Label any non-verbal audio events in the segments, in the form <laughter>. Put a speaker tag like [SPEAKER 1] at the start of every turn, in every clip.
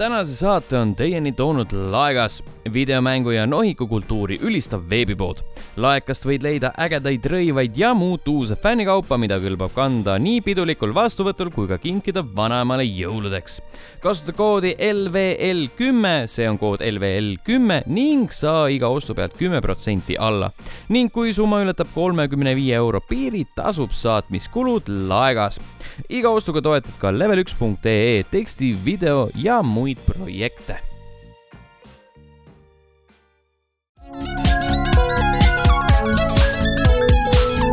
[SPEAKER 1] tänase saate on teieni toonud Laegas, videomängu ja nohikukultuuri ülistav veebipood. laekast võid leida ägedaid rõivaid ja muud uuse fännikaupa, mida kõlbab kanda nii pidulikul vastuvõtul kui ka kinkida vanaemale jõuludeks. kasuta koodi E LVL kümme, see on kood LVL kümme ning saa iga ostu pealt kümme protsenti alla. ning kui summa ületab kolmekümne viie euro piiri, tasub saatmiskulud Laegas. iga ostuga toetad ka level1.ee teksti , video ja muid projekte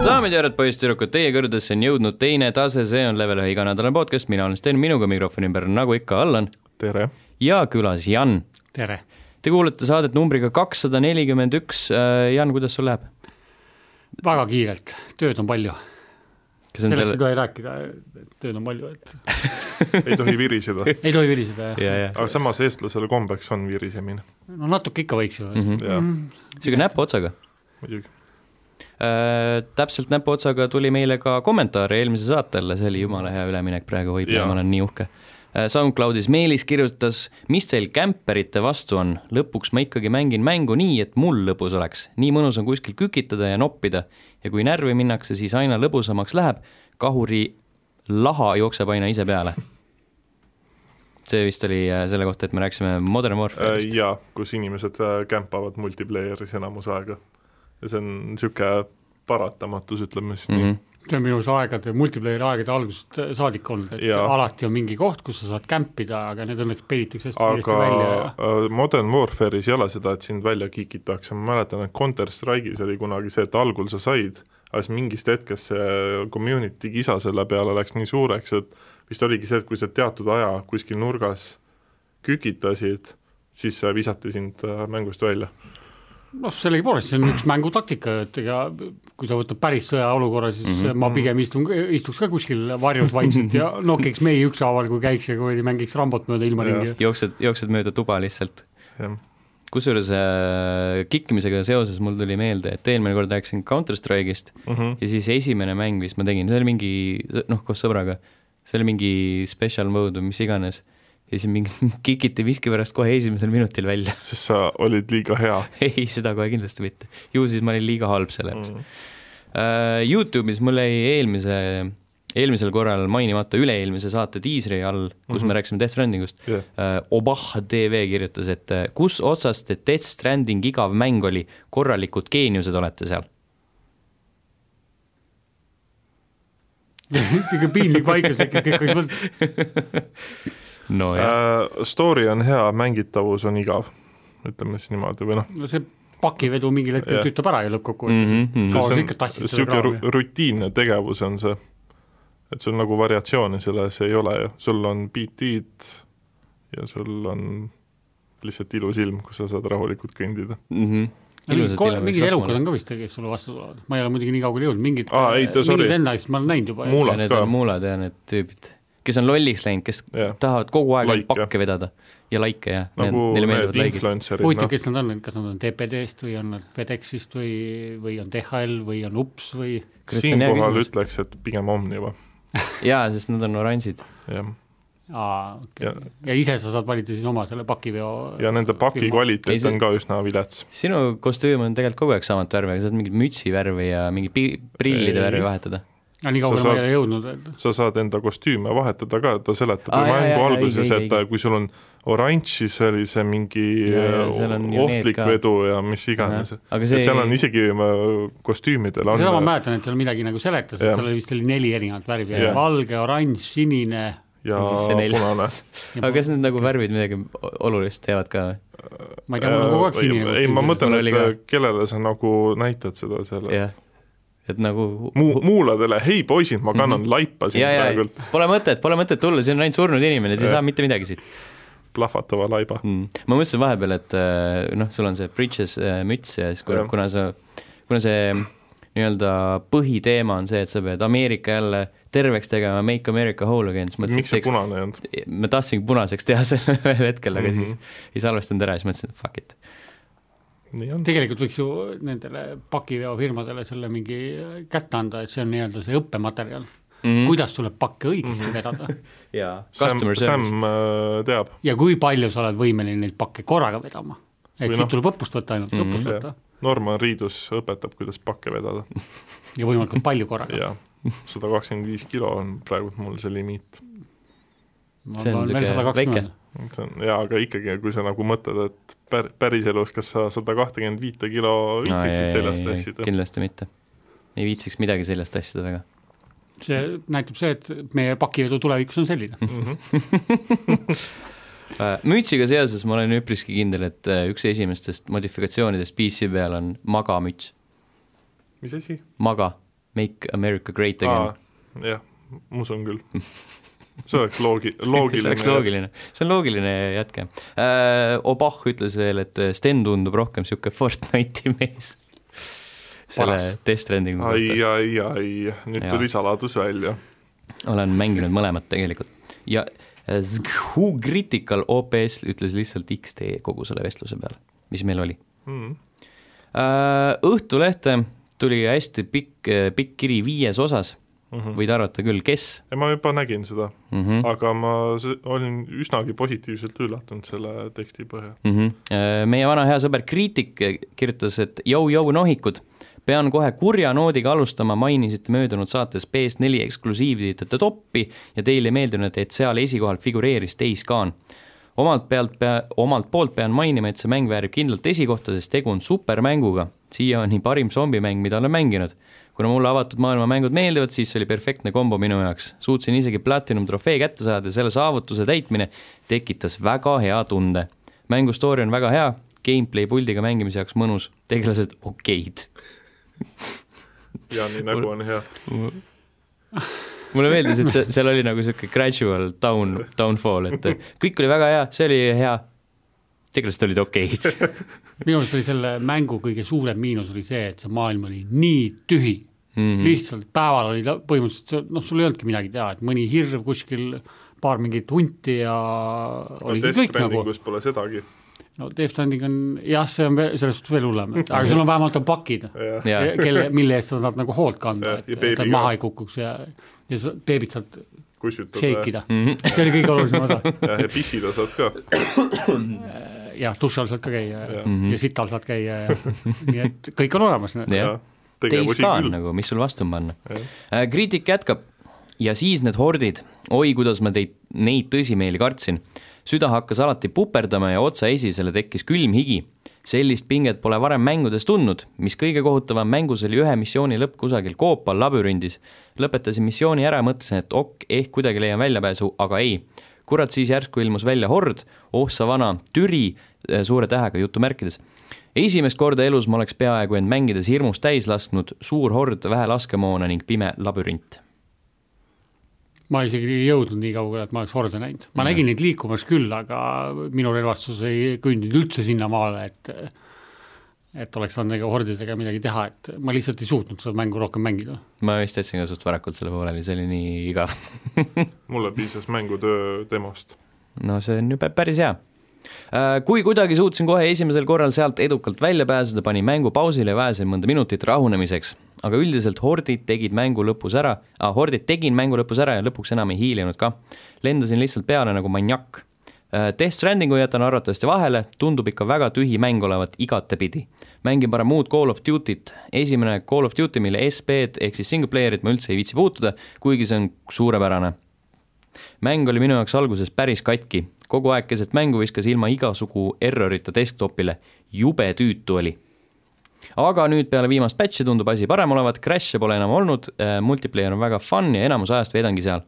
[SPEAKER 1] daamid ja härrad , poisssüdrukud , teie kõrgedesse on jõudnud teine tase , see on level ühe iganädalane podcast , mina olen Sten , minuga mikrofoni ümber on nagu ikka Allan
[SPEAKER 2] tere .
[SPEAKER 1] ja külas Jan .
[SPEAKER 3] tere .
[SPEAKER 1] Te kuulete saadet numbriga kakssada nelikümmend üks . Jan , kuidas sul läheb ?
[SPEAKER 3] väga kiirelt , tööd on palju .
[SPEAKER 1] kas on
[SPEAKER 3] sellest selle...
[SPEAKER 1] selle
[SPEAKER 3] ei , tohi rääkida , et tööd on palju , et
[SPEAKER 2] ei tohi viriseda ,
[SPEAKER 3] ei tohi viriseda ja
[SPEAKER 1] <laughs> ja , ja
[SPEAKER 2] aga samas eestlasele kombeks on virisemine ,
[SPEAKER 3] no natuke ikka võiks ju mm . -hmm.
[SPEAKER 1] Mhm.
[SPEAKER 2] jah ,
[SPEAKER 1] sihuke näpuotsaga .
[SPEAKER 2] muidugi .
[SPEAKER 1] Äh, täpselt näpuotsaga tuli meile ka kommentaar eelmise saate alla , see oli jumala hea üleminek praegu , oi ,
[SPEAKER 2] Jaa.
[SPEAKER 1] ma olen nii uhke . SoundCloudis Meelis kirjutas , mis teil kämperite vastu on , lõpuks ma ikkagi mängin mängu nii , et mul lõbus oleks , nii mõnus on kuskil kükitada ja noppida ja kui närvi minnakse , siis aina lõbusamaks läheb , kahuri laha jookseb aina ise peale . <laughs> see vist oli äh, selle kohta , et me rääkisime Modern Warfare'ist .
[SPEAKER 2] Äh, jaa , kus inimesed äh, kämpavad multiplayeris enamus aega ja see on niisugune paratamatus , ütleme siis mm
[SPEAKER 1] Mm -hmm.
[SPEAKER 2] -hmm.
[SPEAKER 3] see on minu arust aegade , multiplayeri aegade algusest saadik olnud , et ja.
[SPEAKER 2] Jaa.
[SPEAKER 3] alati on mingi koht , kus sa saad kämpida , aga need õnneks peilitakse hästi kiiresti
[SPEAKER 2] aga
[SPEAKER 3] välja ja
[SPEAKER 2] äh, Modern Warfare'is ei ole seda , et sind välja kikitakse , ma mäletan , et Counter Strike'is oli kunagi see , et algul sa said , aga siis mingist hetkest see community kisa selle peale läks nii suureks , et vist oligi see , et kui sa teatud aja kuskil nurgas kükitasid , siis äh, visati sind äh, mängust välja .
[SPEAKER 3] noh , sellegipoolest see on üks mängutaktika , et ega kui sa võtad päris sõjaolukorra , siis mm -hmm. ma pigem istun , istuks ka kuskil varjus vaikselt ja nokiks mehi ükshaaval , kui käiks ja kui mängiks rambot mööda ilma
[SPEAKER 2] Jaa.
[SPEAKER 3] <laughs> ringi .
[SPEAKER 1] jooksed , jooksed mööda tuba lihtsalt
[SPEAKER 2] jah ,
[SPEAKER 1] kusjuures äh, kikkimisega seoses mul tuli meelde , et eelmine kord rääkisin Counter Strike'ist ja siis esimene mäng , mis ma tegin , see oli mingi noh , koos sõbraga , see oli mingi special mode või mis iganes ja siis mingi <laughs> kikiti miskipärast kohe esimesel minutil välja . <laughs>
[SPEAKER 2] sest sa olid liiga hea
[SPEAKER 1] ei , seda kohe kindlasti mitte . ju siis ma olin liiga halb selle jaoks mm. . Youtube'is mul jäi eelmise , eelmisel korral mainimata üle-eelmise saate tiisri all , kus mm -hmm. me rääkisime Death Strandingust ,
[SPEAKER 2] yeah. .
[SPEAKER 1] Äh, Obah TV kirjutas , et äh, kus otsas te Death Stranding igav mäng oli , korralikud geeniused olete seal .
[SPEAKER 3] niisugune piinlik vaikus tekib , kõik olid mõelnud , Äh,
[SPEAKER 1] nojah ,
[SPEAKER 2] Uh, story on hea , mängitavus on igav , ütleme siis niimoodi või noh ,
[SPEAKER 3] no see pakivedu mingil hetkel
[SPEAKER 2] Jah.
[SPEAKER 3] tüütab ära ju lõppkokkuvõttes mm .
[SPEAKER 1] Mhm, mhm.
[SPEAKER 3] -hmm. kaua sa ikka tassid seda
[SPEAKER 2] niisugune
[SPEAKER 3] kraami .
[SPEAKER 2] ru- rutiinne tegevus on see , et sul nagu variatsioone selles ei ole ju , sul on BT-d ja sul on lihtsalt ilus ilm , kus sa saad rahulikult kõndida .
[SPEAKER 1] Mhm.
[SPEAKER 3] mingid elukad on ka vist , kes sulle vastu tulevad , ma ei ole muidugi nii kaugele jõudnud , mingid
[SPEAKER 2] Aa, ei, ta- sorry.
[SPEAKER 3] mingid enda asjad ma olen näinud juba .
[SPEAKER 2] Muulad
[SPEAKER 1] Need
[SPEAKER 2] ka.
[SPEAKER 1] on muulad ja need tüübid , kes on lolliks läinud , kes
[SPEAKER 2] Jah.
[SPEAKER 1] tahavad kogu aeg
[SPEAKER 2] Laike.
[SPEAKER 1] like, pakke vedada ja laike ja
[SPEAKER 2] nagu
[SPEAKER 1] neile
[SPEAKER 2] need
[SPEAKER 1] meeldivad laigid .
[SPEAKER 2] influencer'id ,
[SPEAKER 3] huvitav ,
[SPEAKER 2] noh ,
[SPEAKER 3] kes nad on , kas nad on TPD-st või on nad FedExist või , või on DHL või on UPS või
[SPEAKER 1] kurat, see on hea
[SPEAKER 2] siinkohal
[SPEAKER 1] küsimus.
[SPEAKER 2] ütleks , et pigem Omniva ,
[SPEAKER 1] jaa , sest nad on oranžid .
[SPEAKER 2] jah .
[SPEAKER 3] aa , okei
[SPEAKER 2] Ja-
[SPEAKER 3] okay. . ja ise sa saad valida siis oma selle pakiveo .
[SPEAKER 2] ja nende paki .
[SPEAKER 1] Ei,
[SPEAKER 2] kvaliteet
[SPEAKER 1] see-
[SPEAKER 2] on ka üsna vilets .
[SPEAKER 1] sinu kostüüm on tegelikult kogu aeg samat värvi , aga sa saad mingit mütsi värvi ja mingi pi- prillide
[SPEAKER 2] Ei.
[SPEAKER 1] värvi vahetada .
[SPEAKER 3] aga nii kaugele
[SPEAKER 2] Sa
[SPEAKER 3] ma
[SPEAKER 2] saad-
[SPEAKER 3] ei ole jõudnud , et
[SPEAKER 2] sa saad enda kostüüme vahetada ka , ta seletab
[SPEAKER 1] Aa,
[SPEAKER 2] ju
[SPEAKER 1] jaa, jaa,
[SPEAKER 2] mängu
[SPEAKER 1] jaa,
[SPEAKER 2] alguses ,
[SPEAKER 1] õige,
[SPEAKER 2] et äh,
[SPEAKER 1] õige,
[SPEAKER 2] kui sul on oranž , siis oli see mingi
[SPEAKER 1] Jaa, jaa,
[SPEAKER 2] äh,
[SPEAKER 1] seal on ju need
[SPEAKER 2] ohtlik
[SPEAKER 1] ka.
[SPEAKER 2] vedu ja mis iganes .
[SPEAKER 1] Aga
[SPEAKER 2] et
[SPEAKER 1] see-
[SPEAKER 2] seal on isegi äh, kostüümidel
[SPEAKER 3] seda ma
[SPEAKER 2] on
[SPEAKER 3] mäletan , et seal midagi nagu seletas , et
[SPEAKER 2] Jah.
[SPEAKER 3] seal oli vist oli neli erinevat värvi ,
[SPEAKER 2] Jah.
[SPEAKER 3] valge , oranž , sinine
[SPEAKER 2] ja
[SPEAKER 1] Ja siis see neljas. <laughs>
[SPEAKER 2] punane .
[SPEAKER 1] aga kas need nagu värvid midagi o- olulist teevad ka või ?
[SPEAKER 3] ma ei tea , mul on kogu aeg
[SPEAKER 2] Äh, ei
[SPEAKER 3] sinine ,
[SPEAKER 2] ei , ma mõtlen ,
[SPEAKER 1] Mul
[SPEAKER 2] et
[SPEAKER 1] oli ka.
[SPEAKER 2] äh, kellele sa nagu näitad seda selle
[SPEAKER 1] jah , et nagu
[SPEAKER 2] muu , muuladele , hei poisid , ma kannan mm -hmm. laipa siin
[SPEAKER 1] Mhm. ja , ja
[SPEAKER 2] praegult ,
[SPEAKER 1] pole mõtet , pole mõtet tulla , siin on ainult surnud inimene , sa ei
[SPEAKER 2] Jah.
[SPEAKER 1] saa mitte midagi siit
[SPEAKER 2] plahvatava laiba .
[SPEAKER 1] mm. . ma mõtlesin vahepeal , et äh, noh , sul on see bridges äh, müts ja siis kuna,
[SPEAKER 2] Jah.
[SPEAKER 1] kuna sa , kuna see mm, nii-öelda põhiteema on see , et sa pead Ameerika jälle terveks tegema , make America whole again , siis mõtlesin , et
[SPEAKER 2] miks see
[SPEAKER 1] teeks ,
[SPEAKER 2] punane ei olnud ?
[SPEAKER 1] ma tahtsin punaseks teha <laughs> selle ühel hetkel , aga mm
[SPEAKER 2] Mhm.
[SPEAKER 1] -hmm. siis ei salvestanud ära ja siis mõtlesin , et fuck it .
[SPEAKER 2] nii on .
[SPEAKER 3] tegelikult võiks ju nendele pakiveofirmadele selle mingi kätte anda , et see on nii-öelda see õppematerjal . mm. kuidas tuleb pakke
[SPEAKER 1] Mm.
[SPEAKER 3] õigesti vedada
[SPEAKER 1] jaa .
[SPEAKER 2] Mhm. Sam ,
[SPEAKER 1] Customer
[SPEAKER 2] Sam
[SPEAKER 1] service .
[SPEAKER 2] äh, teab ,
[SPEAKER 3] ja kui palju sa oled võimeline neid pakke korraga vedama . et
[SPEAKER 2] Või
[SPEAKER 3] siit
[SPEAKER 2] noh-
[SPEAKER 3] tuleb õppust võtta ainult mm ,
[SPEAKER 1] Mm-hmm.
[SPEAKER 3] -hmm. õppust võtta
[SPEAKER 2] Norman Riidus õpetab , kuidas pakke vedada
[SPEAKER 3] ja võimalikult palju korraga .
[SPEAKER 2] ja sada kakskümmend viis kilo on praegu mul see limiit .
[SPEAKER 1] See on sihuke väike.
[SPEAKER 2] see on jaa , aga ikkagi , kui sa nagu mõtled , et pär- , päriselus , kas sa sada kahtekümmend viite kilo viitsiksid seljas tassida ?
[SPEAKER 1] kindlasti mitte . ei viitsiks midagi seljas tassida väga .
[SPEAKER 3] see näitab see , et meie pakivedu tulevikus on selline .
[SPEAKER 1] Mhm. Äh, mütsiga seoses ma olen üpriski kindel , et äh, üks esimestest modifikatsioonidest PC peal on magamüts .
[SPEAKER 2] <laughs> mis asi ?
[SPEAKER 1] maga , make America great again
[SPEAKER 2] aa ., jah , ma usun küll . see oleks
[SPEAKER 1] <laughs>
[SPEAKER 2] loogi- ,
[SPEAKER 1] <laughs> see
[SPEAKER 2] loogiline .
[SPEAKER 1] oleks loogiline , see on loogiline jätke äh, . Obah ütles veel , et äh, Sten tundub rohkem niisugune Fortnite'i mees . <laughs> selle
[SPEAKER 3] Paras.
[SPEAKER 1] test trending'u
[SPEAKER 2] ai ,
[SPEAKER 1] kohta ,
[SPEAKER 2] ai , ai , nüüd
[SPEAKER 1] Jaa.
[SPEAKER 2] ja. tuli saladus välja .
[SPEAKER 1] olen mänginud mõlemat tegelikult ja äh, Zhu Critical OPS ütles lihtsalt XD kogu selle vestluse peale , mis meil oli
[SPEAKER 2] Mm.
[SPEAKER 1] äh, . Õhtulehte tuli hästi pikk , pikk kiri viies osas mm , -hmm. võid arvata küll , kes
[SPEAKER 2] mhm. ja ma juba nägin seda ,
[SPEAKER 1] mm . -hmm.
[SPEAKER 2] aga ma s- olin üsnagi positiivselt üllatunud selle teksti põhjal .
[SPEAKER 1] mm . -hmm. meie vana hea sõber Kriitik äh, kirjutas , et jõu-jõu nohikud , pean kohe kurja noodiga alustama , mainisite möödunud saates PS4 eksklusiivide toppi ja teile ei meeldinud , et seal esikohal figureeris Days Gone . omalt pealt pea , omalt poolt pean mainima , et see mäng väärib kindlalt esikohta , sest tegu on supermänguga . siiani parim zombimäng , mida olen mänginud . kuna mulle avatud maailma mängud meeldivad , siis see oli perfektne kombo minu jaoks . suutsin isegi platinum trofee kätte saada ja selle saavutuse täitmine tekitas väga hea tunde mängu story on väga hea , gameplay puldiga mängimise jaoks mõnus , tegelased okeid .
[SPEAKER 2] ja nii nagu on hea .
[SPEAKER 1] mulle meeldis , et see , seal oli nagu niisugune gradual down , downfall , et kõik oli väga hea , see oli hea , tegelased olid okeid .
[SPEAKER 3] minu arust oli selle mängu kõige suurem miinus oli see , et see maailm oli nii tühi mm .
[SPEAKER 2] Mhm.
[SPEAKER 1] Mhm,
[SPEAKER 3] -hmm. lihtsalt päeval oli ta põhimõtteliselt , noh , sul ei olnudki midagi teha , et mõni hirv kuskil , paar mingit hunti ja oligi
[SPEAKER 2] Death
[SPEAKER 3] kõik nagu .
[SPEAKER 2] Strandingus pole sedagi .
[SPEAKER 3] no Death Stranding on jah , see on veel, selles suhtes veel hullem , aga
[SPEAKER 2] Mhm.
[SPEAKER 3] sul on vähemalt on pakid ,
[SPEAKER 2] jah ,
[SPEAKER 1] ja ,
[SPEAKER 3] kelle , mille eest sa saad nagu hoolt kanda
[SPEAKER 2] Jah, ,
[SPEAKER 3] et
[SPEAKER 2] ja
[SPEAKER 3] et sa
[SPEAKER 2] beebi ka.
[SPEAKER 3] maha ei kukuks ja , ja sa beebit saad shake
[SPEAKER 2] kusjutada
[SPEAKER 3] ida ,
[SPEAKER 1] Mhm,
[SPEAKER 3] see oli kõige olulisem osa
[SPEAKER 2] ja ja pissida saad ka .
[SPEAKER 3] jah , duši all saad ka käia ja,
[SPEAKER 2] Jah.
[SPEAKER 3] ja sita all saad käia
[SPEAKER 2] <laughs>
[SPEAKER 3] ja nii et kõik on olemas .
[SPEAKER 1] jah . teis
[SPEAKER 2] tegevusi
[SPEAKER 1] ka on
[SPEAKER 2] küll .
[SPEAKER 1] nagu , mis sul vastu on panna . kriitik jätkab ja siis need hordid , oi , kuidas ma teid , neid tõsimeeli kartsin . süda hakkas alati puperdama ja otsa esisele tekkis külm higi . sellist pinget pole varem mängudes tundnud , mis kõige kohutavam mängus oli ühe missiooni lõpp kusagil koopal labürindis . lõpetasin missiooni ära , mõtlesin , et ok , ehk kuidagi leian väljapääsu , aga ei . kurat , siis järsku ilmus välja hord , oh sa vana türi , suure tähega jutumärkides esimest korda elus ma oleks peaaegu end mängides hirmust täis lasknud suur hord vähe laskemoona ning pime labürint .
[SPEAKER 3] ma isegi ei jõudnud nii kaugele , et ma oleks horde näinud , ma nägin neid liikumas küll , aga minu relvastus ei kõndinud üldse sinnamaale , et et oleks saanud nende hordidega midagi teha , et ma lihtsalt ei suutnud seda mängu rohkem mängida .
[SPEAKER 1] ma vist jätsin ka suht varakult selle pooleli , see oli nii igav .
[SPEAKER 2] mulle piisas mängutöö demost .
[SPEAKER 1] no see on ju pä- päris hea . Kui kuidagi suutsin kohe esimesel korral sealt edukalt välja pääseda , panin mängu pausile ja vajasin mõnda minutit rahunemiseks . aga üldiselt hordid tegid mängu lõpus ära ah, , hordid tegin mängu lõpus ära ja lõpuks enam ei hiilinud ka . lendasin lihtsalt peale nagu maniak . Death Strandingu jätan arvatavasti vahele , tundub ikka väga tühi mäng olevat igatepidi . mängin parem muud Call of Duty't , esimene Call of Duty , mille SB-d ehk siis single player'it ma üldse ei viitsi puutuda , kuigi see on suurepärane mäng oli minu jaoks alguses päris katki , kogu aeg keset mängu viskas ilma igasugu errorita desktopile , jube tüütu oli . aga nüüd peale viimast patch'i tundub asi parem olevat , crash'e pole enam olnud , multiplayer on väga fun ja enamus ajast veedangi seal .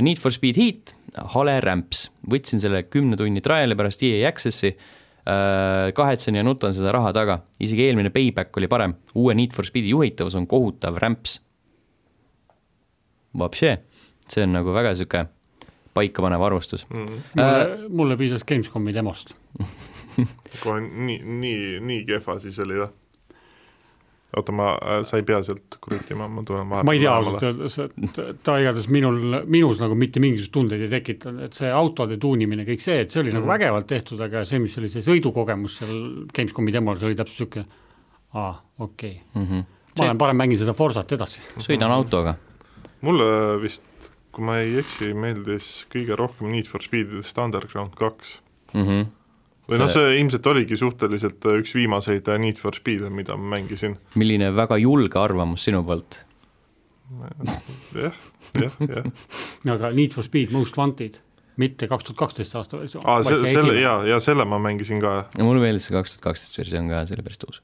[SPEAKER 1] Need for Speed Heat , hale rämps , võtsin selle kümne tunni trial'i pärast EA Access'i , kahetsen ja nutan seda raha taga , isegi eelmine Payback oli parem , uue Need for Speedi juhitavus on kohutav rämps . Vapše , see on nagu väga niisugune paikapanev arvustus
[SPEAKER 3] mulle, mulle piisas Gamescomi demost .
[SPEAKER 2] kohe nii , nii , nii kehva siis oli või ? oota , ma , sa ei pea sealt krutima , ma tulen vahepeal .
[SPEAKER 3] ma ei tea ausalt . öeldes , et ta igatahes minul , minus nagu mitte mingisuguseid tundeid ei tekitanud , et see autode tuunimine , kõik see , et see oli mm. nagu vägevalt tehtud , aga see , mis oli see sõidukogemus seal Gamescomi demol , see oli täpselt niisugune aa , okei okay. .
[SPEAKER 1] mm . -hmm.
[SPEAKER 3] ma lähen parem mängin seda Forsat edasi .
[SPEAKER 1] sõidan autoga .
[SPEAKER 2] mulle vist , kui ma ei eksi , meeldis kõige rohkem Need for Speedidest Underground kaks .
[SPEAKER 1] mm . -hmm.
[SPEAKER 2] või noh ,
[SPEAKER 1] See-
[SPEAKER 2] see ilmselt oligi suhteliselt äh, üks viimaseid äh, Need for Speed'e , mida ma
[SPEAKER 3] <laughs>
[SPEAKER 2] mängisin .
[SPEAKER 1] milline väga julge arvamus sinu poolt .
[SPEAKER 2] jah , jah , jah .
[SPEAKER 3] aga Need for Speed Most Wanted , mitte kaks tuhat kaksteist aasta versioon .
[SPEAKER 2] aa , see , selle , jaa , jaa , selle ma mängisin ka ,
[SPEAKER 1] ja mulle meeldis see kaks tuhat kaksteist versioon ka , see oli päris tuus .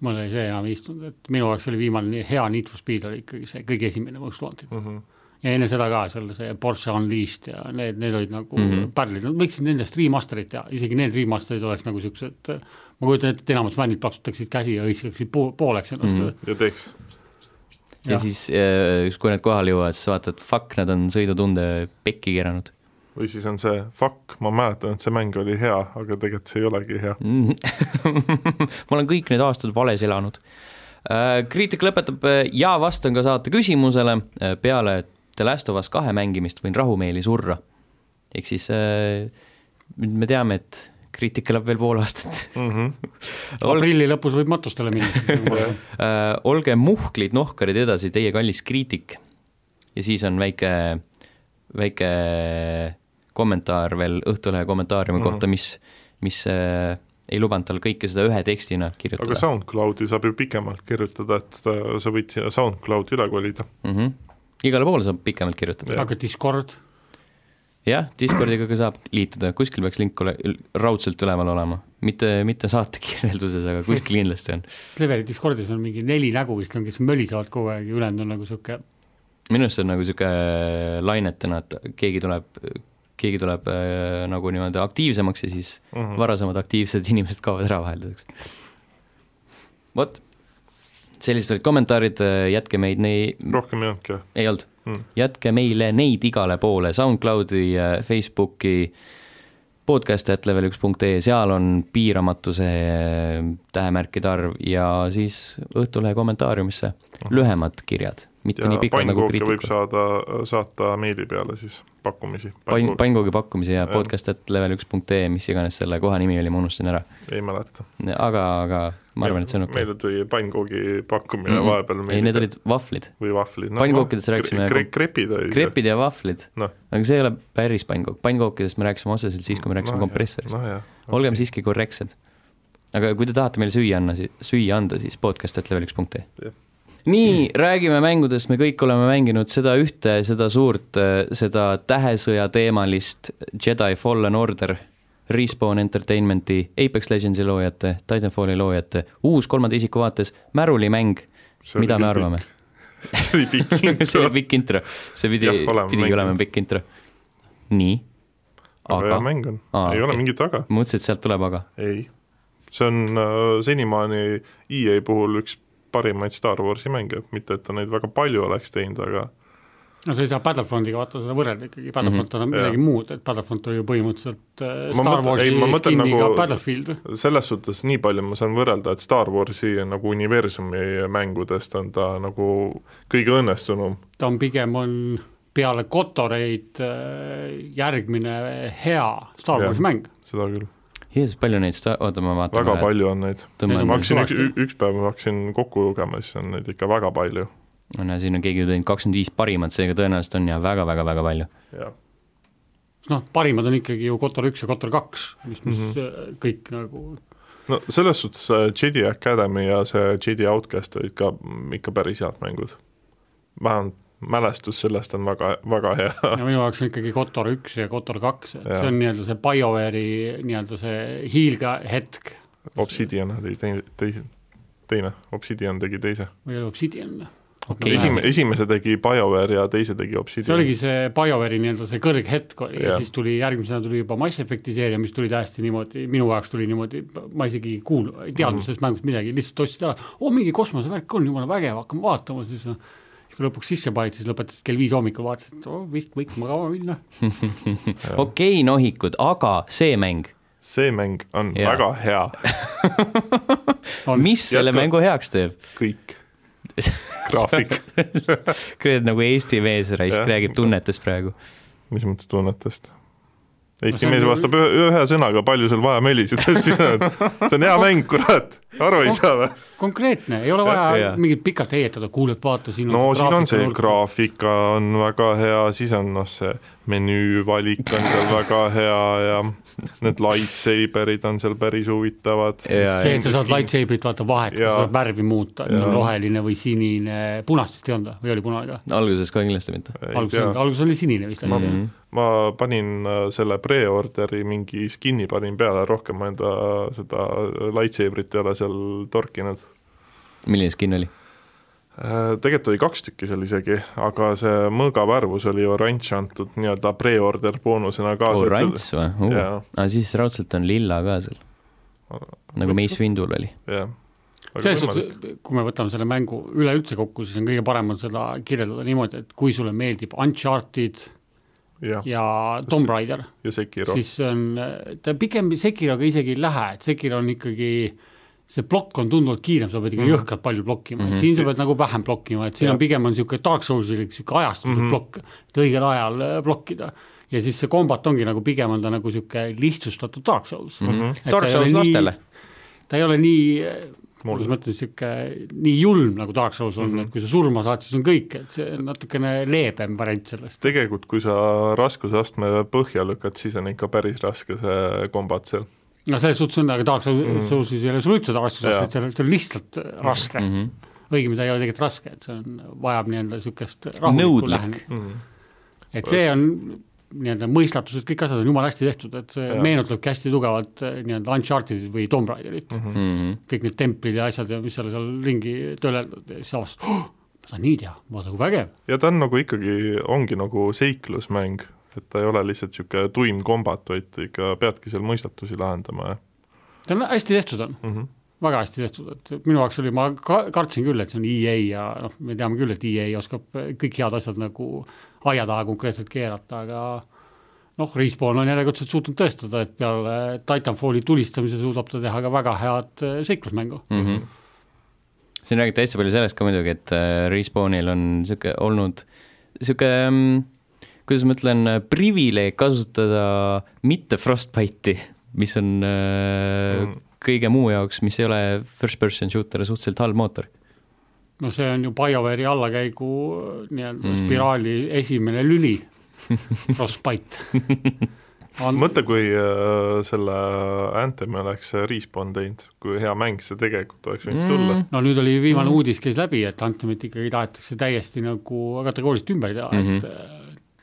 [SPEAKER 3] mul ei see enam ei istunud , et minu jaoks oli viimane nii hea Need for Speed oli ikkagi see kõige esimene Most Wanted mm .
[SPEAKER 2] Mhm.
[SPEAKER 3] -hmm. ja enne seda ka seal see Porsche Unleashed ja need , need olid nagu mm
[SPEAKER 2] Mhm.
[SPEAKER 3] -hmm. pärlid , nad võiksid nendest remaster'id teha , isegi need remaster'id oleks nagu siuksed , ma kujutan ette , et enamus fännid plaksutaksid käsi ja hõiskaksid po pooleks ennast mm . -hmm.
[SPEAKER 2] ja teeks .
[SPEAKER 1] ja
[SPEAKER 3] Jah.
[SPEAKER 1] siis , kui nad kohale jõuavad , siis vaatad , fuck , nad on sõidutunde pekki keeranud . <laughs>
[SPEAKER 2] või siis on see fuck , ma mäletan , et see mäng oli hea , aga tegelikult see ei olegi hea .
[SPEAKER 1] ma olen kõik need aastad vales elanud . kriitik lõpetab äh, ja vastan ka saate küsimusele äh, peale The Last of Us kahe mängimist võin rahumeeli surra . ehk siis äh, nüüd me teame , et kriitik elab veel pool aastat . <laughs>
[SPEAKER 2] Mhm.
[SPEAKER 1] Olge ,
[SPEAKER 3] aprilli lõpus võib matustele
[SPEAKER 2] <laughs>
[SPEAKER 3] minna . nagu
[SPEAKER 1] Äh, olge muhklid nohkarid edasi , teie kallis kriitik . ja siis on väike , väike kommentaar veel Õhtulehe kommentaariumi kohta , mis , mis äh, ei lubanud tal kõike seda ühe tekstina kirjutada
[SPEAKER 2] aga . SoundCloudi saab ju pikemalt kirjutada , et äh, sa võid sinna SoundCloudi üle kolida .
[SPEAKER 1] mm . -hmm. igale poole saab pikemalt kirjutada .
[SPEAKER 3] aga Discord ,
[SPEAKER 1] jah , Discordiga ka saab liituda , kuskil peaks link ole, ül- raudselt üleval olema , mitte , mitte saate kirjelduses , aga kuskil kindlasti on .
[SPEAKER 3] Sleveri Discordis on mingi neli nägu vist on , kes mölisevad kogu aeg ja ülejäänud on nagu sihuke
[SPEAKER 1] minu arust see on nagu niisugune lainetena , et keegi tuleb , keegi tuleb äh, nagu niimoodi aktiivsemaks ja siis mm
[SPEAKER 2] Mhm.
[SPEAKER 1] -hmm. varasemad aktiivsed inimesed kaovad ära vahelduseks . vot , sellised olid kommentaarid , jätke meid nei- ,
[SPEAKER 2] rohkem ei olnudki ,
[SPEAKER 1] ei olnud
[SPEAKER 2] Mm.
[SPEAKER 1] mm. . jätke meile neid igale poole , SoundCloudi , Facebooki , podcast.level1.ee , seal on piiramatuse äh, tähemärkide arv ja siis Õhtulehe kommentaariumisse lühemad kirjad , mitte ja,
[SPEAKER 2] ja
[SPEAKER 1] nii pikad nagu
[SPEAKER 2] pannkooke võib
[SPEAKER 1] kriitikul .
[SPEAKER 2] saada , saata meili peale siis pakkumisi .
[SPEAKER 1] pann ,
[SPEAKER 2] pannkooke ,
[SPEAKER 1] pannkoogi pakkumise ja
[SPEAKER 2] Jah.
[SPEAKER 1] podcast.level1.ee , mis iganes selle koha nimi oli , ma unustasin ära .
[SPEAKER 2] ei mäleta .
[SPEAKER 1] aga , aga ma arvan , et see on okei
[SPEAKER 2] meile tuli pannkoogi pakkumine mm -hmm. vahepeal
[SPEAKER 1] Mhm. ei , need
[SPEAKER 2] meili
[SPEAKER 1] olid vahvlid ,
[SPEAKER 2] või vahvlid .
[SPEAKER 1] Pannkookidest rääkisime-
[SPEAKER 2] kre, . krepid olid .
[SPEAKER 1] krepid ja vahvlid
[SPEAKER 2] Noh.
[SPEAKER 1] aga see ei ole päris pannkook , pannkookidest me rääkisime otseselt siis ,
[SPEAKER 2] Noh,
[SPEAKER 1] kui me rääkisime kompressorist .
[SPEAKER 2] nojah ,
[SPEAKER 1] olgem siiski korrektsed . aga kui te tahate meile süüa anna , süüa anda , siis podcast.level1.ee
[SPEAKER 2] Jah. .
[SPEAKER 1] nii , räägime mängudest , me kõik oleme mänginud seda ühte , seda suurt , seda tähesõja teemalist Jedi Fallen Order , Respawn Entertainmenti , Apex Legendsi loojate , Titanfalli loojate , uus kolmanda isiku vaates märulimäng ,
[SPEAKER 2] See oli
[SPEAKER 1] mida me
[SPEAKER 2] küll
[SPEAKER 1] arvame ?
[SPEAKER 2] <laughs> see oli pikk
[SPEAKER 1] <laughs> see oli
[SPEAKER 2] intro .
[SPEAKER 1] pikk intro , see pidi
[SPEAKER 2] Jah, , oleme
[SPEAKER 1] pidigi olema
[SPEAKER 2] mänginud.
[SPEAKER 1] pikk intro . nii ,
[SPEAKER 2] aga hea
[SPEAKER 1] aga ,
[SPEAKER 2] mäng on , ei
[SPEAKER 1] Aa,
[SPEAKER 2] ole
[SPEAKER 1] okei.
[SPEAKER 2] mingit aga ,
[SPEAKER 1] mõtlesin , et sealt tuleb aga
[SPEAKER 2] ei . see on äh, senimaani EA puhul üks parimaid Star Warsi mänge , mitte et ta neid väga palju oleks teinud , aga
[SPEAKER 3] no sa ei saa Battlefrontiga vaata seda võrrelda ikkagi , Battlefront
[SPEAKER 2] Mhm.
[SPEAKER 3] on
[SPEAKER 2] Jah.
[SPEAKER 3] midagi muud , et Battlefront oli ju põhimõtteliselt äh,
[SPEAKER 2] Ma
[SPEAKER 3] Star
[SPEAKER 2] mõtlen-
[SPEAKER 3] Warsi
[SPEAKER 2] ei, ma mõtlen
[SPEAKER 3] skin'iga
[SPEAKER 2] nagu-
[SPEAKER 3] nagu... Battlefield .
[SPEAKER 2] selles suhtes nii palju ma saan võrrelda , et Star Warsi nagu universumi mängudest on ta nagu kõige õnnestunum .
[SPEAKER 3] ta on pigem , on peale Kotoreid äh, järgmine hea Star
[SPEAKER 2] Jah.
[SPEAKER 3] Warsi mäng .
[SPEAKER 2] seda küll ,
[SPEAKER 1] Jeesus , palju neid sta- , oota ma vaatan .
[SPEAKER 2] väga . palju on neid .
[SPEAKER 3] Neid
[SPEAKER 1] tõmbame
[SPEAKER 2] ma
[SPEAKER 3] on- ,
[SPEAKER 2] hakkasin üks
[SPEAKER 3] kõvasti. ,
[SPEAKER 2] üks päev ma hakkasin kokku lugema , siis on neid ikka väga palju
[SPEAKER 1] no näe, siin on keegi teinud kakskümmend viis parimat , seega tõenäoliselt on ja väga-väga-väga palju . <laughs>
[SPEAKER 2] ja
[SPEAKER 3] noh , parimad on ikkagi ju Kotor üks ja Kotor kaks , mis , mis
[SPEAKER 2] Mhm.
[SPEAKER 3] mm -hmm. kõik nagu
[SPEAKER 2] no selles suhtes äh, Jedi Academy ja see Jedi Outcast olid ka mm, ikka päris head mängud . vähemalt mälestus sellest on väga , väga hea .
[SPEAKER 3] ja minu jaoks on ikkagi Kotor üks ja Kotor kaks , et
[SPEAKER 2] Ah. Jah.
[SPEAKER 3] see on nii-öelda see BioWare'i nii-öelda see hiilga hetk
[SPEAKER 2] Obsidian oli teine , teise , teine , Obsidian tegi teise .
[SPEAKER 3] või oli Obsidian .
[SPEAKER 1] okei
[SPEAKER 2] esimene ,
[SPEAKER 1] okay, ,
[SPEAKER 2] esimese tegi BioWare ja teise tegi
[SPEAKER 3] see
[SPEAKER 2] Obsidian .
[SPEAKER 3] oligi see BioWare'i nii-öelda see kõrghetk oli ja
[SPEAKER 2] Jah.
[SPEAKER 3] siis tuli järgmisena tuli juba Mass Effect'i seeria , mis tuli täiesti niimoodi , minu jaoks tuli niimoodi , ma isegi ei kuulnud ,
[SPEAKER 2] Mhm.
[SPEAKER 3] ei teadnud sellest mängust midagi , lihtsalt ostsid ära , oo mingi kosmosevärk on , jumala vägev , hakkame vaatama , siis noh , siis kui lõpuks sisse panid , siis lõpetasid kell viis hommikul , vaatasid , et oo vist võiks magama minna . Noh,
[SPEAKER 1] okei nohikud , aga see mäng ,
[SPEAKER 2] see mäng on
[SPEAKER 1] Jaa.
[SPEAKER 2] ja. väga hea ,
[SPEAKER 3] On.
[SPEAKER 1] mis selle
[SPEAKER 2] Jätka.
[SPEAKER 1] mängu heaks teeb ?
[SPEAKER 2] kõik graafik ,
[SPEAKER 1] kurat , nagu Eesti mees raisk
[SPEAKER 2] Jah.
[SPEAKER 1] räägib tunnetest praegu .
[SPEAKER 2] mis mõttes tunnetest ? Eesti mees vastab ühe, ühe sõnaga, palju sul vaja mölisid et siis on, see on hea mäng, kurat, aru ei saa või?
[SPEAKER 3] konkreetne , ei ole
[SPEAKER 2] Jah.
[SPEAKER 3] vaja mingit pikalt heietada , kuuled , vaata siin
[SPEAKER 2] no siin on see . graafika on väga hea , siis on noh , see menüüvalik on seal väga hea ja need lightsaberid on seal päris huvitavad .
[SPEAKER 3] see , et sa saad lightsaber'it vaata vahetada ,
[SPEAKER 2] Jaa.
[SPEAKER 3] sa saad värvi muuta , et on roheline või sinine , punast vist ei olnud või , või oli punane ka ?
[SPEAKER 1] alguses ka kindlasti mitte .
[SPEAKER 3] alguses , alguses oli sinine vist ,
[SPEAKER 2] ma
[SPEAKER 3] on ju ,,
[SPEAKER 2] ma panin äh, selle pre-orderi mingi skin'i panin peale , rohkem ma enda seda lightsaberit ei ole seal torkinud .
[SPEAKER 1] milline skin oli ?
[SPEAKER 2] Tegelikult oli kaks tükki seal isegi , aga see mõõgavärvus oli oranž antud nii-öelda pre-order boonusena kaasa .
[SPEAKER 1] oranž Oh, või ?
[SPEAKER 2] jaa ,
[SPEAKER 1] aga siis raudselt on lilla ka seal .
[SPEAKER 2] Äh,
[SPEAKER 1] nagu Mace Windul oli .
[SPEAKER 2] jah .
[SPEAKER 3] selles suhtes , kui me võtame selle mängu üleüldse kokku , siis on kõige parem on seda kirjeldada niimoodi , et kui sulle meeldib Uncharted
[SPEAKER 1] Noh,
[SPEAKER 2] jah ,
[SPEAKER 3] ja Tomb Raider ,
[SPEAKER 2] ja Sekiro .
[SPEAKER 3] siis see on , ta pigem Sekiroga isegi ei lähe , et Sekiro on ikkagi see plokk on tunduvalt kiirem , sa pead
[SPEAKER 1] Mhm.
[SPEAKER 3] ikka jõhkralt palju blokkima mm , -hmm. et siin sa pead nagu vähem blokkima , et siin
[SPEAKER 2] Jah.
[SPEAKER 3] on pigem on niisugune Dark Soulsilik niisugune ajastatud
[SPEAKER 1] Mhm.
[SPEAKER 3] mm -hmm. plokk , et õigel ajal äh, blokkida . ja siis see kombat ongi nagu pigem on ta nagu niisugune lihtsustatud Dark Souls
[SPEAKER 2] Mhm,
[SPEAKER 3] mm . -hmm.
[SPEAKER 1] Mhm. Dark Souls lastele .
[SPEAKER 3] ta ei ole nii ,
[SPEAKER 2] Mul-
[SPEAKER 3] kuidas ma ütlen , niisugune nii julm nagu Dark Souls on mm , -hmm. et kui sa surma saad , siis on kõik , et see on natukene leebem variant sellest .
[SPEAKER 2] tegelikult , kui sa raskusastme põhja lükkad , siis on ikka päris raske see kombat seal .
[SPEAKER 3] no selles suhtes on , aga Dark Souls- Soulsis ei ole sul üldse Dark Soulsis ,
[SPEAKER 2] Jaa.
[SPEAKER 3] et see on , see on lihtsalt raske
[SPEAKER 1] Mhm.
[SPEAKER 3] mm . -hmm. õigemini ta ei ole tegelikult raske , et see on , vajab nii-öelda niisugust rahulikku
[SPEAKER 1] Nõudlik.
[SPEAKER 3] lähenemist .
[SPEAKER 2] Mhm,
[SPEAKER 3] et see on nii-öelda mõistatused , kõik asjad on jumala hästi tehtud , et see
[SPEAKER 2] Jaa.
[SPEAKER 3] meenutabki hästi tugevalt eh, nii-öelda Uncharted'it või Tomb Raiderit
[SPEAKER 2] mhm.
[SPEAKER 1] mhm,
[SPEAKER 3] mm . -hmm. kõik need templid ja asjad ja mis seal , seal ringi tööleldud ja siis avastad oh, , ma saan nii teha , vaata kui vägev .
[SPEAKER 2] ja ta on nagu ikkagi , ongi nagu seiklusmäng , et ta ei ole lihtsalt niisugune tuim kombat , vaid ikka peadki seal mõistatusi lahendama ja
[SPEAKER 3] ta on hästi tehtud , on
[SPEAKER 2] mm . -hmm.
[SPEAKER 3] väga hästi tehtud , et minu jaoks oli , ma ka kartsin küll , et see on EA ja noh , me teame küll , et EA oskab kõik head asjad nagu aia taha konkreetselt keerata , aga noh , Respawn on järjekordselt suutnud tõestada , et peale Titanfalli tulistamise suudab ta teha ka väga head eh, seiklusmängu .
[SPEAKER 1] mhm,
[SPEAKER 2] mhm.
[SPEAKER 1] siin räägiti hästi palju sellest ka muidugi , et äh, Respawnil on niisugune olnud niisugune , kuidas ma ütlen , privileeg kasutada mitte Frostbite'i , mis on äh,
[SPEAKER 2] Mm.
[SPEAKER 1] kõige muu jaoks , mis ei ole first person shooter , suhteliselt halb mootor .
[SPEAKER 3] no noh, see on ju BioWare'i allakäigu nii-öelda mm. spiraali esimene lüli , Frostbite on... .
[SPEAKER 2] mõtle , kui äh, selle Anthem'i oleks Respawn teinud , kui hea mäng see tegelikult oleks võinud tulla mm. .
[SPEAKER 3] no nüüd oli viimane mm. uudis käis läbi , et Anthemit ikkagi tahetakse täiesti nagu kategooriliselt ümber teha mm , -hmm. et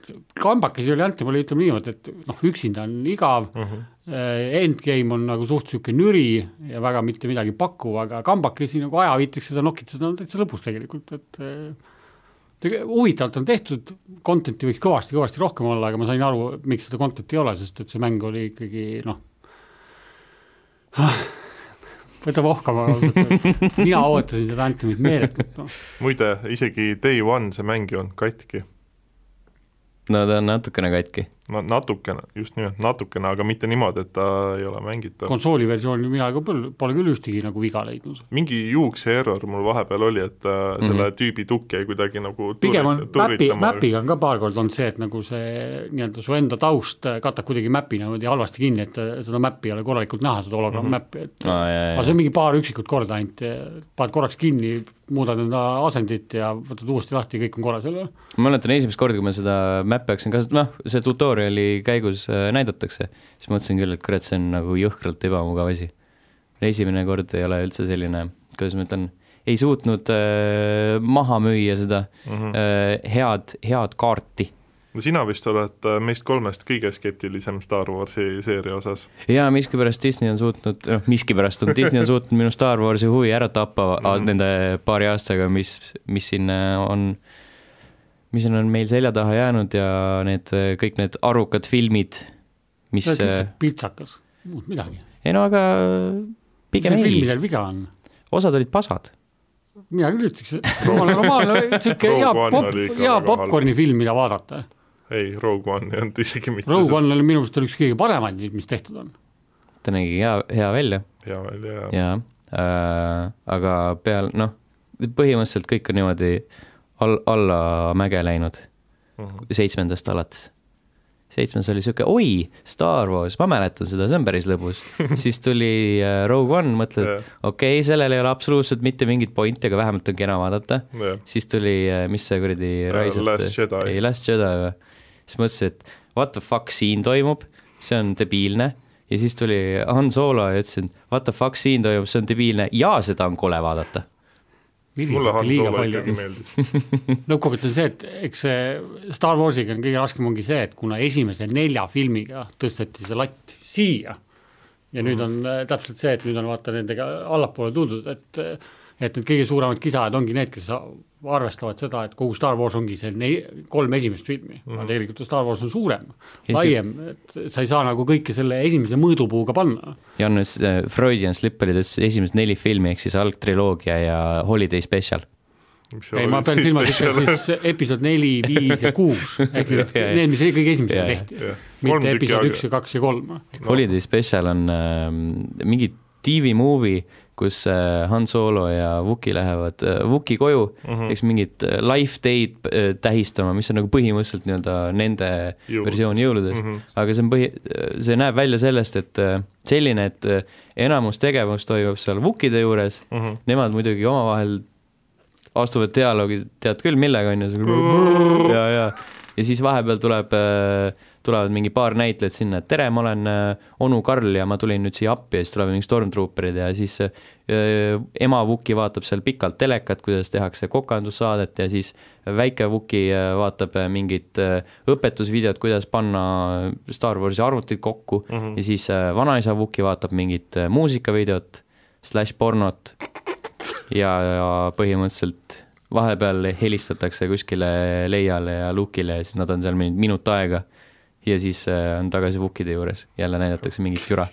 [SPEAKER 3] et kambakas ei ole Anthem , oli ütleme niimoodi , et noh , üksinda on igav mm ,
[SPEAKER 2] Mhm.
[SPEAKER 3] -hmm. endgame on nagu suht niisugune nüri ja väga mitte midagi pakkuv , aga kambakesi nagu ajaviiteks seda nokitseda on täitsa lõbus tegelikult , et äh, tege- huvitavalt on tehtud , content'i võiks kõvasti-kõvasti rohkem olla , aga ma sain aru , miks seda content'i ei ole , sest et see mäng oli ikkagi noh , võta vohkama , mina ootasin seda Anthemit meeletult , noh .
[SPEAKER 2] muide , isegi Day One see mäng ei olnud katki .
[SPEAKER 1] no ta on natukene katki .
[SPEAKER 2] no natukene , just nimelt natukene , aga mitte niimoodi , et ta ei ole mängitav .
[SPEAKER 3] konsooli versiooni mina ka pole , pole küll ühtegi nagu viga leidnud .
[SPEAKER 2] mingi juukse error mul vahepeal oli , et äh, selle mm -hmm. tüübi tukk jäi kuidagi nagu
[SPEAKER 3] Mhm. pigem on
[SPEAKER 2] tuurit-
[SPEAKER 3] mäpi ,
[SPEAKER 2] tuuritama.
[SPEAKER 3] mäpiga on ka paar korda olnud see , et nagu see nii-öelda su enda taust katab kuidagi mäpi niimoodi halvasti kinni , et äh, seda mäppi ei ole korralikult näha , seda
[SPEAKER 2] Mhm.
[SPEAKER 3] hologrammmäppi , et
[SPEAKER 1] aa Ah, jaa ,
[SPEAKER 3] aga see on mingi paar üksikut korda ainult , paned korraks kinni , muudad enda asendit ja võtad uuesti lahti ja kõik on korras jälle .
[SPEAKER 1] ma mäletan esimest korda , kui ma seda mäppe hakkasin kasutama , noh , see tutorial'i käigus äh, näidatakse , siis mõtlesin küll , et kurat , see on nagu jõhkralt ebamugav asi . esimene kord ei ole üldse selline , kuidas ma ütlen , ei suutnud äh, maha müüa seda mm -hmm. äh, head , head kaarti .
[SPEAKER 2] no sina vist oled äh, meist kolmest kõige skeptilisem Star Warsi seeria osas .
[SPEAKER 1] ja miskipärast Disney on suutnud , noh , miskipärast on Disney on suutnud minu Star Warsi huvi ära tappa mm -hmm. nende paari aastaga , mis , mis siin äh, on , mis siin on meil selja taha jäänud ja need äh, kõik need arukad filmid , mis eh,
[SPEAKER 3] see on ,
[SPEAKER 2] äh,
[SPEAKER 3] lihtsalt piltsakas , muud midagi .
[SPEAKER 1] ei no aga pigem ei ,
[SPEAKER 3] filmidel viga on
[SPEAKER 1] osad olid pasad .
[SPEAKER 3] mina küll ütleks ,
[SPEAKER 2] <laughs>
[SPEAKER 3] et jumala normaalne , niisugune hea
[SPEAKER 2] Rogue One
[SPEAKER 3] pop
[SPEAKER 2] oli , ikka
[SPEAKER 3] hea
[SPEAKER 2] väga halb.
[SPEAKER 3] popkornifilm , mida vaadata
[SPEAKER 2] ei , Rogue One ei olnud isegi mitte
[SPEAKER 3] Rogue One oli minu arust oli üks kõige paremaid neid , mis tehtud on .
[SPEAKER 1] ta nägi hea , hea välja
[SPEAKER 2] see hea välja ja, ja.
[SPEAKER 1] ja äh, aga peal , noh , põhimõtteliselt kõik on niimoodi all , alla mäge läinud
[SPEAKER 2] Mhm.
[SPEAKER 1] seitsmendast alates . seitsmes oli sihuke oi , Star Wars , ma mäletan seda , see on päris
[SPEAKER 2] <laughs>
[SPEAKER 1] lõbus . siis tuli äh, Rogue One , mõtled
[SPEAKER 2] Jah.
[SPEAKER 1] okei okay, , sellel ei ole absoluutselt mitte mingit pointi , aga vähemalt on kena vaadata .
[SPEAKER 2] jah ,
[SPEAKER 1] siis tuli , mis see kuradi Rise of
[SPEAKER 2] Äh, Last Jedi.
[SPEAKER 1] ei , Last Jedi või , siis mõtlesin , et what the fuck siin toimub , see on debiilne ja siis tuli Han Solo ja ütles , et what the fuck siin toimub , see on debiilne ja seda on kole vaadata .
[SPEAKER 2] mulle
[SPEAKER 3] üldiselt
[SPEAKER 2] Han
[SPEAKER 3] liiga
[SPEAKER 2] Solo
[SPEAKER 3] palju
[SPEAKER 2] ikkagi .
[SPEAKER 3] <laughs>
[SPEAKER 2] meeldis .
[SPEAKER 3] lõppkokkuvõttes on see , et eks see Star Warsiga on kõige raskem ongi see , et kuna esimese nelja filmiga tõsteti see latt siia ja nüüd on äh, täpselt see , et nüüd on vaata nendega allapoole tuldud , et äh, et need kõige suuremad kisajad ongi need , kes a- arvestavad seda , et kogu Star Wars ongi see nei- , kolm esimest filmi mm , -hmm. aga tegelikult ju Star Wars on suurem ,
[SPEAKER 1] Ja see-
[SPEAKER 3] laiem , et sa ei saa nagu kõike selle esimese mõõdupuuga panna .
[SPEAKER 1] Jan ütles , äh, Freudian slip oli ta ütles esimesed neli filmi ehk siis algtriloogia ja Holiday Special .
[SPEAKER 3] ei , ma pean
[SPEAKER 2] <laughs>
[SPEAKER 3] silmas ikka siis episood neli , viis ja kuus , ehk need ,
[SPEAKER 1] Jah, jah.
[SPEAKER 3] need , mis kõige esimesed
[SPEAKER 1] Jah, jah.
[SPEAKER 3] tehti . mitte episood üks ja kaks ja kolm .
[SPEAKER 2] No.
[SPEAKER 1] Holiday Special on äh, mingi tv-movie , kus äh, Han Solo ja Wooki lähevad äh, Wooki koju mm -hmm. eks mingit äh, life day'd äh, tähistama , mis on nagu põhimõtteliselt nii-öelda nende
[SPEAKER 2] Jõulud.
[SPEAKER 1] Jõulud. versioon jõuludest mm , -hmm. aga see on põhi , see näeb välja sellest , et äh, selline , et äh, enamus tegevus toimub seal Wookide juures ,
[SPEAKER 2] silmas .
[SPEAKER 1] nemad muidugi omavahel astuvad dialoogi , tead küll , millega on ju , ja , ja , ja siis vahepeal tuleb , tulevad mingi paar näitlejat sinna , et tere , ma olen äh, onu Karl ja ma tulin nüüd siia appi ja siis tulevad mingid stormtrooperid ja siis äh, ema Vuki vaatab seal pikalt telekat , kuidas tehakse kokandussaadet ja siis väike Vuki äh, vaatab äh, mingit äh, õpetusvideot , kuidas panna äh, Star Warsi arvutid kokku mm -hmm. ja siis äh, vanaisa Vuki vaatab mingit äh, muusikavideot , slaš pornot ja , ja põhimõtteliselt vahepeal helistatakse kuskile Leiale ja Lukile ja siis nad on seal mingi minut aega ja siis äh, on tagasi Vukide juures , jälle näidatakse mingit jura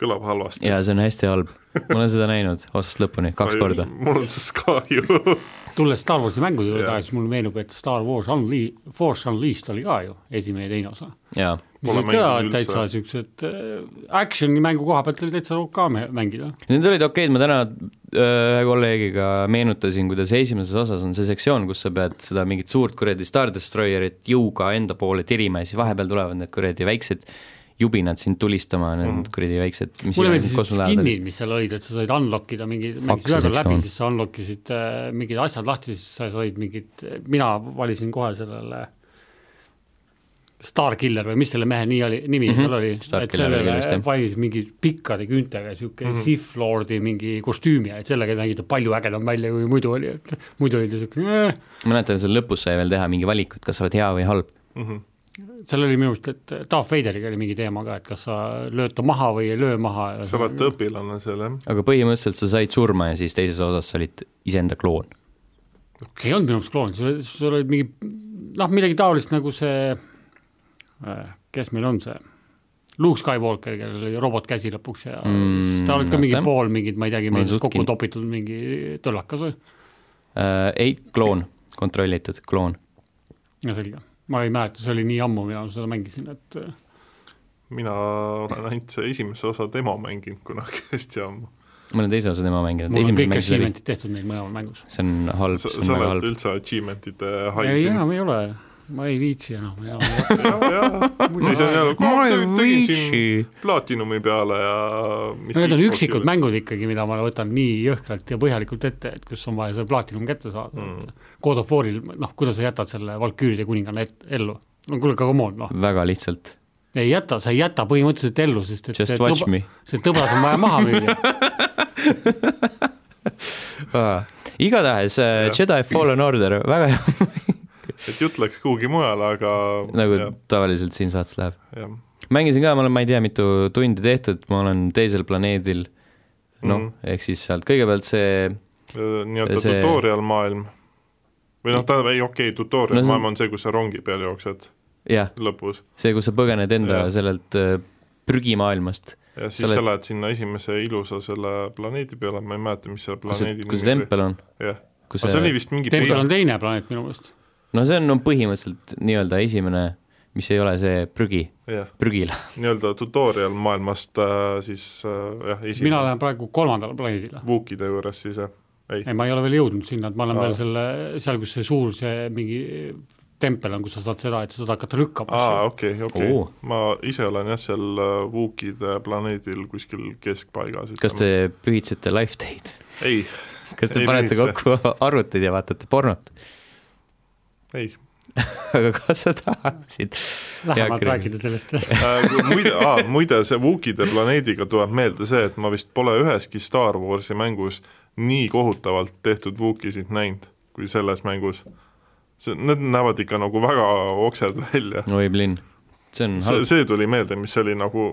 [SPEAKER 2] kõlab halvasti .
[SPEAKER 1] ja see on hästi halb . ma olen seda näinud otsast lõpuni kaks korda .
[SPEAKER 2] mul on sellest kahju .
[SPEAKER 3] tulles Star Warsi mängude juurde
[SPEAKER 2] Jah.
[SPEAKER 3] tagasi , mulle meenub , et Star Wars Unle- , Force Unleashed oli ka ju esimene ja teine osa .
[SPEAKER 1] jaa ,
[SPEAKER 3] mis
[SPEAKER 2] Pole
[SPEAKER 3] olid ka
[SPEAKER 2] mänginud
[SPEAKER 3] täitsa
[SPEAKER 2] üldse.
[SPEAKER 3] siuksed äh, action'i mängu koha pealt oli täitsa OK mä- mängida .
[SPEAKER 1] need olid okeid , ma täna öö, ühe kolleegiga meenutasin , kuidas esimeses osas on see sektsioon , kus sa pead seda mingit suurt kuradi Star Destroyerit jõuga enda poole tirima ja siis vahepeal tulevad need kuradi väiksed jubinad sind tulistama , need mm. kuradi väiksed , mis
[SPEAKER 3] mulle
[SPEAKER 1] iganes
[SPEAKER 3] meeldisid
[SPEAKER 1] kosmoläävad olid.
[SPEAKER 3] skin'id , mis seal olid , et sa said unlock ida mingi , mängisid
[SPEAKER 1] Fakse
[SPEAKER 3] ühe korra
[SPEAKER 1] sektsioon.
[SPEAKER 3] läbi , siis sa unlock isid äh, mingid asjad lahti , siis sa said mingid , mina valisin kohe sellele Starkiller või mis selle mehe nii oli , nimi mm
[SPEAKER 1] Mhm.
[SPEAKER 3] -hmm. seal oli , et
[SPEAKER 1] Starkiller oli kindlasti.
[SPEAKER 3] sellele valis mingi pikkade küüntega sihuke
[SPEAKER 1] Mhm.
[SPEAKER 3] mm -hmm. Sith Lordi mingi kostüümi , et sellega nägi ta palju ägedam välja , kui muidu oli , et muidu oli ta sihuke äh,
[SPEAKER 1] ma mäletan , seal lõpus sai veel teha mingi valik , et kas sa oled hea või halb .
[SPEAKER 2] Mhm.
[SPEAKER 3] seal oli minu arust , et Darth Vaderiga oli mingi teema ka , et kas sa lööd ta maha või ei löö maha .
[SPEAKER 2] sa oled õpilane seal , jah ?
[SPEAKER 1] aga põhimõtteliselt sa said surma ja siis teises osas sa olid iseenda kloon .
[SPEAKER 3] ei olnud minu arust kloon , sul sul oli mingi noh , midagi taolist nagu see , kes meil on see , Luke Skywalker , kellel oli robot käsi lõpuks ja
[SPEAKER 1] Mm,
[SPEAKER 3] mm, ta oli ka mingi
[SPEAKER 1] oota.
[SPEAKER 3] pool mingid , ma ei teagi ,
[SPEAKER 1] Ma olen
[SPEAKER 3] mingi
[SPEAKER 1] suht
[SPEAKER 3] kokku
[SPEAKER 1] kind-
[SPEAKER 3] topitud mingi töllakas või ,
[SPEAKER 1] Äh, ei , kloon , kontrollitud kloon .
[SPEAKER 3] no selge , ma ei mäleta , see oli nii ammu , millal ma seda mängisin , et äh,
[SPEAKER 2] mina olen ainult see esimese osa demo mänginud kunagi <laughs> hästi ammu .
[SPEAKER 1] ma olen teise osa tema mänginud ,
[SPEAKER 3] mul on
[SPEAKER 1] esimene
[SPEAKER 3] kõik
[SPEAKER 1] mängis läbi ,
[SPEAKER 3] achievement'id tehtud neil mõlemal mängus .
[SPEAKER 1] see on halb ,
[SPEAKER 2] sa
[SPEAKER 1] see on
[SPEAKER 2] sa
[SPEAKER 1] väga
[SPEAKER 2] oled
[SPEAKER 1] halb .
[SPEAKER 2] üldse achievement'ide
[SPEAKER 3] ei ,
[SPEAKER 2] haisin .
[SPEAKER 3] enam ei ole , ma ei viitsi enam ,
[SPEAKER 2] <laughs>
[SPEAKER 3] enam ei ole .
[SPEAKER 2] ei , see on jälle , ma tegin siin platinumi peale ja mis
[SPEAKER 3] Need on
[SPEAKER 2] Xboxi
[SPEAKER 3] üksikud
[SPEAKER 2] oli.
[SPEAKER 3] mängud ikkagi , mida ma võtan nii jõhkralt ja põhjalikult ette , et kus on vaja see plaatinum kätte saada mm. . God of War'il , noh , kuidas sa jätad selle Valküüride kuninganna et- ellu ? no kuule , aga come on , noh ,
[SPEAKER 1] väga lihtsalt ,
[SPEAKER 3] ei jäta , sa ei jäta põhimõtteliselt ellu , sest et
[SPEAKER 1] just
[SPEAKER 3] see
[SPEAKER 1] watch
[SPEAKER 3] tõba-
[SPEAKER 1] me .
[SPEAKER 3] see tõbras on vaja maha
[SPEAKER 2] <laughs>
[SPEAKER 3] müüa .
[SPEAKER 1] igatahes äh,
[SPEAKER 2] Jah.
[SPEAKER 1] Jedi Fallen Order , väga hea ,
[SPEAKER 2] et jutt läks kuhugi mujale , aga
[SPEAKER 1] <laughs> nagu
[SPEAKER 2] jah,
[SPEAKER 1] tavaliselt siin saates läheb .
[SPEAKER 2] jah.
[SPEAKER 1] mängisin ka , ma olen , ma ei tea , mitu tundi tehtud , ma olen teisel planeedil , noh
[SPEAKER 2] Mhm. ,
[SPEAKER 1] ehk siis sealt kõigepealt see
[SPEAKER 2] Äh, nii-öelda
[SPEAKER 1] See-
[SPEAKER 2] tutorial maailm . või noh , tähendab , ei okei okay, , tutorial
[SPEAKER 1] No
[SPEAKER 2] no,
[SPEAKER 1] see-
[SPEAKER 2] maailm on see , kus sa rongi peal jooksed
[SPEAKER 1] jah ,
[SPEAKER 2] lõpus
[SPEAKER 1] see , kus sa põgened enda
[SPEAKER 2] Jah.
[SPEAKER 1] sellelt äh, prügimaailmast ,
[SPEAKER 2] ja siis
[SPEAKER 1] Sa
[SPEAKER 2] sa
[SPEAKER 1] oled-
[SPEAKER 2] lähed oled... sinna esimese ilusa selle planeedi peale , ma ei mäleta , mis selle
[SPEAKER 1] kus see ,
[SPEAKER 2] planeedi
[SPEAKER 1] kus see tempel on ,
[SPEAKER 2] jah ,
[SPEAKER 1] kus
[SPEAKER 2] see oli
[SPEAKER 1] see ,
[SPEAKER 2] vist mingi
[SPEAKER 3] tempel
[SPEAKER 2] pei-
[SPEAKER 3] on teine planeet minu meelest .
[SPEAKER 1] no see on no, põhimõtteliselt nii-öelda esimene , mis ei ole see prügi ,
[SPEAKER 2] jah ,
[SPEAKER 1] prügila .
[SPEAKER 2] nii-öelda tutorial maailmast äh, siis äh, jah ,
[SPEAKER 3] mina
[SPEAKER 2] esimene
[SPEAKER 3] lähen praegu kolmandale planeedile .
[SPEAKER 2] vuukide juures siis jah , ei ,
[SPEAKER 3] ei , ma ei ole veel jõudnud sinna , et ma olen
[SPEAKER 2] Aa.
[SPEAKER 3] veel selle , seal , kus see suur , see mingi tempel on, kus sa saad seda, et sa saad hakata lükkama
[SPEAKER 2] aa ,
[SPEAKER 3] asju.
[SPEAKER 2] okei , okei
[SPEAKER 1] Oo. ,
[SPEAKER 2] ma ise olen jah , seal äh, Vuukide planeedil kuskil keskpaigas .
[SPEAKER 1] kas te pühitsete live teid ?
[SPEAKER 2] ei ,
[SPEAKER 1] kas te
[SPEAKER 2] Ei
[SPEAKER 1] ei panete
[SPEAKER 2] pühitse.
[SPEAKER 1] kokku arvutid ja vaatate pornot ?
[SPEAKER 2] ei
[SPEAKER 1] <laughs> aga kas sa tahaksid ?
[SPEAKER 3] lähemalt rääkida sellest .
[SPEAKER 2] Äh, muide , muide , see Wookide planeediga tuleb meelde see , et ma vist pole üheski Star Warsi mängus nii kohutavalt tehtud Wookisid näinud , kui selles mängus . see , need näevad ikka nagu väga oksed välja .
[SPEAKER 1] oi , Blin , see on
[SPEAKER 2] see ,
[SPEAKER 1] halb .
[SPEAKER 2] see tuli meelde , mis oli nagu ,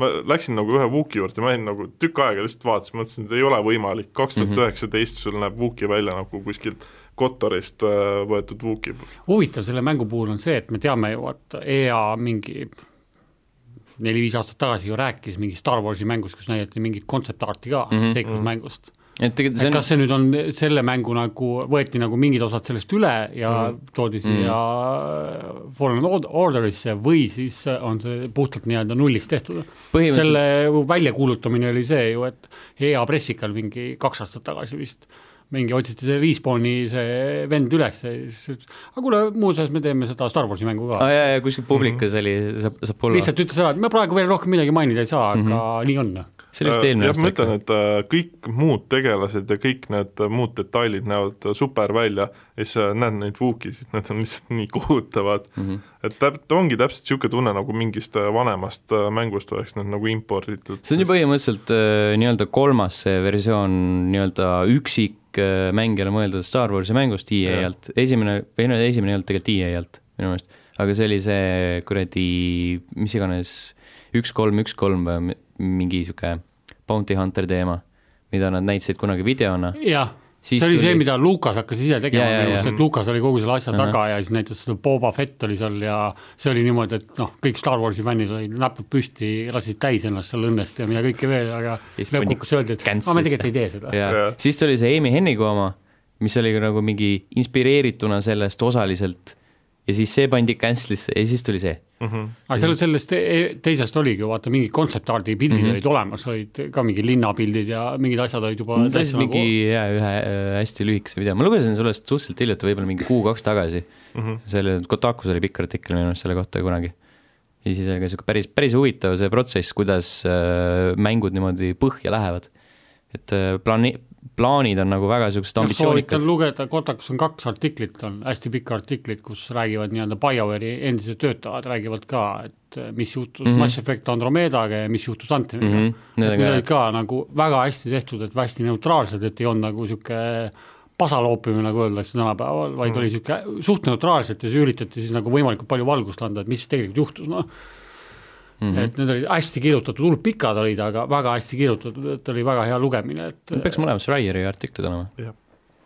[SPEAKER 2] ma läksin nagu ühe Wooki juurde , ma olin nagu tükk aega lihtsalt vaatasin , mõtlesin , et ei ole võimalik , kaks tuhat üheksateist sul näeb Wooki välja nagu kuskilt Kotorist äh, võetud Wooki .
[SPEAKER 3] huvitav selle mängu puhul on see , et me teame ju , et EA mingi neli-viis aastat tagasi ju rääkis mingi Star Warsi mängust , kus näidati mingit kontsertarti ka mm -hmm. seiklusmängust .
[SPEAKER 1] et tegelikult
[SPEAKER 3] et
[SPEAKER 1] Mhm, see on
[SPEAKER 3] kas see nüüd on selle mängu nagu , võeti nagu mingid osad sellest üle ja mm
[SPEAKER 1] Mhm.
[SPEAKER 3] -hmm. toodi siia mm -hmm. Fallen Ord- Orderisse või siis on see puhtalt nii-öelda nullist tehtud ?
[SPEAKER 1] põhimõtteliselt ,
[SPEAKER 3] selle väljakuulutamine oli see ju , et EA pressikal mingi kaks aastat tagasi vist mingi otsiti see Respawni see vend üles ja siis ütles , aga kuule , muuseas me teeme seda Star Warsi mängu ka
[SPEAKER 1] aa
[SPEAKER 3] ah, .
[SPEAKER 1] jaa , jaa , kuskil publikus
[SPEAKER 2] Mhm.
[SPEAKER 1] oli , saab , saab olla ,
[SPEAKER 3] lihtsalt ütles ära , et me praegu veel rohkem midagi mainida ei saa mm , -hmm. aga
[SPEAKER 1] Mhm.
[SPEAKER 3] nii on .
[SPEAKER 1] see oli vist eelmine
[SPEAKER 2] Äh, jah , ma ütlen ,
[SPEAKER 1] aasta .
[SPEAKER 2] et äh, kõik muud tegelased ja kõik need äh, muud detailid näevad äh, super välja ja siis äh, näed neid vuukisid , need on lihtsalt nii kohutavad mm .
[SPEAKER 1] Mhm.
[SPEAKER 2] -hmm. et täp- , ongi täpselt niisugune tunne , nagu mingist äh, vanemast äh, mängust oleks need nagu imporditud .
[SPEAKER 1] see on ju põhimõtteliselt äh, nii-öelda kolmas see versioon nii-öelda üksik äh, mängijale mõeldud Star Warsi mängust EA
[SPEAKER 2] Jah.
[SPEAKER 1] alt , esimene , või no esimene ei olnud tegelikult EA alt minu meelest , aga see oli see kuradi mis iganes üks kolm , üks kolm või mi- mingi niisugune Bounty Hunter teema , mida nad näitasid kunagi videona
[SPEAKER 3] jah , see
[SPEAKER 1] Siis
[SPEAKER 3] oli tuli... see ,
[SPEAKER 1] tuli-
[SPEAKER 3] mida Lukas hakkas ise tegema
[SPEAKER 1] Jaa, jaa,
[SPEAKER 3] minu
[SPEAKER 1] jaa.
[SPEAKER 3] arust , et Lukas oli kogu selle asja
[SPEAKER 1] Ahah.
[SPEAKER 3] taga ja siis näiteks seda Boba Fett oli seal ja see oli niimoodi , et noh , kõik Star Warsi fännid olid näpud püsti , lasid täis ennast seal õnnest ja mida kõike veel , aga
[SPEAKER 1] Siis pandi
[SPEAKER 3] lõppkokkuvõttes öeldi , et
[SPEAKER 1] cancel'isse.
[SPEAKER 3] aa , me tegelikult ei tee seda .
[SPEAKER 1] ja
[SPEAKER 2] Jaa.
[SPEAKER 1] siis tuli see Amy Hennigu oma , mis oli ka nagu mingi inspireerituna sellest osaliselt ja siis see pandi cancel'isse ja siis tuli see .
[SPEAKER 2] Mhm.
[SPEAKER 3] aga seal sellest te- teisest oligi ju vaata mingid kontsertardi
[SPEAKER 1] Mhm.
[SPEAKER 3] pildid mm -hmm. olid olemas , olid ka mingid linnapildid ja mingid asjad olid juba
[SPEAKER 1] tahtsin
[SPEAKER 3] täitsa
[SPEAKER 1] Mm,
[SPEAKER 3] nagu-
[SPEAKER 1] mingi jaa , ühe äh, hästi lühikese video , ma lugesin sellest suhteliselt hiljuti , võib-olla mingi kuu-kaks tagasi mm -hmm. . selle , Kotakus oli pikk artikkel minu meelest selle kohta kunagi . ja siis oli ka sihuke päris , päris huvitav see protsess , kuidas äh, mängud niimoodi põhja lähevad . et äh, plaani , plaanid on nagu väga siuksed
[SPEAKER 3] nagu... soovitan
[SPEAKER 1] ambitsioonikad .
[SPEAKER 3] lugeda , Kotakus on kaks artiklit , on hästi pikk artiklit , kus räägivad nii-öelda BioWare'i endised töötajad räägivad ka , et mis juhtus mm -hmm. Mass Effect Andromedaga ja mis juhtus Antemiga mm .
[SPEAKER 1] Mhm,
[SPEAKER 3] -hmm.
[SPEAKER 1] need on
[SPEAKER 3] Need
[SPEAKER 1] ka
[SPEAKER 3] olid
[SPEAKER 1] head.
[SPEAKER 3] ka nagu väga hästi tehtud , et hästi neutraalsed , et ei olnud nagu niisugune pasaloopimine , nagu öeldakse tänapäeval , vaid
[SPEAKER 1] Mhm.
[SPEAKER 3] mm -hmm. oli niisugune suht neutraalselt ja siis üritati siis nagu võimalikult palju valgust anda , et mis tegelikult juhtus , noh Mm
[SPEAKER 1] mhm.
[SPEAKER 3] -hmm. et need olid hästi kirjutatud , hullult pikad olid , aga väga hästi kirjutatud , et oli väga hea lugemine , et
[SPEAKER 1] peaks mõlemas Ryeri artiklid olema ,
[SPEAKER 2] jah ,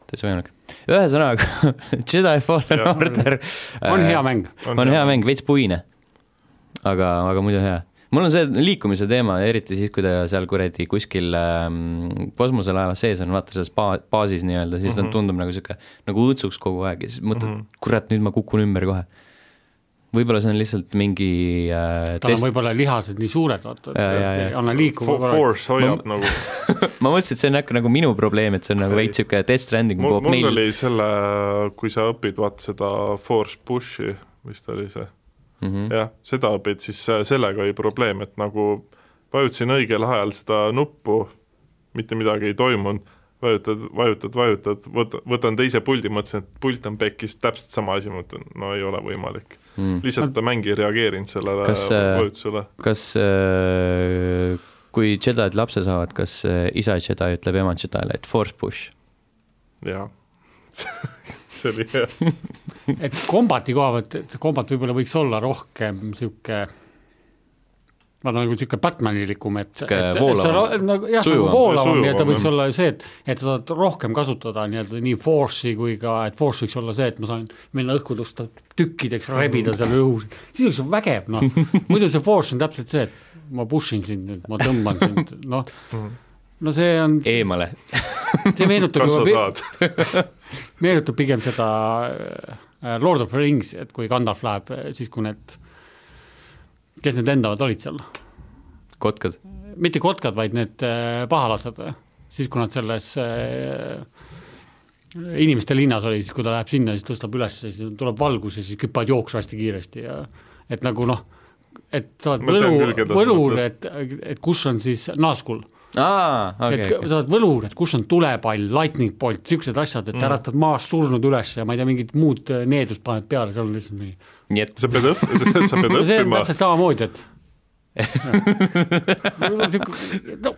[SPEAKER 1] täitsa võimalik . ühesõnaga <laughs> Jedi Fallen
[SPEAKER 2] Jah.
[SPEAKER 1] Order . äh,
[SPEAKER 3] on hea mäng .
[SPEAKER 1] on, on hea . mäng , veits puine . aga , aga muidu hea . mul on see liikumise teema , eriti siis , kui ta seal kuradi kuskil ähm, kosmoselaeva sees on , vaata selles ba- , baasis nii-öelda , siis ta mm -hmm. tundub nagu niisugune , nagu õõtsuks kogu aeg ja siis mõtled mm , -hmm. kurat , nüüd ma kukun ümber kohe . võib-olla see on lihtsalt mingi äh,
[SPEAKER 3] tal on
[SPEAKER 1] test ,
[SPEAKER 3] võib-olla lihased nii suured , vaata ,
[SPEAKER 1] Jaa,
[SPEAKER 3] et
[SPEAKER 1] jaa,
[SPEAKER 3] et ei
[SPEAKER 1] jaa.
[SPEAKER 3] anna liikuma korraga .
[SPEAKER 2] Force hoiab nagu ,
[SPEAKER 1] ma mõtlesin , et see on äkki nagu minu probleem , et see on nagu veits niisugune test stranding
[SPEAKER 2] mul ,
[SPEAKER 1] poolt
[SPEAKER 2] mul
[SPEAKER 1] meil .
[SPEAKER 2] oli selle , kui sa õpid vaata seda Force Pushi , vist oli see
[SPEAKER 1] Mhm.
[SPEAKER 3] Mhm.
[SPEAKER 2] jah , seda õpid , siis äh, sellega oli probleem , et nagu vajutasin õigel ajal seda nuppu , mitte midagi ei toimunud , vajutad , vajutad , vajutad , võt- , võtan teise puldi , mõtlesin , et pult on pekkis , täpselt sama asi , mõtlen , no ei ole võimalik .
[SPEAKER 1] Mhm.
[SPEAKER 2] lihtsalt mäng ei reageerinud sellele
[SPEAKER 1] Kas, äh,
[SPEAKER 2] vajutusele .
[SPEAKER 1] kas äh, kui Jedi'd lapse saavad , kas äh, isa Jedi ütleb ema Jedi'le , et force push ?
[SPEAKER 2] jaa . <laughs> see oli hea .
[SPEAKER 3] et kombati koha pealt , et kombat võib-olla võiks olla rohkem niisugune vaata nagu niisugune Batmanilikum , et , et
[SPEAKER 1] Sihuke
[SPEAKER 3] et
[SPEAKER 1] voolavam.
[SPEAKER 3] see ro- nagu jah , nagu
[SPEAKER 1] Sujuvam.
[SPEAKER 3] voolavam ja ta
[SPEAKER 2] Sujuvam,
[SPEAKER 3] võiks
[SPEAKER 2] jah.
[SPEAKER 3] olla ju see , et , et sa saad rohkem kasutada nii-öelda nii force'i kui ka , et force võiks olla see , et ma saan minna õhku tõsta tükkideks , rebida seal õhus , siis oleks vägev ,
[SPEAKER 1] <laughs>
[SPEAKER 3] noh . muidu see force on täpselt see , et ma push in sind nüüd , ma tõmban sind , noh .
[SPEAKER 1] Mm.
[SPEAKER 3] no see on ,
[SPEAKER 1] eemale .
[SPEAKER 3] see meenutab
[SPEAKER 2] kas sa
[SPEAKER 3] juba ,
[SPEAKER 2] saad ?
[SPEAKER 3] meenutab pigem seda äh, Lord of the Rings , et kui Gandalf läheb , siis kui need , kes need lendavad olid seal ,
[SPEAKER 1] kotkad .
[SPEAKER 3] mitte kotkad , vaid need äh, pahalased , siis kui nad selles äh, inimeste linnas oli, siis kui ta läheb sinna, siis tõstab üles, siis tuleb valgus ja siis küpad jooksu hästi kiiresti ja et nagu noh, et sa oled
[SPEAKER 2] Ma tean
[SPEAKER 3] võlu
[SPEAKER 2] küll, , keda sa
[SPEAKER 3] võlur , et
[SPEAKER 2] mõtled. ,
[SPEAKER 3] et kus on siis naaskul
[SPEAKER 1] aa ,
[SPEAKER 3] okay, , et
[SPEAKER 1] okei ,
[SPEAKER 3] sa oled võlur , et kus on tulepall , lightning bolt , niisugused asjad , et äratad maast surnud üles ja ma ei tea , mingit muud äh, needust paned peale , seal on lihtsalt mingi
[SPEAKER 1] nii et
[SPEAKER 2] sa pead õppima , sa pead
[SPEAKER 3] <laughs> no see on
[SPEAKER 2] õppima ,
[SPEAKER 3] täpselt samamoodi , et No, sihuke- no,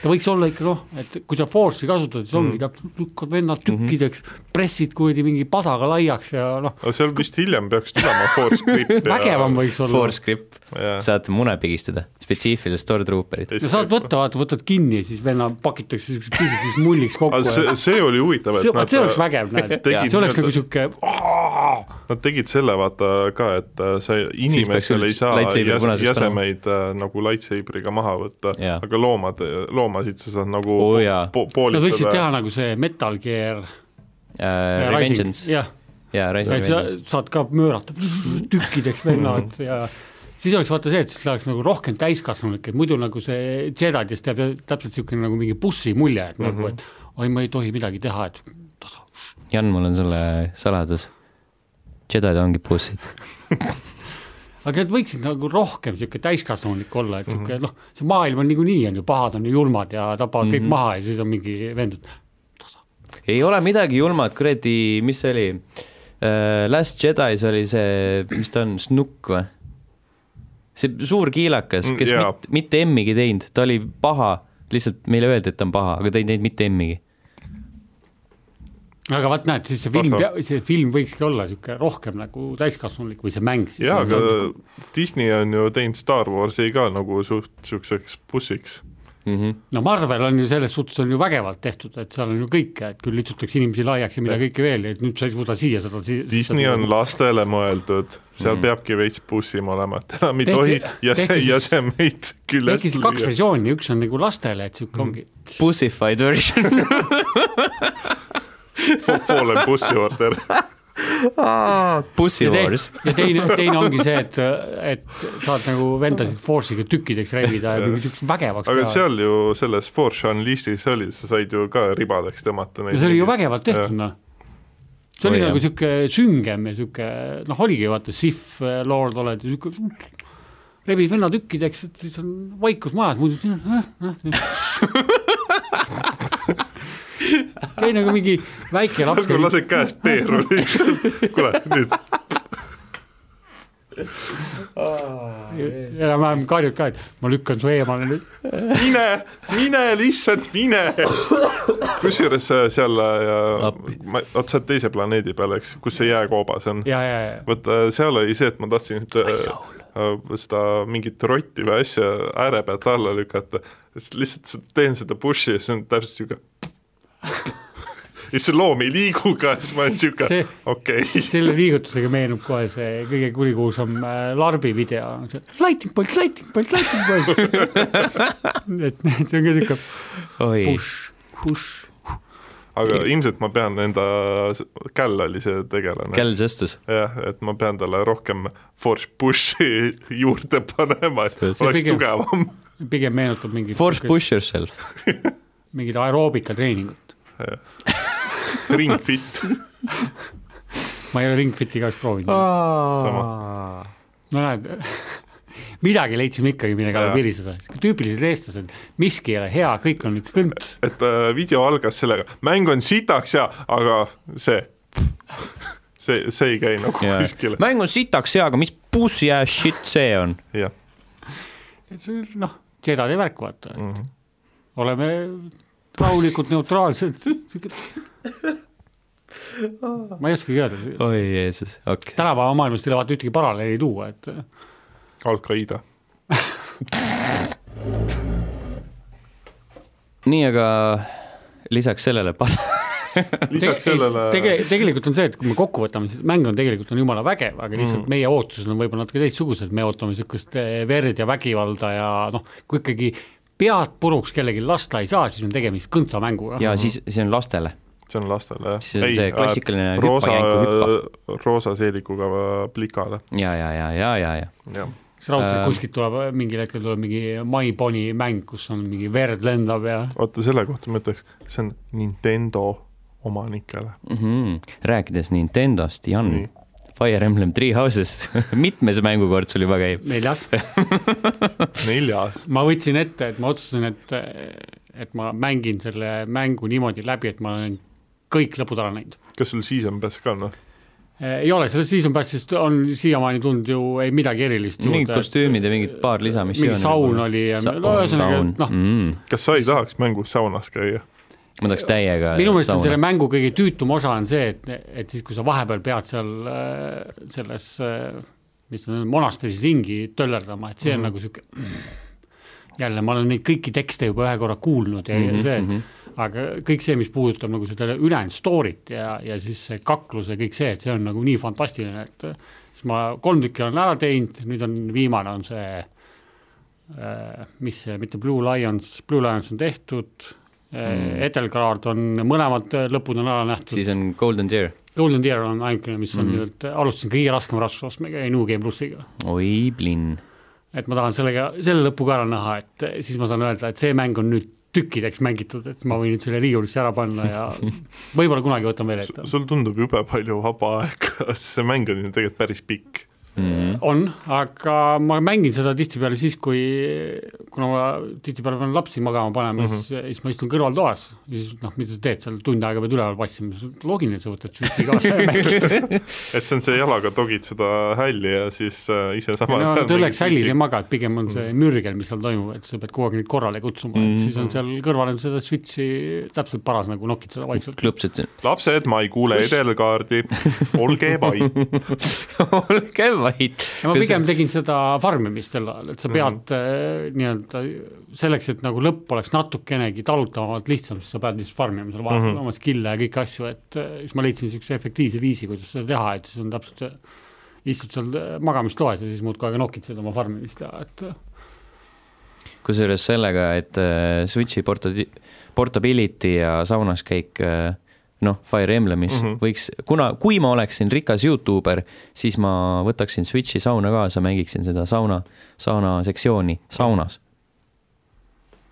[SPEAKER 3] ta võiks olla ikka noh , et kui sa force'i kasutad , siis ongi täpselt , lükkad vennad tükkideks , pressid kuradi mingi padaga laiaks ja noh ,
[SPEAKER 2] aga seal vist hiljem peaks tulema force
[SPEAKER 3] <laughs>
[SPEAKER 2] grip
[SPEAKER 3] vägevam võiks olla .
[SPEAKER 1] force grip ,
[SPEAKER 2] ja
[SPEAKER 1] saad mune pigistada , spetsiifilised stormtrooperid .
[SPEAKER 2] ja
[SPEAKER 3] no saad . võtta , vaata , võtad kinni ja siis venna pakitakse siukseks pisikeseks mulliks kokku
[SPEAKER 2] aga
[SPEAKER 3] ja
[SPEAKER 2] see , see oli huvitav , et
[SPEAKER 3] see ,
[SPEAKER 2] nad, <laughs>
[SPEAKER 3] vot see oleks vägev , näed ,
[SPEAKER 2] tegid
[SPEAKER 3] see
[SPEAKER 2] nii-öelda-
[SPEAKER 3] oleks nagu sihuke ,
[SPEAKER 2] nad tegid selle vaata ka , et äh, sa inimesel
[SPEAKER 1] sul
[SPEAKER 2] ei saa
[SPEAKER 1] lightsaber
[SPEAKER 2] jäs,
[SPEAKER 1] punaseks
[SPEAKER 2] jäsemeid äh, nagu lightsaberiga maha võtta ,
[SPEAKER 1] Jaa.
[SPEAKER 2] aga loomad , loomasid sa saad nagu
[SPEAKER 1] Oo jaa.
[SPEAKER 2] po
[SPEAKER 3] nad võiksid
[SPEAKER 2] poolitada
[SPEAKER 3] teha nagu see Metal Gear äh,
[SPEAKER 1] Äh, Revengeance ,
[SPEAKER 3] jah
[SPEAKER 1] jaa , Rise of
[SPEAKER 3] et sa
[SPEAKER 1] Revengeance .
[SPEAKER 3] saad ka möörata tükkideks vennad ja siis oleks vaata see , et siis läheks nagu rohkem täiskasvanulik , et muidu nagu see Jedidest jääb täpselt niisugune nagu mingi bussi mulje , et nagu , et oi , ma ei tohi midagi teha , et tasa .
[SPEAKER 1] Jan , mul on sulle saladus . Jedid ongi bussid .
[SPEAKER 3] aga nad võiksid nagu rohkem niisugune täiskasvanulik olla , et niisugune noh , see maailm on niikuinii on ju , pahad on ju julmad ja tapavad kõik maha ja siis on mingi vend , et
[SPEAKER 1] ei ole midagi julmat , kuradi , mis see oli ? Last Jedis oli see , mis ta on , Snukk või ? see suur kiilakas ,
[SPEAKER 2] Mm,
[SPEAKER 1] kes
[SPEAKER 2] jaa.
[SPEAKER 1] mit, mitte emmigi teinud , ta oli paha , lihtsalt meile öeldi , et ta on paha , aga ta ei teinud mitte emmigi .
[SPEAKER 3] aga vaat näed , siis see film
[SPEAKER 2] Tasa. ,
[SPEAKER 3] see film võikski olla niisugune rohkem nagu täiskasvanulik või see mäng siis .
[SPEAKER 2] jaa , aga Disney on ju teinud Star Warsi ka nagu suht niisuguseks bussiks .
[SPEAKER 1] Mhm.
[SPEAKER 3] no Marvel on ju selles suhtes on ju vägevalt tehtud , et seal on ju kõike , et küll litsutakse inimesi laiaks ja mida kõike veel , et nüüd sa ei suuda siia seda si
[SPEAKER 2] Disney on
[SPEAKER 3] nagu-
[SPEAKER 2] lastele mõeldud , seal mm. peabki veits bussima olema , et enam ei
[SPEAKER 3] Tehti-
[SPEAKER 2] tohi jäse
[SPEAKER 3] tehti , siis-
[SPEAKER 2] jäsemeid
[SPEAKER 3] ehk
[SPEAKER 2] küljest
[SPEAKER 3] siis kaks versiooni , üks on nagu lastele , et sihuke ongi ,
[SPEAKER 2] Mm.
[SPEAKER 1] Bussified version .
[SPEAKER 2] poole bussi
[SPEAKER 3] <laughs>
[SPEAKER 2] order .
[SPEAKER 1] Bussi
[SPEAKER 3] ja teine
[SPEAKER 1] wars .,
[SPEAKER 3] ja teine , teine ongi see , et , et saad nagu vendasid Force'iga tükkideks rebida ja mingi siukseks vägevaks
[SPEAKER 2] aga
[SPEAKER 3] teha .
[SPEAKER 2] seal ju selles Fortune listis oli , sa said ju ka ribadeks tõmmata neid .
[SPEAKER 3] ja see oli ju vägevalt tehtud , noh . see oli
[SPEAKER 1] Oi,
[SPEAKER 3] nagu
[SPEAKER 1] jah.
[SPEAKER 3] sihuke süngem ja sihuke , noh , oligi vaata , Sif , Lord oled ja sihuke , rebid venna tükkideks , et siis on vaikus majas , muidu siin on äh, ,
[SPEAKER 1] <laughs>
[SPEAKER 3] äh, äh. see nagu mingi väike laps
[SPEAKER 2] nagu lased käest teeru
[SPEAKER 3] <laughs>
[SPEAKER 2] lihtsalt , kuule nüüd ,
[SPEAKER 3] enam-vähem karjub ka , et ma lükkan su eemale nüüd .
[SPEAKER 2] mine , mine lihtsalt mine . kusjuures see seal ,
[SPEAKER 1] Appi.
[SPEAKER 2] oot sa oled teise planeedi peal , eks , kus see jääkoobas on .
[SPEAKER 3] ja , ja ,
[SPEAKER 1] <laughs>
[SPEAKER 3] ja ,
[SPEAKER 2] vot äh, seal oli see , et ma tahtsin nüüd äh, äh, seda mingit rotti või asja ääre pealt alla lükata , siis lihtsalt s- teen seda push'i ja siis on täpselt niisugune <laughs> ja siis see loom ei liigu ka , siis ma olen niisugune
[SPEAKER 3] See-
[SPEAKER 2] okei okay. ,
[SPEAKER 3] selle liigutusega meenub kohe see kõige kurikuulsam äh, Larbi video , lightning bolt , lightning bolt , lightning bolt . et see on ka sihuke
[SPEAKER 1] oi ,
[SPEAKER 3] push , push .
[SPEAKER 2] aga ilmselt ma pean enda , Käll oli see tegelane ,
[SPEAKER 1] kell sõstus .
[SPEAKER 2] jah , et ma pean talle rohkem force push'i <laughs> juurde panema , et
[SPEAKER 1] See
[SPEAKER 2] oleks
[SPEAKER 3] pigem-
[SPEAKER 2] tugevam . <laughs>
[SPEAKER 3] pigem meenutab mingit ,
[SPEAKER 1] Force push yourself .
[SPEAKER 3] mingit aeroobikatreeningut .
[SPEAKER 2] Ring fit ,
[SPEAKER 3] ma ei ole Ringfiti kahjuks proovinud ah. .
[SPEAKER 2] Sama.
[SPEAKER 3] no näed , <laughs> midagi leidsime ikkagi , mille kallal
[SPEAKER 2] Jaa.
[SPEAKER 3] viriseda . tüüpilised eestlased , miski ei ole hea , kõik on üks kõnts .
[SPEAKER 2] et äh, video algas sellega , mäng on sitaks ja , aga see , see , see ei käi nagu kuskile .
[SPEAKER 1] mäng on sitaks hea , aga mis bussi ass shit see on ?
[SPEAKER 2] jah ,
[SPEAKER 3] noh , Jedi värk , vaata mm . -hmm. oleme rahulikult neutraalsed . ma ei oskagi öelda ,
[SPEAKER 1] oi Jeesus , okei .
[SPEAKER 3] tänapäeva maailmast ei ole vaata ühtegi paralleeli tuua , et
[SPEAKER 2] Al-Qaeda .
[SPEAKER 1] nii , aga lisaks sellele pas- ,
[SPEAKER 2] lisaks
[SPEAKER 3] Tege- ei,
[SPEAKER 2] sellele
[SPEAKER 3] tege- , tegelikult on see , et kui me kokku võtame , siis mäng on tegelikult on jumala vägev , aga lihtsalt mm. meie ootused on võib-olla natuke teistsugused , me ootame niisugust eh, verd ja vägivalda ja noh , kui ikkagi pead puruks kellelgi lasta ei saa , siis on tegemist kõntsa mänguga .
[SPEAKER 1] ja siis , see on lastele .
[SPEAKER 2] see on lastele jah .
[SPEAKER 1] See on see klassikaline hüppa,
[SPEAKER 2] roosa
[SPEAKER 1] jänku, ,
[SPEAKER 2] roosa seelikuga plikale ,
[SPEAKER 1] ja , ja , ja , ja , ja , ja .
[SPEAKER 2] jah .
[SPEAKER 3] siis raudselt
[SPEAKER 1] Ähm.
[SPEAKER 3] kuskilt tuleb , mingil hetkel tuleb mingi My Pony mäng , kus on mingi verd lendab ja
[SPEAKER 2] vaata selle kohta ma ütleks , see on Nintendo omanikele .
[SPEAKER 1] mm . -hmm. rääkides Nintendost , Jan
[SPEAKER 2] Nii.
[SPEAKER 1] mm. , Fire Emblem Three Houses , <laughs> mitmes mängukord sul juba käib ?
[SPEAKER 3] neljas ,
[SPEAKER 2] neljas ,
[SPEAKER 3] ma võtsin ette , et ma otsustasin , et , et ma mängin selle mängu niimoodi läbi , et ma olen kõik lõpud ära näinud .
[SPEAKER 2] kas sul season pass ka noh? on või ?
[SPEAKER 3] Eh, ei ole , selles Season Passist on siiamaani tulnud ju ei midagi erilist
[SPEAKER 1] mingid
[SPEAKER 3] juurde ,
[SPEAKER 1] kostüümid ja mingid paar lisamissiooni .
[SPEAKER 3] mingi saun oli ja
[SPEAKER 1] Sa oh,
[SPEAKER 3] no ühesõnaga ,
[SPEAKER 1] saun.
[SPEAKER 3] et noh ,
[SPEAKER 1] mm. .
[SPEAKER 2] kas sa ei tahaks mängus saunas käia ?
[SPEAKER 1] ma tahaks täiega .
[SPEAKER 3] minu meelest on selle mängu kõige tüütum osa on see , et , et siis , kui sa vahepeal pead seal äh, selles , mis ta nüüd on , monasteris ringi töllerdama , et see
[SPEAKER 1] Mhm.
[SPEAKER 3] on mm -hmm. nagu sihuke . jälle , ma olen neid kõiki tekste juba ühe korra kuulnud ja ,
[SPEAKER 1] Mhm.
[SPEAKER 3] ja see , aga kõik see , mis puudutab nagu seda ülejäänud story't ja , ja siis see kaklus ja kõik see , et see on nagu nii fantastiline , et siis ma kolm tükki olen ära teinud , nüüd on viimane on see äh, mis see , mitte Blue Lions , Blue Lions on tehtud mm. , Edelgard on , mõlemad äh, lõpud on ära nähtud ,
[SPEAKER 1] siis on Mhm. Golden Deer .
[SPEAKER 3] Golden Deer on ainukene , mis on mm. nii-öelda , alustasin kõige raskema raskusastmega , New Game plussiga .
[SPEAKER 1] oi , plinn .
[SPEAKER 3] et ma tahan sellega , selle lõpu ka ära näha , et siis ma saan öelda , et see mäng on nüüd tükkideks mängitud , et ma võin nüüd selle riiulisse ära panna ja võib-olla kunagi võtan veel ette .
[SPEAKER 2] sul tundub jube palju vaba aega , <laughs> see mäng on ju tegelikult päris pikk .
[SPEAKER 1] Mhm.
[SPEAKER 3] on , aga ma mängin seda tihtipeale siis , kui , kuna ma tihtipeale pean lapsi magama panema mm , -hmm. siis , siis ma istun kõrvaltoas ja siis noh , mida sa teed seal tund aega pead üleval passima , login ja sa võtad switch'i kaasa ja mängid .
[SPEAKER 2] et see on see jalaga togid seda hälli ja siis äh, ise samal
[SPEAKER 3] no
[SPEAKER 2] ajal
[SPEAKER 3] ta õlleks
[SPEAKER 2] mingi
[SPEAKER 3] hällis ei maga , et pigem on see mürgel , mis seal toimub , et sa pead kogu aeg neid korrale kutsuma mm , -hmm. siis on seal kõrval on seda switch'i täpselt paras nagu nokid seda <laughs> vaikselt .
[SPEAKER 1] klõpsud .
[SPEAKER 2] lapsed , ma ei kuule edelkaardi , olge vait .
[SPEAKER 1] <laughs> olge vait .
[SPEAKER 3] ja ma pigem tegin seda farmimist sel ajal , et sa pead mm -hmm. nii-öelda selleks , et nagu lõpp oleks natukenegi talutavamalt lihtsam , siis sa pead lihtsalt farmima seal vahepeal mm -hmm. oma skill'e ja kõiki asju , et eh, siis ma leidsin niisuguse efektiivse viisi , kuidas seda teha , et siis on täpselt see , istud seal eh, magamistoas ja siis muudkui aega nokitsed oma farmimist ja et eh,
[SPEAKER 1] kusjuures sellega , et äh, Switchi portati- , portability ja saunas käik äh, noh , Fire Emblemis mm -hmm. võiks , kuna , kui ma oleksin rikas Youtuber , siis ma võtaksin Switchi sauna kaasa , mängiksin seda sauna , sauna sektsiooni saunas .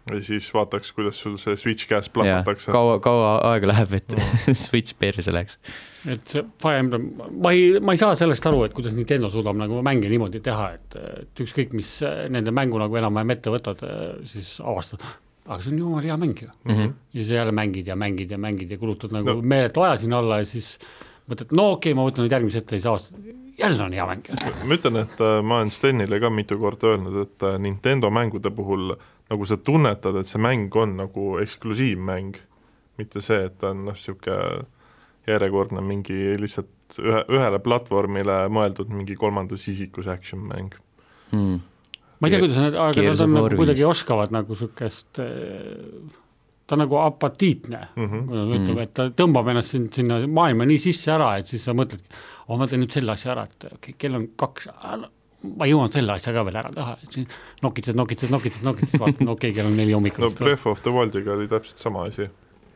[SPEAKER 2] ja siis vaataks , kuidas sul see switch käes
[SPEAKER 1] ja
[SPEAKER 2] plahvatakse .
[SPEAKER 1] kaua , kaua aega läheb , et <laughs> Switch perse läks .
[SPEAKER 3] et see Fire Emblem , ma ei , ma ei saa sellest aru , et kuidas Nintendo suudab nagu mänge niimoodi teha , et , et ükskõik , mis nende mängu nagu enam-vähem ette võtad , siis avastad , aga see on jumala hea mäng ju mm .
[SPEAKER 2] Mhm.
[SPEAKER 3] -hmm. ja siis jälle mängid ja mängid ja mängid ja kulutad nagu no. meeletu aja sinna alla ja siis mõtled , no okei okay, , ma võtan nüüd järgmise ette ja siis avastad , jälle on hea mäng .
[SPEAKER 2] ma ütlen , et äh, ma olen Stenile ka mitu korda öelnud , et äh, Nintendo mängude puhul nagu sa tunnetad , et see mäng on nagu eksklusiivmäng , mitte see , et ta on noh , niisugune järjekordne mingi lihtsalt ühe , ühele platvormile mõeldud mingi kolmandas isikus action mäng .
[SPEAKER 1] Mm.
[SPEAKER 3] ma ei tea , kuidas nad , aga
[SPEAKER 1] Gears
[SPEAKER 3] nad on
[SPEAKER 1] of War
[SPEAKER 3] nagu kuidagi
[SPEAKER 1] viis.
[SPEAKER 3] oskavad nagu sihukest , ta on nagu apatiitne mm ,
[SPEAKER 2] Mhm.
[SPEAKER 3] -hmm. kuidas me ütleme , et ta tõmbab ennast sin- sinna maailma nii sisse ära , et siis sa mõtled , oh ma teen nüüd selle asja ära , et okei okay, , kell on kaks , ma jõuan selle asja ka veel ära teha , et siis nokitsed , nokitsed , nokitsed , nokitsed , vaatad , no okei okay, , kell on neli hommikul
[SPEAKER 2] no . Breath of the Wildiga oli täpselt sama asi .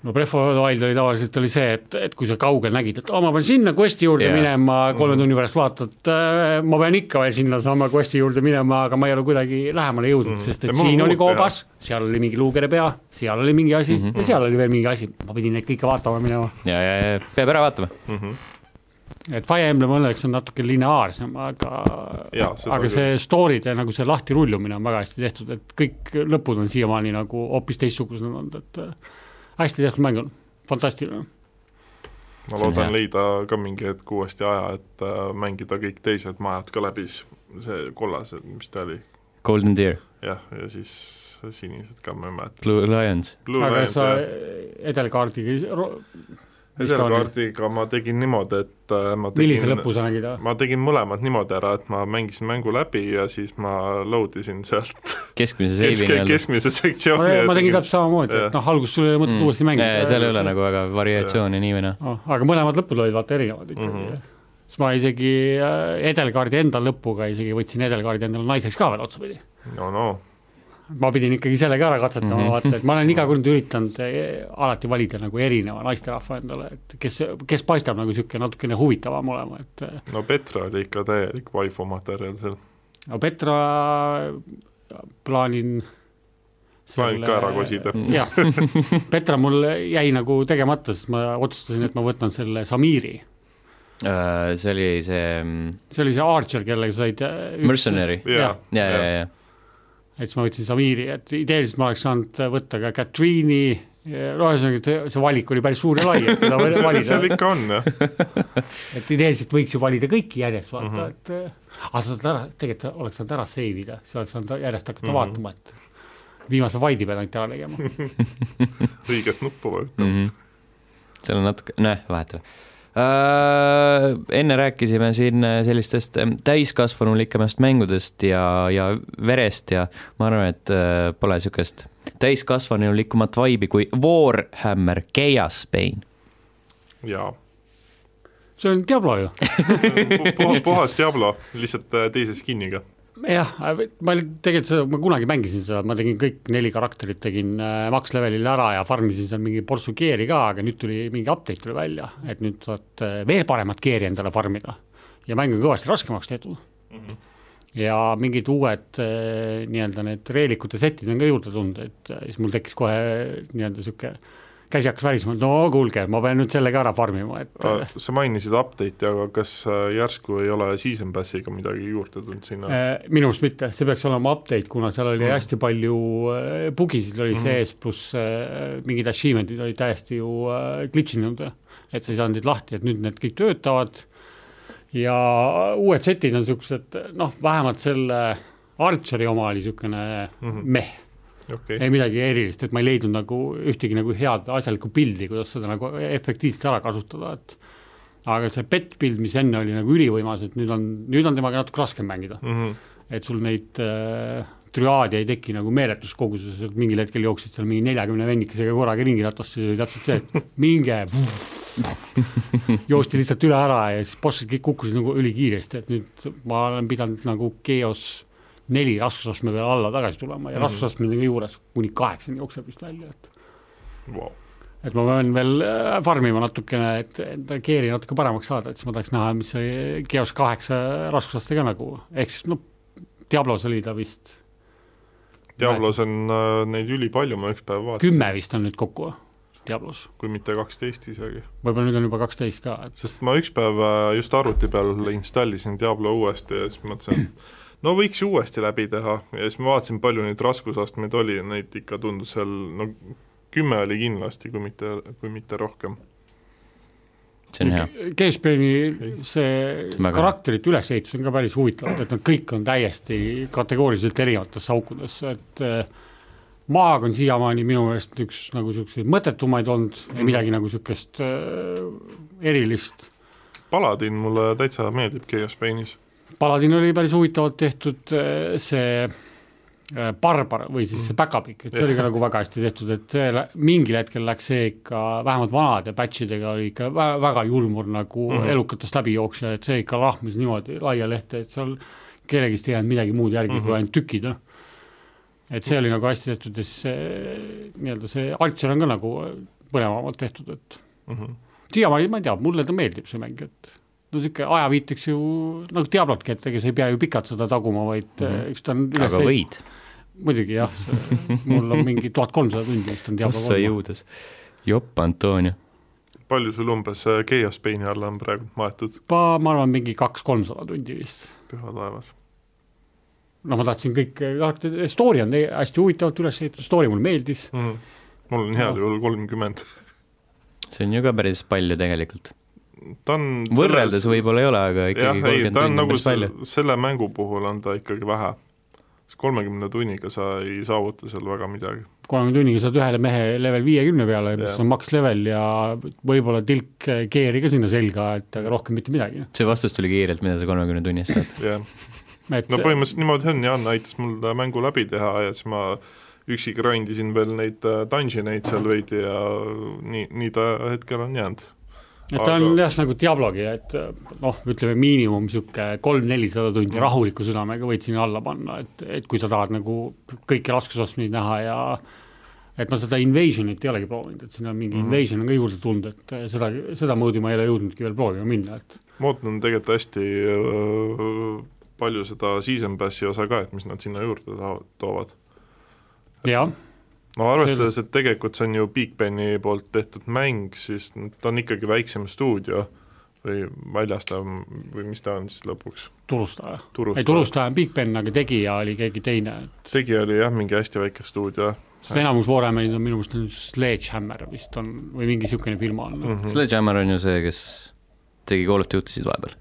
[SPEAKER 3] no Breath of the Wild oli tavaliselt oli see , et , et kui sa kaugel nägid , et aa , ma pean sinna quest'i juurde
[SPEAKER 1] Jaa.
[SPEAKER 3] yeah. minema ,
[SPEAKER 2] Mhm.
[SPEAKER 3] kolme tunni pärast vaatad äh, , ma pean ikka veel sinna sama quest'i juurde minema , aga ma ei ole kuidagi lähemale jõudnud mm. , sest
[SPEAKER 2] Mhm. Ja
[SPEAKER 3] et
[SPEAKER 2] mul on
[SPEAKER 3] siin oli
[SPEAKER 2] uut
[SPEAKER 3] koobas , seal oli mingi luukere pea , seal oli mingi asi mm
[SPEAKER 2] Mhm.
[SPEAKER 3] -hmm. ja seal oli veel mingi asi , ma pidin neid kõike vaatama minema .
[SPEAKER 1] ja , ja , ja peab ära vaatama .
[SPEAKER 2] Mhm.
[SPEAKER 3] et Fire Emblem õnneks on natuke lineaarsem , aga
[SPEAKER 2] Jaa, seda
[SPEAKER 3] aga
[SPEAKER 2] küll.
[SPEAKER 3] see story'd ja nagu see lahtirullumine on väga hästi tehtud , et kõik lõpud on siiamaani nagu hoopis teistsugused olnud , et äh, hästi tehtud mäng on , fantastiline
[SPEAKER 2] ma
[SPEAKER 1] See on
[SPEAKER 2] loodan
[SPEAKER 1] hea.
[SPEAKER 2] leida ka mingi hetk uuesti aja , et äh, mängida kõik teised majad ka läbi , see kollas , mis ta oli ,
[SPEAKER 1] Golden Deer ,
[SPEAKER 2] jah , ja siis sinised ka , ma ei mäleta .
[SPEAKER 1] Blue Lions .
[SPEAKER 2] Blue
[SPEAKER 3] aga
[SPEAKER 2] Lions
[SPEAKER 3] sa
[SPEAKER 2] ja
[SPEAKER 3] edelkaardiga ,
[SPEAKER 2] Edelkaardiga ma tegin niimoodi , et äh, ma
[SPEAKER 3] millise
[SPEAKER 2] tegin ,
[SPEAKER 3] lõpu sa nägid ?
[SPEAKER 2] ma tegin mõlemad niimoodi ära , et ma mängisin mängu läbi ja siis ma load isin sealt
[SPEAKER 1] keskmise
[SPEAKER 2] kes,
[SPEAKER 1] seivi nii-öelda .
[SPEAKER 2] keskmise
[SPEAKER 3] ma
[SPEAKER 2] sektsiooni .
[SPEAKER 3] ma tegin täpselt samamoodi , et noh , alguses sul ei ole mõtet mm. uuesti mängida
[SPEAKER 1] Hmm.
[SPEAKER 3] Noh,
[SPEAKER 1] Ja seal ei ole . nagu väga variatsiooni nii või naa .
[SPEAKER 3] aga mõlemad lõpud olid vaata erinevad ikkagi mm . -hmm. siis ma isegi äh, edelkaardi enda lõpuga isegi võtsin edelkaardi endale naiseks ka veel otsapidi .
[SPEAKER 2] no no ,
[SPEAKER 3] ma pidin ikkagi selle ka ära katsetama mm , -hmm. vaata , et ma olen iga kord üritanud eh, alati valida nagu erineva naisterahva endale , et kes , kes paistab nagu niisugune natukene huvitavam olema , et eh,
[SPEAKER 2] no Petra oli ikka täielik vaifu materjal seal .
[SPEAKER 3] äh, no Petra plaanin
[SPEAKER 2] plaanin ka ära kosida.
[SPEAKER 3] jah
[SPEAKER 2] <laughs>
[SPEAKER 3] Petra mul jäi nagu tegemata , sest ma otsustasin , et ma võtan selle Samiri .
[SPEAKER 1] Äh, see oli see mm,
[SPEAKER 3] see oli see Archer , kellega said äh, üks-
[SPEAKER 1] Mercenary .
[SPEAKER 2] jaa
[SPEAKER 3] Jah. ,
[SPEAKER 1] ja , ja , ja ,
[SPEAKER 3] et siis ma võtsin Samiri , et ideeliselt ma oleks saanud võtta ka Katriini , no ühesõnaga , et äh, see valik oli päris suur ja lai , et
[SPEAKER 2] <laughs>
[SPEAKER 3] keda
[SPEAKER 2] seal,
[SPEAKER 3] valida
[SPEAKER 2] seal , ikka on jah ,
[SPEAKER 3] et ideeliselt võiks ju valida kõiki järjest
[SPEAKER 2] Mhm.
[SPEAKER 3] vaata mm , -hmm. et äh, aga sa saad ära , tegelikult oleks saanud ära save ida , siis oleks saanud järjest hakata mm
[SPEAKER 2] Mhm.
[SPEAKER 3] -hmm. vaatama , et viimase vaidi peal ainult ära tegema .
[SPEAKER 2] õiget nuppu vajutab .
[SPEAKER 1] mhm . seal on natuke , nojah , vahet ei ole . enne rääkisime siin sellistest ähm, täiskasvanulikemast mängudest ja , ja verest ja ma arvan , et äh, pole niisugust täiskasvanulikumat vaibi kui Warhammer Chaos Pain .
[SPEAKER 2] jaa ,
[SPEAKER 3] see on Diablo ju .
[SPEAKER 2] puhas , puhas Diablo , lihtsalt äh, teise skin'iga .
[SPEAKER 3] jah , ma oli- tegelikult seda , ma kunagi mängisin seda , ma tegin kõik neli karakterit tegin äh, max levelil ära ja farm isin seal mingi portsu gear'i ka , aga nüüd tuli mingi update tuli välja , et nüüd saad äh, veel paremat gear'i endale farmida . ja mäng on kõvasti raskemaks tehtud mm . -hmm. ja mingid uued äh, nii-öelda need reelikute setid on ka juurde tulnud , et äh, siis mul tekkis kohe äh, nii-öelda sihuke käsi hakkas välismaal , no kuulge , ma pean nüüd selle ka ära farmima , et äh,
[SPEAKER 2] sa mainisid update'i , aga kas äh, järsku ei ole season pass'iga midagi juurde tulnud sinna ?
[SPEAKER 3] Eh, minu arust mitte , see peaks olema update , kuna seal oli
[SPEAKER 2] Mm. Mm-hmm.
[SPEAKER 3] mm. hästi palju eh, bugisid oli mm. sees , pluss eh, mingid achievement'id olid täiesti ju eh, glitch inud . et sa ei saanud neid lahti , et nüüd need kõik töötavad ja uued setid on siuksed , noh , vähemalt selle Archeri oma oli niisugune
[SPEAKER 2] Mhm.
[SPEAKER 3] meh ,
[SPEAKER 2] okei ,
[SPEAKER 3] ei midagi erilist , et ma ei leidnud nagu ühtegi nagu head asjalikku pildi , kuidas seda nagu efektiivselt ära kasutada , et aga see pet build , mis enne oli nagu ülivõimas , et nüüd on , nüüd on temaga natuke raskem mängida .
[SPEAKER 2] Mhm.
[SPEAKER 3] et sul neid äh, triaade ei teki nagu meeletus koguses , et mingil hetkel jooksid seal mingi neljakümne vennikesega korraga ringi ratast , siis oli täpselt see , et minge joosti lihtsalt üle ära ja siis bossid kõik kukkusid nagu ülikiiresti , et nüüd ma olen pidanud nagu Geos neli raskusastme peale alla tagasi tulema
[SPEAKER 2] Mhm.
[SPEAKER 3] ja mm -hmm. raskusastmed on ka juures , kuni kaheksani jookseb vist välja , et
[SPEAKER 2] vau .
[SPEAKER 3] et ma pean veel äh, farm ima natukene , et enda keeli natuke paremaks saada , et siis ma tahaks näha , mis see Geos kaheksa raskusaste ka nagu , ehk siis noh , Diablos oli ta vist ,
[SPEAKER 2] Diablos on äh, neid ülipalju , ma üks päev vaatasin ,
[SPEAKER 3] kümme vist on nüüd kokku Diablos ,
[SPEAKER 2] kui mitte kaksteist isegi .
[SPEAKER 3] võib-olla nüüd on juba kaksteist ka , et
[SPEAKER 2] sest ma üks päev äh, just arvuti peal installisin Diablo uuesti ja siis mõtlesin , et no võiks uuesti läbi teha ja siis ma vaatasin , palju neid raskusastmeid oli ja neid ikka tundus seal no kümme oli kindlasti , kui mitte , kui mitte rohkem .
[SPEAKER 1] see on hea .
[SPEAKER 3] Geospeeni see
[SPEAKER 1] See on väga
[SPEAKER 3] karakterite ülesehitus on ka päris huvitav , et nad kõik on täiesti kategooriliselt erinevatesse aukudesse , et eh, maag on siiamaani minu meelest üks nagu niisuguseid mõttetumaid olnud ,
[SPEAKER 1] Mhm.
[SPEAKER 3] ei midagi nagu niisugust eh, erilist
[SPEAKER 2] Paladin mulle täitsa meeldib Chaos Painis .
[SPEAKER 3] Paladin oli päris huvitavalt tehtud , see äh, barbar või siis
[SPEAKER 2] Mm.
[SPEAKER 3] see päkapikk , et see oli ka nagu väga hästi tehtud , et see lä- mingil hetkel läks see ikka , vähemalt vanade batch idega oli ikka vä- väga julmur nagu mm
[SPEAKER 2] Mhm.
[SPEAKER 3] -hmm. elukatest läbijooksja , et see ikka lahmis niimoodi laia lehte , et seal kellegist ei jäänud midagi muud järgi mm -hmm.
[SPEAKER 2] Mhm.
[SPEAKER 3] kui ainult tükid , noh . et see oli nagu hästi tehtud ja siis see nii-öelda see Altsar on ka nagu põnevamalt tehtud , et
[SPEAKER 2] Mhm.
[SPEAKER 3] siiamaani ma ei tea , mulle ta meeldib , see mäng , et no niisugune ajaviiteks ju nagu Diablotki , et ega sa ei pea ju pikalt seda taguma , vaid mm
[SPEAKER 1] Mhm.
[SPEAKER 3] -hmm. eks ta on üles
[SPEAKER 1] aga võid ,
[SPEAKER 3] muidugi jah , mul on mingi tuhat kolmsada tundi vist on
[SPEAKER 1] ossa
[SPEAKER 3] Diablo .
[SPEAKER 1] jõudes . jopp , Antonio .
[SPEAKER 2] palju sul umbes äh, Chaos Paini alla on praegu maetud ,
[SPEAKER 3] ma , ma arvan , mingi kaks-kolmsada tundi vist .
[SPEAKER 2] püha taevas ?
[SPEAKER 3] no ma tahtsin kõik , story on eh, hästi huvitavalt üles ehitatud , story mulle meeldis ,
[SPEAKER 2] Mhm. mul on heal juhul kolmkümmend .
[SPEAKER 1] see on ju ka päris palju tegelikult .
[SPEAKER 2] ta on
[SPEAKER 1] võrreldes võib-olla ei ole , aga
[SPEAKER 2] jah ,
[SPEAKER 1] ikkagi
[SPEAKER 2] ei ,
[SPEAKER 1] kolmkümmend
[SPEAKER 2] ta on
[SPEAKER 1] tundi on
[SPEAKER 2] nagu
[SPEAKER 1] päris palju .
[SPEAKER 2] se- selle mängu puhul on ta ikkagi vähe . sest kolmekümne tunniga sa ei saavuta seal väga midagi .
[SPEAKER 3] kolme tunniga saad ühele mehe level viiekümne peale , mis
[SPEAKER 2] Jah.
[SPEAKER 3] on max level ja võib-olla tilk gear'i ka sinna selga , et aga rohkem mitte midagi . noh.
[SPEAKER 1] see vastus tuli kiirelt , mida sa kolmekümne tunni eest saad .
[SPEAKER 2] jah , no põhimõtteliselt niimoodi on , Jaan aitas mul ta mängu läbi teha ja siis ma üksi grind isin veel neid äh, dungeon eid seal veidi ja nii , nii ta hetkel on jäänud .
[SPEAKER 3] et ta on
[SPEAKER 2] Aga-
[SPEAKER 3] jah , nagu Diablogi , et noh , ütleme miinimum niisugune kolm-nelisada tundi rahuliku südamega võid sinna alla panna , et , et kui sa tahad nagu kõiki raskusastmeid näha ja et ma seda invasion'it ei olegi proovinud , et siin on mingi mm
[SPEAKER 2] Mhm.
[SPEAKER 3] -hmm. invasion on ka juurde tulnud , et äh, seda , seda moodi ma ei ole jõudnudki veel proovima minna , et
[SPEAKER 2] ma ootan tegelikult hästi äh, palju seda season pass'i osa ka , et mis nad sinna juurde taha- toovad .
[SPEAKER 3] jah ,
[SPEAKER 2] no arvestades, et tegelikult see on ju Bigben'i poolt tehtud mäng, siis ta on ikkagi väiksem stuudio või väljastaja või mis ta on siis lõpuks,
[SPEAKER 3] turustaja, ei
[SPEAKER 2] turustaja.
[SPEAKER 3] turustaja on Big Ben , aga tegija oli keegi teine , et
[SPEAKER 2] tegija oli jah , mingi hästi väike stuudio
[SPEAKER 3] sest enamus Vooremeid on minu meelest on Sledgehammer vist on või mingi niisugune firma on mm. .
[SPEAKER 2] mm . -hmm.
[SPEAKER 1] Sledgehammer on ju see , kes tegi Call of Duty-sid vahepeal .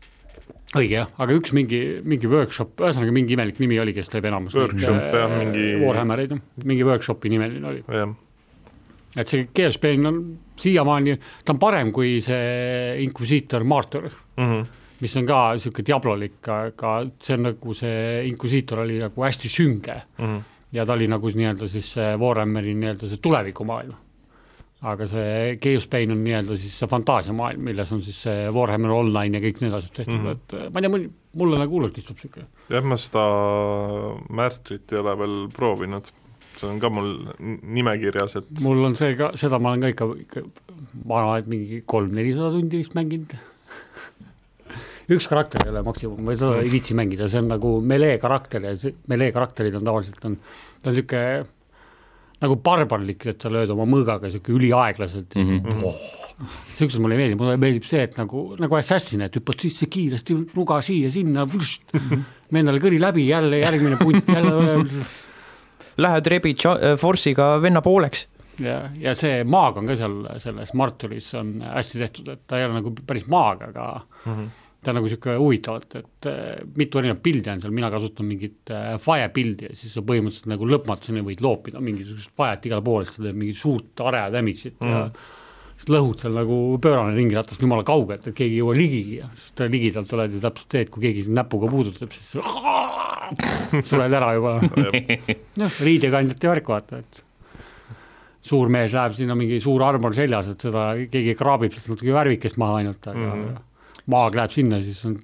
[SPEAKER 3] õige jah , aga üks mingi , mingi workshop , ühesõnaga mingi imelik nimi oli , kes teeb enamus neid,
[SPEAKER 2] Workshop,
[SPEAKER 3] äh,
[SPEAKER 2] jah, mingi-
[SPEAKER 3] Warhammereid , mingi workshopi nimeline oli .
[SPEAKER 2] jah ,
[SPEAKER 3] et see GSP on siiamaani , ta on parem kui see Inquisitor Martyr ,
[SPEAKER 2] Mhm.
[SPEAKER 3] mis on ka niisugune diablolik , aga see on nagu see Inquisitor oli nagu hästi sünge
[SPEAKER 2] Mhm.
[SPEAKER 3] ja ta oli nagu s- nii-öelda siis see Warhammeri nii-öelda see tulevikumaailm . aga see Chaos Pain on nii-öelda siis see fantaasiamaailm , milles on siis see Warhammer Online ja kõik need asjad tehtud mm ,
[SPEAKER 2] Mhm.
[SPEAKER 3] -hmm. et ma ei tea , mulle nagu hullult istub niisugune .
[SPEAKER 2] jah , ma seda Märtrit ei ole veel proovinud , see on ka mul n- nimekirjas , et
[SPEAKER 3] mul on see ka , seda ma olen ka ikka, ikka vana aeg mingi kolm-nelisada tundi vist mänginud . üks karakter ei ole maksimum , ma seda ei viitsi mängida , see on nagu melee karakter ja see melee karakterid on tavaliselt on , ta on sihuke nagu barbarlik , et sa lööd oma mõõgaga sihuke üliaeglaselt mm .
[SPEAKER 1] Mhm.
[SPEAKER 2] mhm.
[SPEAKER 3] -hmm. Oh, siuksed mulle ei meeldi , mulle meeldib see , et nagu , nagu assassin , et hüppad sisse kiiresti , nuga siia-sinna , vendale kõri läbi , jälle järgmine punt , jälle <laughs>
[SPEAKER 4] Lähed rebid tša- Force'iga venna pooleks .
[SPEAKER 3] ja , ja see maag on ka seal selles Marturis on hästi tehtud , et ta ei ole nagu päris maag , aga mm
[SPEAKER 2] Mhm.
[SPEAKER 3] -hmm. ta on nagu niisugune huvitavalt , et eh, mitu erinevat pildi on seal , mina kasutan mingit eh, vaepildi ja siis sa põhimõtteliselt nagu lõpmatuseni võid loopida mingisugust vaet igale poole , siis ta teeb mingit suurt are damage'it mm -hmm. ja siis lõhud seal nagu pöörane ringiratast jumala kaugelt , et keegi ei jõua ligigi , sest ligidalt oled ju täpselt see , et kui keegi sind näpuga puudutab , siis <laughs> suled ära juba noh , riidekandjate värk , vaata , et suur mees läheb sinna , mingi suur armor seljas , et seda keegi kraabib sealt natuke värvikest maha ainult , aga mm -hmm. maag läheb sinna , siis on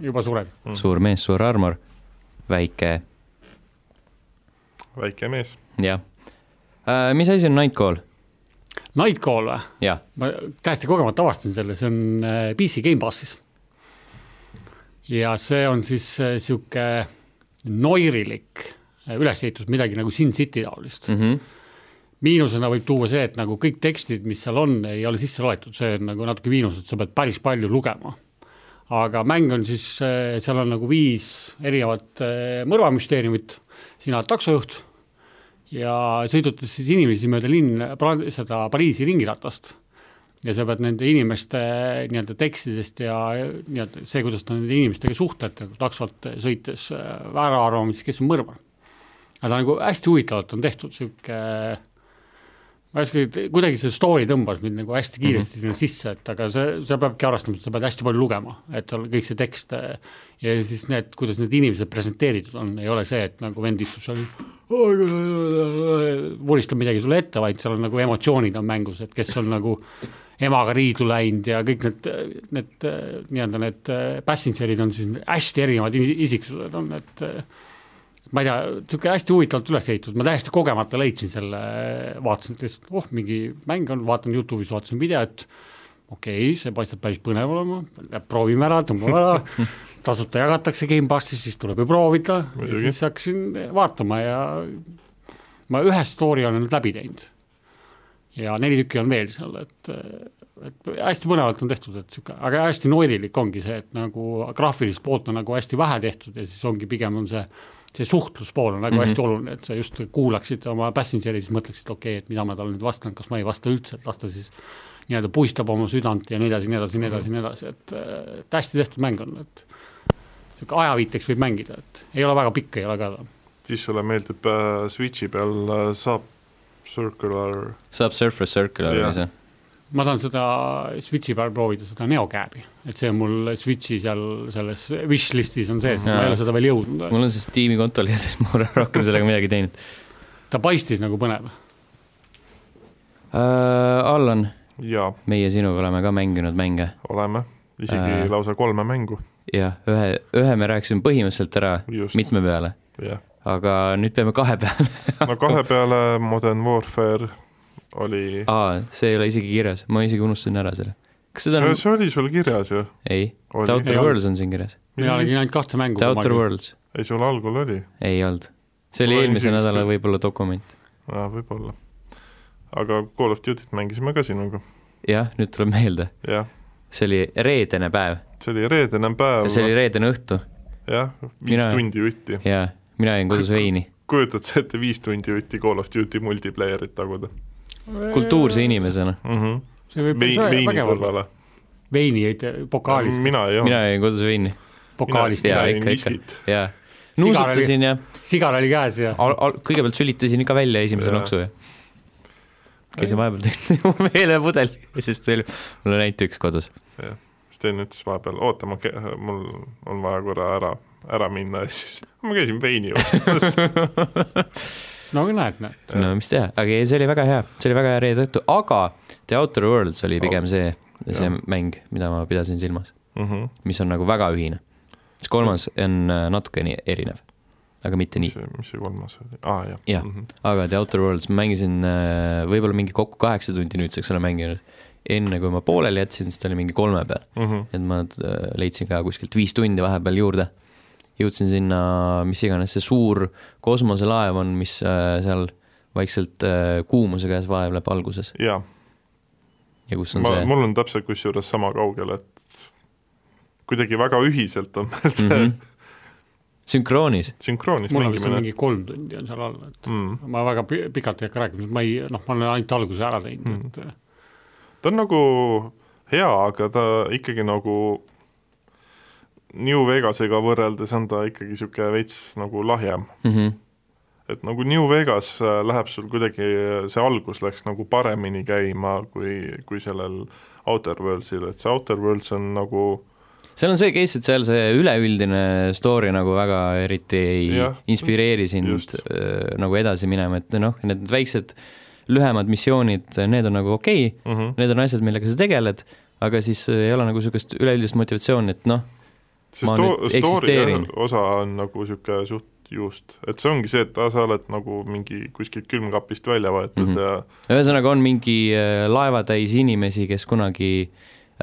[SPEAKER 3] juba sureb .
[SPEAKER 1] suur mees , suur armor , väike ,
[SPEAKER 2] väike mees .
[SPEAKER 1] jah . mis asi on Nightcall ?
[SPEAKER 3] Nightcall või ?
[SPEAKER 1] jah ,
[SPEAKER 3] ma täiesti kogemata avastasin selle , see on äh, PC Gamepassis . ja see on siis niisugune noirilik äh, ülesehitus , midagi nagu Sin City taolist mm .
[SPEAKER 1] Mhm.
[SPEAKER 3] miinusena võib tuua see , et nagu kõik tekstid , mis seal on , ei ole sisse loetud , see on nagu natuke miinus , et sa pead päris palju lugema . aga mäng on siis , seal on nagu viis erinevat äh, mõrvamüsteeriumit , sina oled taksojuht ja sõidutad siis inimesi mööda linn , seda Pariisi ringiratast . ja sa pead nende inimeste nii-öelda tekstidest ja nii-öelda see , kuidas ta nende inimestega suhtleb , nagu taksot sõites äh, ära arvama , siis kes on mõrvar . aga ta nagu hästi huvitavalt on tehtud , sihuke ma ei oska , kuidagi see story tõmbas mind nagu hästi kiiresti mm -hmm. sinna sisse , et aga see , sa peabki arvestama , et sa pead hästi palju lugema , et tal kõik see tekst äh, ja siis need , kuidas need inimesed presenteeritud on , ei ole see , et nagu vend istub seal vuristab midagi sulle ette , vaid seal on nagu emotsioonid on mängus , et kes on nagu emaga riidu läinud ja kõik need , need äh, nii-öelda need äh, passenger'id on siis hästi erinevad isi- isiksused on , et äh, ma ei tea , niisugune hästi huvitavalt üles ehitatud , ma täiesti kogemata leidsin selle , vaatasin et lihtsalt , oh , mingi mäng on , vaatan Youtube'is , vaatasin videot , okei okay, , see paistab päris põnev olema , proovime ära , tõmbame ära , tasuta jagatakse Gamepassis , siis tuleb ju proovida ja
[SPEAKER 2] Muidugi.
[SPEAKER 3] siis hakkasin vaatama ja ma ühe story olen nüüd läbi teinud . ja neli tükki on veel seal , et , et hästi põnevalt on tehtud , et niisugune , aga hästi noirilik ongi see , et nagu graafilist poolt on nagu hästi vähe tehtud ja siis ongi pigem on see see suhtluspool on nagu mm -hmm. hästi oluline , et sa just kuulaksid oma passenger'i , siis mõtleksid , okei okay, , et mida ma talle nüüd vastan , kas ma ei vasta üldse , et las ta siis nii-öelda puistab oma südant ja nii edasi , nii edasi , nii edasi , nii edasi , et äh, et hästi tehtud mäng on , et niisugune ajaviiteks võib mängida , et ei ole väga pikk , ei ole ka ta
[SPEAKER 2] siis sulle meeldib äh, Switchi peal äh, saab Circular
[SPEAKER 1] Subsurfer Circle oli
[SPEAKER 2] Jah.
[SPEAKER 1] see .
[SPEAKER 3] ma tahan seda Switchi peal proovida , seda neokääbi , et see on mul Switchi seal selles wish listis on sees , ma
[SPEAKER 1] Jaa.
[SPEAKER 3] ei ole seda veel jõudnud ,
[SPEAKER 1] mul on see Steam'i kontol ja <laughs> siis ma olen rohkem sellega midagi teinud
[SPEAKER 3] ta paistis nagu põnev .
[SPEAKER 1] uh, . Allan ,
[SPEAKER 2] ja
[SPEAKER 1] meie sinuga oleme ka mänginud mänge
[SPEAKER 2] oleme isegi
[SPEAKER 1] Äh.
[SPEAKER 2] äh. lausa kolme mängu ,
[SPEAKER 1] ja ühe , ühe me rääkisime põhimõtteliselt ära
[SPEAKER 2] Just.
[SPEAKER 1] mitme peale ,
[SPEAKER 2] jah .
[SPEAKER 1] aga nüüd peame kahe peale .
[SPEAKER 2] no
[SPEAKER 1] <laughs>
[SPEAKER 2] kahe peale Modern Warfare oli ,
[SPEAKER 1] aa , see ei ole isegi kirjas , ma isegi unustasin ära selle . kas seda
[SPEAKER 2] see,
[SPEAKER 1] on ,
[SPEAKER 2] see oli sul kirjas ju ?
[SPEAKER 1] ei ,
[SPEAKER 2] oli.
[SPEAKER 1] The Outer
[SPEAKER 3] Ei olnud.
[SPEAKER 1] Worlds on siin kirjas .
[SPEAKER 3] mina nägin ainult kahte mängu .
[SPEAKER 1] The Outer Worlds ,
[SPEAKER 2] ei , sul algul oli ,
[SPEAKER 1] ei olnud . see oli
[SPEAKER 2] Olen
[SPEAKER 1] eelmise
[SPEAKER 2] isegi-
[SPEAKER 1] nädala võib-olla dokument .
[SPEAKER 2] ah, , võib-olla . aga Call of Duty't mängisime ka sinuga ,
[SPEAKER 1] jah , nüüd tuleb meelde ,
[SPEAKER 2] jah .
[SPEAKER 1] see oli reedene päev ,
[SPEAKER 2] see oli reedene päev ,
[SPEAKER 1] see oli reedene õhtu
[SPEAKER 2] jah , viis
[SPEAKER 1] Mina-
[SPEAKER 2] Mina... tundi jutti .
[SPEAKER 1] ja mina jõin kodus veini .
[SPEAKER 2] kujutad sa ette viis tundi jutti Call of Duty multiplayerit taguda
[SPEAKER 1] kultuurse inimesena ,
[SPEAKER 2] mm ? -hmm.
[SPEAKER 3] see võib
[SPEAKER 2] Vein,
[SPEAKER 3] päris
[SPEAKER 2] veini
[SPEAKER 3] vägev olla .
[SPEAKER 2] kõrvale .
[SPEAKER 3] veini ei tee , pokaalist ,
[SPEAKER 2] mina ei olnud .
[SPEAKER 1] mina jõin kodus veini
[SPEAKER 3] pokaalist
[SPEAKER 1] mina-
[SPEAKER 3] ja
[SPEAKER 1] jaa,
[SPEAKER 2] jõin
[SPEAKER 1] ikka, ikka.
[SPEAKER 2] viskit .
[SPEAKER 1] ja nuusutasin ja
[SPEAKER 3] sigar oli käes ja
[SPEAKER 1] al- , al- , kõigepealt sülitasin ikka välja esimese
[SPEAKER 2] Jaa.
[SPEAKER 1] noksu ja käisin vahepeal <laughs> meelepudeli , sest oli, mul oli ainult üks kodus . <laughs>
[SPEAKER 2] Sten ütles vahepeal , oota , ma , mul on vaja korra ära , ära minna <laughs> ja siis ma käisin
[SPEAKER 1] <laughs>
[SPEAKER 2] veini ostmas .
[SPEAKER 3] no näed , näed .
[SPEAKER 1] no mis teha , aga ei , see oli väga hea , see oli väga hea reede õhtu , aga The Outer Worlds oli pigem see , see
[SPEAKER 2] Jah.
[SPEAKER 1] mäng , mida ma pidasin silmas ,
[SPEAKER 2] mm -hmm.
[SPEAKER 1] mis on nagu väga ühine . see kolmas on äh, natukene erinev , aga mitte nii .
[SPEAKER 2] mis , mis see kolmas oli , aa jah
[SPEAKER 1] Jah.
[SPEAKER 2] mm . -hmm.
[SPEAKER 1] aga The Outer Worlds ma mängisin äh, võib-olla mingi kokku kaheksa tundi nüüdseks olen mänginud . enne kui ma pooleli jätsin , siis ta oli mingi kolme peal ,
[SPEAKER 2] Mm -hmm.
[SPEAKER 1] et ma äh, leidsin ka kuskilt viis tundi vahepeal juurde . jõudsin sinna , mis iganes see suur kosmoselaev on , mis äh, seal vaikselt äh, kuumuse käes vaevleb alguses
[SPEAKER 2] jaa ,
[SPEAKER 1] ja kus on
[SPEAKER 2] ma
[SPEAKER 1] see ,
[SPEAKER 2] mul on täpselt kusjuures sama kaugel , et kuidagi väga ühiselt on meil see mm
[SPEAKER 1] Mhm.
[SPEAKER 2] -hmm.
[SPEAKER 1] sünkroonis ,
[SPEAKER 2] sünkroonis
[SPEAKER 3] mul on vist on
[SPEAKER 2] mängimine .
[SPEAKER 3] mingi kolm tundi on seal all , et
[SPEAKER 2] Mm.
[SPEAKER 3] ma väga pi- pikalt ei hakka rääkima , sest ma ei , noh , ma olen ainult alguse ära teinud ,
[SPEAKER 1] Mhm.
[SPEAKER 3] et
[SPEAKER 2] ta on nagu hea , aga ta ikkagi nagu New Vegasega võrreldes on ta ikkagi niisugune veits nagu lahjem .
[SPEAKER 1] mm . -hmm.
[SPEAKER 2] et nagu New Vegas äh, läheb sul kuidagi , see algus läks nagu paremini käima kui , kui sellel Outer Worldsil , et see Outer Worlds on nagu
[SPEAKER 1] seal on see case , et seal see üleüldine story nagu väga eriti ei ja,
[SPEAKER 2] Jah,
[SPEAKER 1] inspireeri sind
[SPEAKER 2] just.
[SPEAKER 1] öö, nagu edasi minema , et noh , need väiksed lühemad missioonid , need on nagu okei okay, ,
[SPEAKER 2] mm -hmm.
[SPEAKER 1] need on asjad , millega sa tegeled , aga siis öö, ei ole nagu niisugust üleüldist motivatsiooni , et noh ,
[SPEAKER 2] see
[SPEAKER 1] Ma
[SPEAKER 2] sto-
[SPEAKER 1] nüüd
[SPEAKER 2] story
[SPEAKER 1] eksisteerin.
[SPEAKER 2] osa on nagu niisugune suht juust , et see ongi see , et ah, sa oled nagu mingi kuskilt külmkapist välja võetud mm
[SPEAKER 1] Mhm.
[SPEAKER 2] -hmm. ja
[SPEAKER 1] ühesõnaga on mingi öö, laevatäis inimesi , kes kunagi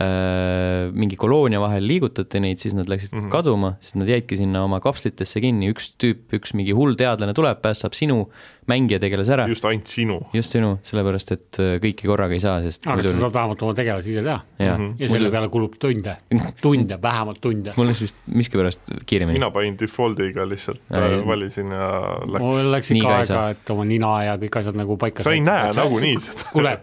[SPEAKER 1] öö, mingi koloonia vahel liigutati neid , siis nad läksid mm
[SPEAKER 2] Mhm.
[SPEAKER 1] -hmm. kaduma , siis nad jäidki sinna oma kapslitesse kinni , üks tüüp , üks mingi hull teadlane tuleb , päästab sinu , mängija tegeles ära ,
[SPEAKER 2] just ainult sinu
[SPEAKER 1] just sinu , sellepärast et äh, kõiki korraga ei saa , sest
[SPEAKER 3] aga
[SPEAKER 1] muidu
[SPEAKER 3] sa saad vähemalt oma tegelasi ise teha
[SPEAKER 1] jah
[SPEAKER 2] Ah, Mhm.
[SPEAKER 3] ja selle peale kulub
[SPEAKER 1] <laughs>
[SPEAKER 3] tunde , tunde , vähemalt tunde .
[SPEAKER 1] mul läks vist miskipärast kiiremini .
[SPEAKER 2] mina panin default'iga lihtsalt
[SPEAKER 1] Aa,
[SPEAKER 2] äh,
[SPEAKER 1] just.
[SPEAKER 2] valisin ja läks .
[SPEAKER 3] mul läks
[SPEAKER 1] Nii
[SPEAKER 3] ikka
[SPEAKER 1] ka ei
[SPEAKER 3] aega
[SPEAKER 1] saa. ,
[SPEAKER 3] et oma nina ja kõik asjad nagu paika
[SPEAKER 2] sa ei
[SPEAKER 3] said.
[SPEAKER 2] näe noh.
[SPEAKER 3] Et sa-
[SPEAKER 2] nagunii seda .
[SPEAKER 3] kuule ,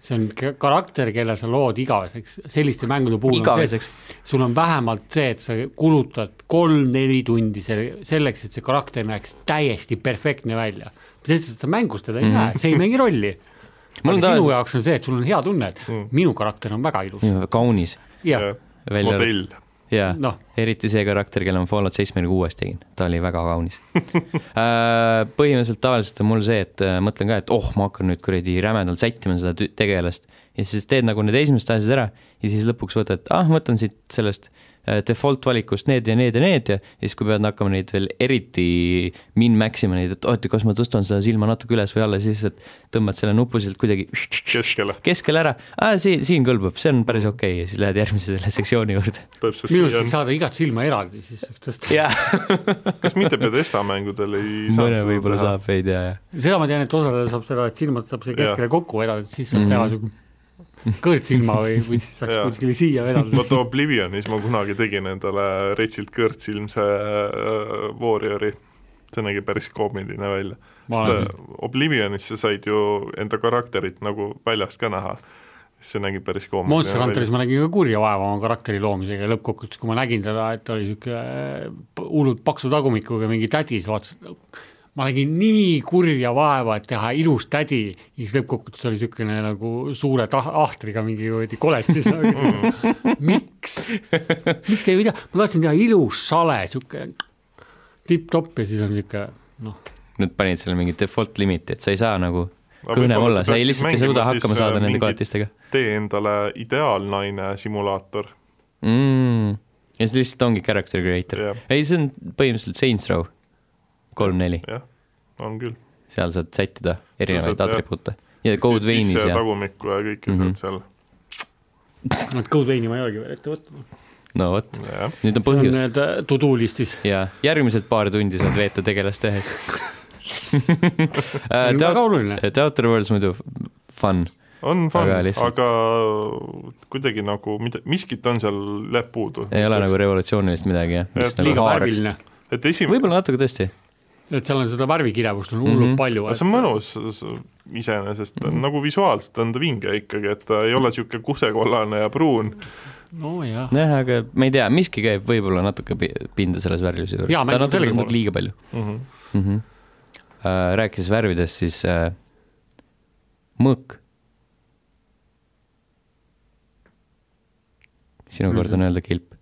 [SPEAKER 3] see on k- karakter , kelle sa lood igaveseks , selliste mängude puhul on see ,
[SPEAKER 1] igaveseks ,
[SPEAKER 3] et sul on vähemalt see , et sa kulutad kolm-neli tundi selle , selleks , et see karakter näeks täiesti perfektne välja . sest et sa mängus teda ei mm -hmm. näe , see ei mängi rolli .
[SPEAKER 1] Mhm. <laughs> Mul
[SPEAKER 3] aga
[SPEAKER 1] on
[SPEAKER 3] sinu
[SPEAKER 1] tavaliselt- Mhm.
[SPEAKER 3] jaoks on see , et sul on hea tunne , et mm. minu karakter on väga ilus ,
[SPEAKER 1] kaunis
[SPEAKER 3] jah ,
[SPEAKER 1] välja
[SPEAKER 2] modell ,
[SPEAKER 1] jaa no.
[SPEAKER 3] noh ,
[SPEAKER 1] eriti see karakter , kelle ma Fallout seitsmekümne kuues tegin , ta oli väga kaunis <laughs> Äh, Põhimõtteliselt tavaliselt on mul see , et äh, mõtlen ka , et oh , ma hakkan nüüd kuradi rämedalt sättima seda tü- tegelast ja siis teed nagu need esimesed asjad ära ja siis lõpuks võtad , ah , võtan siit sellest äh, default valikust need ja need ja need ja ja siis , kui pead hakkama neid veel eriti min-max ima neid , et oota , kas ma tõstan seda silma natuke üles või alla , siis et tõmbad selle nupu sealt kuidagi
[SPEAKER 2] keskele ,
[SPEAKER 1] keskele ära , aa , siin , siin kõlbab , see on päris okei okay. ja siis lähed järgmise selle <laughs> sektsiooni juurde .
[SPEAKER 2] täpselt
[SPEAKER 3] minu
[SPEAKER 2] nii
[SPEAKER 3] arust
[SPEAKER 2] on
[SPEAKER 3] võiks . saada igat silma eraldi , siis saaks tõsta .
[SPEAKER 1] jaa ,
[SPEAKER 2] kas mitte Pedesta mängudel ei saa
[SPEAKER 1] mõne võib-olla ? saab , ei tea , jah .
[SPEAKER 3] seda ma tean , et osadel saab seda , et silmad saab siia
[SPEAKER 2] Jah.
[SPEAKER 3] keskele kokku vedada , et siis saab
[SPEAKER 1] Mhm.
[SPEAKER 3] teha sihuke kõõrtsilma või , või siis saaks
[SPEAKER 2] Jah.
[SPEAKER 3] kuskile siia vedada .
[SPEAKER 2] vot Oblivionis ma kunagi tegin endale retsilt kõrtsilmse äh, Warriori , see nägi päris koomiline välja .
[SPEAKER 3] ma olen ,
[SPEAKER 2] Oblivionis sa said ju enda karakterit nagu väljast ka näha , see nägi päris koomiline
[SPEAKER 3] Monster Hunteris
[SPEAKER 2] välja .
[SPEAKER 3] ma nägin ka kurja vaeva oma karakteri loomisega ja lõppkokkuvõttes , kui ma nägin teda , et ta oli sihuke äh, p- hullult paksu tagumikuga mingi tädi , siis vaatasin , ma nägin nii kurja vaeva , et teha ilus tädi ja siis lõppkokkuvõttes oli niisugune nagu suure tah- , ahtriga mingi kuradi koletis .
[SPEAKER 2] Mhm.
[SPEAKER 3] miks , miks te ei tea , ma tahtsin teha ilus sale , sihuke tipp-topp ja siis on sihuke noh ,
[SPEAKER 1] Nad panid selle mingi default limiti , et sa ei saa nagu kõnem olla , sa ei lihtsalt ei suuda hakkama
[SPEAKER 2] äh,
[SPEAKER 1] saada nende . koetistega
[SPEAKER 2] tee endale ideaalnaine simulaator ,
[SPEAKER 1] mm. . ja siis lihtsalt ongi character creator .
[SPEAKER 2] jah ,
[SPEAKER 1] ei , see on põhimõtteliselt Saints Row kolm-neli ,
[SPEAKER 2] jah , on küll .
[SPEAKER 1] seal saad sättida
[SPEAKER 2] saad,
[SPEAKER 1] erinevaid
[SPEAKER 2] jah.
[SPEAKER 1] atribuute ja Code Veinis ja
[SPEAKER 2] tagumikku ja kõike mm
[SPEAKER 1] Mhm.
[SPEAKER 2] -hmm. seal ,
[SPEAKER 3] et Codeveini ma ei olegi veel ette võtnud .
[SPEAKER 1] no vot ,
[SPEAKER 2] jah .
[SPEAKER 1] nüüd on
[SPEAKER 3] see on äh,
[SPEAKER 1] põhjust
[SPEAKER 3] need to-do listis . <laughs>
[SPEAKER 1] ja järgmised paar tundi saad veeta tegelast tehes . <laughs> Äh,
[SPEAKER 3] see on väga oluline .
[SPEAKER 1] The Outer Worlds muidu fun .
[SPEAKER 2] on fun ,
[SPEAKER 1] Aga lihtsalt-
[SPEAKER 2] aga kuidagi nagu mida , miskit on seal jääb puudu .
[SPEAKER 1] ei ole nagu revolutsioonilist midagi jah , mis
[SPEAKER 2] Et
[SPEAKER 1] nagu
[SPEAKER 3] liiga
[SPEAKER 1] haaraks .
[SPEAKER 3] värviline ,
[SPEAKER 2] et esimene ,
[SPEAKER 1] võib-olla natuke tõesti .
[SPEAKER 3] et seal on seda värvikirevust on hullult mm
[SPEAKER 1] Mhm.
[SPEAKER 3] -hmm. palju .
[SPEAKER 2] see on mõnus s- s- iseenesest mm , -hmm. nagu visuaalselt on ta vinge ikkagi , et ta ei ole niisugune kusekollane ja pruun ,
[SPEAKER 3] nojah ,
[SPEAKER 1] jah , aga ma ei tea , miski käib võib-olla natuke pi- pinda selles värviluse juures .
[SPEAKER 3] Jaa,
[SPEAKER 1] ta
[SPEAKER 3] mängib
[SPEAKER 1] natuke
[SPEAKER 3] sellega
[SPEAKER 1] tundub
[SPEAKER 3] poolest.
[SPEAKER 1] liiga palju
[SPEAKER 2] mm . -hmm.
[SPEAKER 1] mm . -hmm. rääkides värvidest , siis äh, mõõk . sinu kord
[SPEAKER 3] Mhm.
[SPEAKER 1] on öelda kilp ,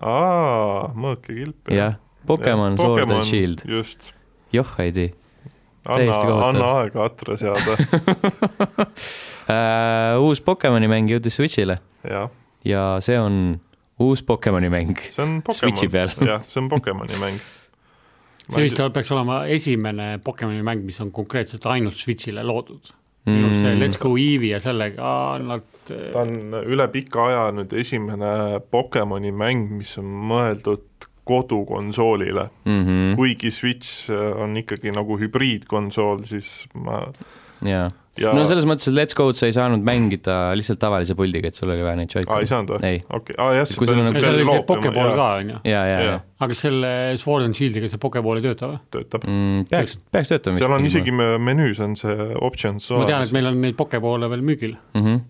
[SPEAKER 2] aa , mõõk ja kilp .
[SPEAKER 1] jah . Pokemon Sword and Shield ,
[SPEAKER 2] just ,
[SPEAKER 1] joh ei tee .
[SPEAKER 2] anna
[SPEAKER 1] Täiesti , kohutav.
[SPEAKER 2] anna aega atra
[SPEAKER 1] <laughs>
[SPEAKER 2] seada ,
[SPEAKER 1] Äh, uus Pokemoni mäng jõudis Switch'ile
[SPEAKER 2] jah ,
[SPEAKER 1] ja see on uus Pokemoni mäng .
[SPEAKER 2] see on
[SPEAKER 1] Switchi
[SPEAKER 2] Pokemon ,
[SPEAKER 1] peal .
[SPEAKER 2] jah , see on Pokemoni mäng .
[SPEAKER 3] see vist peaks olema esimene Pokemoni mäng , mis on konkreetselt ainult Switch'ile loodud .
[SPEAKER 1] Mhm.
[SPEAKER 3] minu arust
[SPEAKER 1] Mm.
[SPEAKER 3] see Let's Go Eeve'i ja sellega nad
[SPEAKER 2] ta on üle pika aja nüüd esimene Pokemoni mäng , mis on mõeldud kodukonsoolile ,
[SPEAKER 3] Mhm.
[SPEAKER 1] mm .
[SPEAKER 2] kuigi Switch on ikkagi nagu hübriidkonsool , siis ma
[SPEAKER 1] jaa .
[SPEAKER 2] ja
[SPEAKER 1] no selles mõttes , et Let's Go'd sa ei saanud mängida lihtsalt tavalise puldiga , et sul oli vaja neid
[SPEAKER 2] aa , Ah, ei
[SPEAKER 1] joy-con'e .
[SPEAKER 2] saanud või ?
[SPEAKER 1] ei ,
[SPEAKER 2] okei , aa jah ,
[SPEAKER 1] Kui sul on-
[SPEAKER 3] ja seal oli see Pokeball ka , on ju .
[SPEAKER 1] jaa , jaa ,
[SPEAKER 2] Jaa.
[SPEAKER 1] jaa .
[SPEAKER 3] aga kas selle Sword and Shieldiga see Pokeball ei tööta või ?
[SPEAKER 2] töötab ,
[SPEAKER 1] Mm, peaks , peaks töötama .
[SPEAKER 2] seal on isegi me- menüüs on see options
[SPEAKER 3] ma tean , et meil on neid Pokeballe veel müügil ,
[SPEAKER 1] mm -hmm. .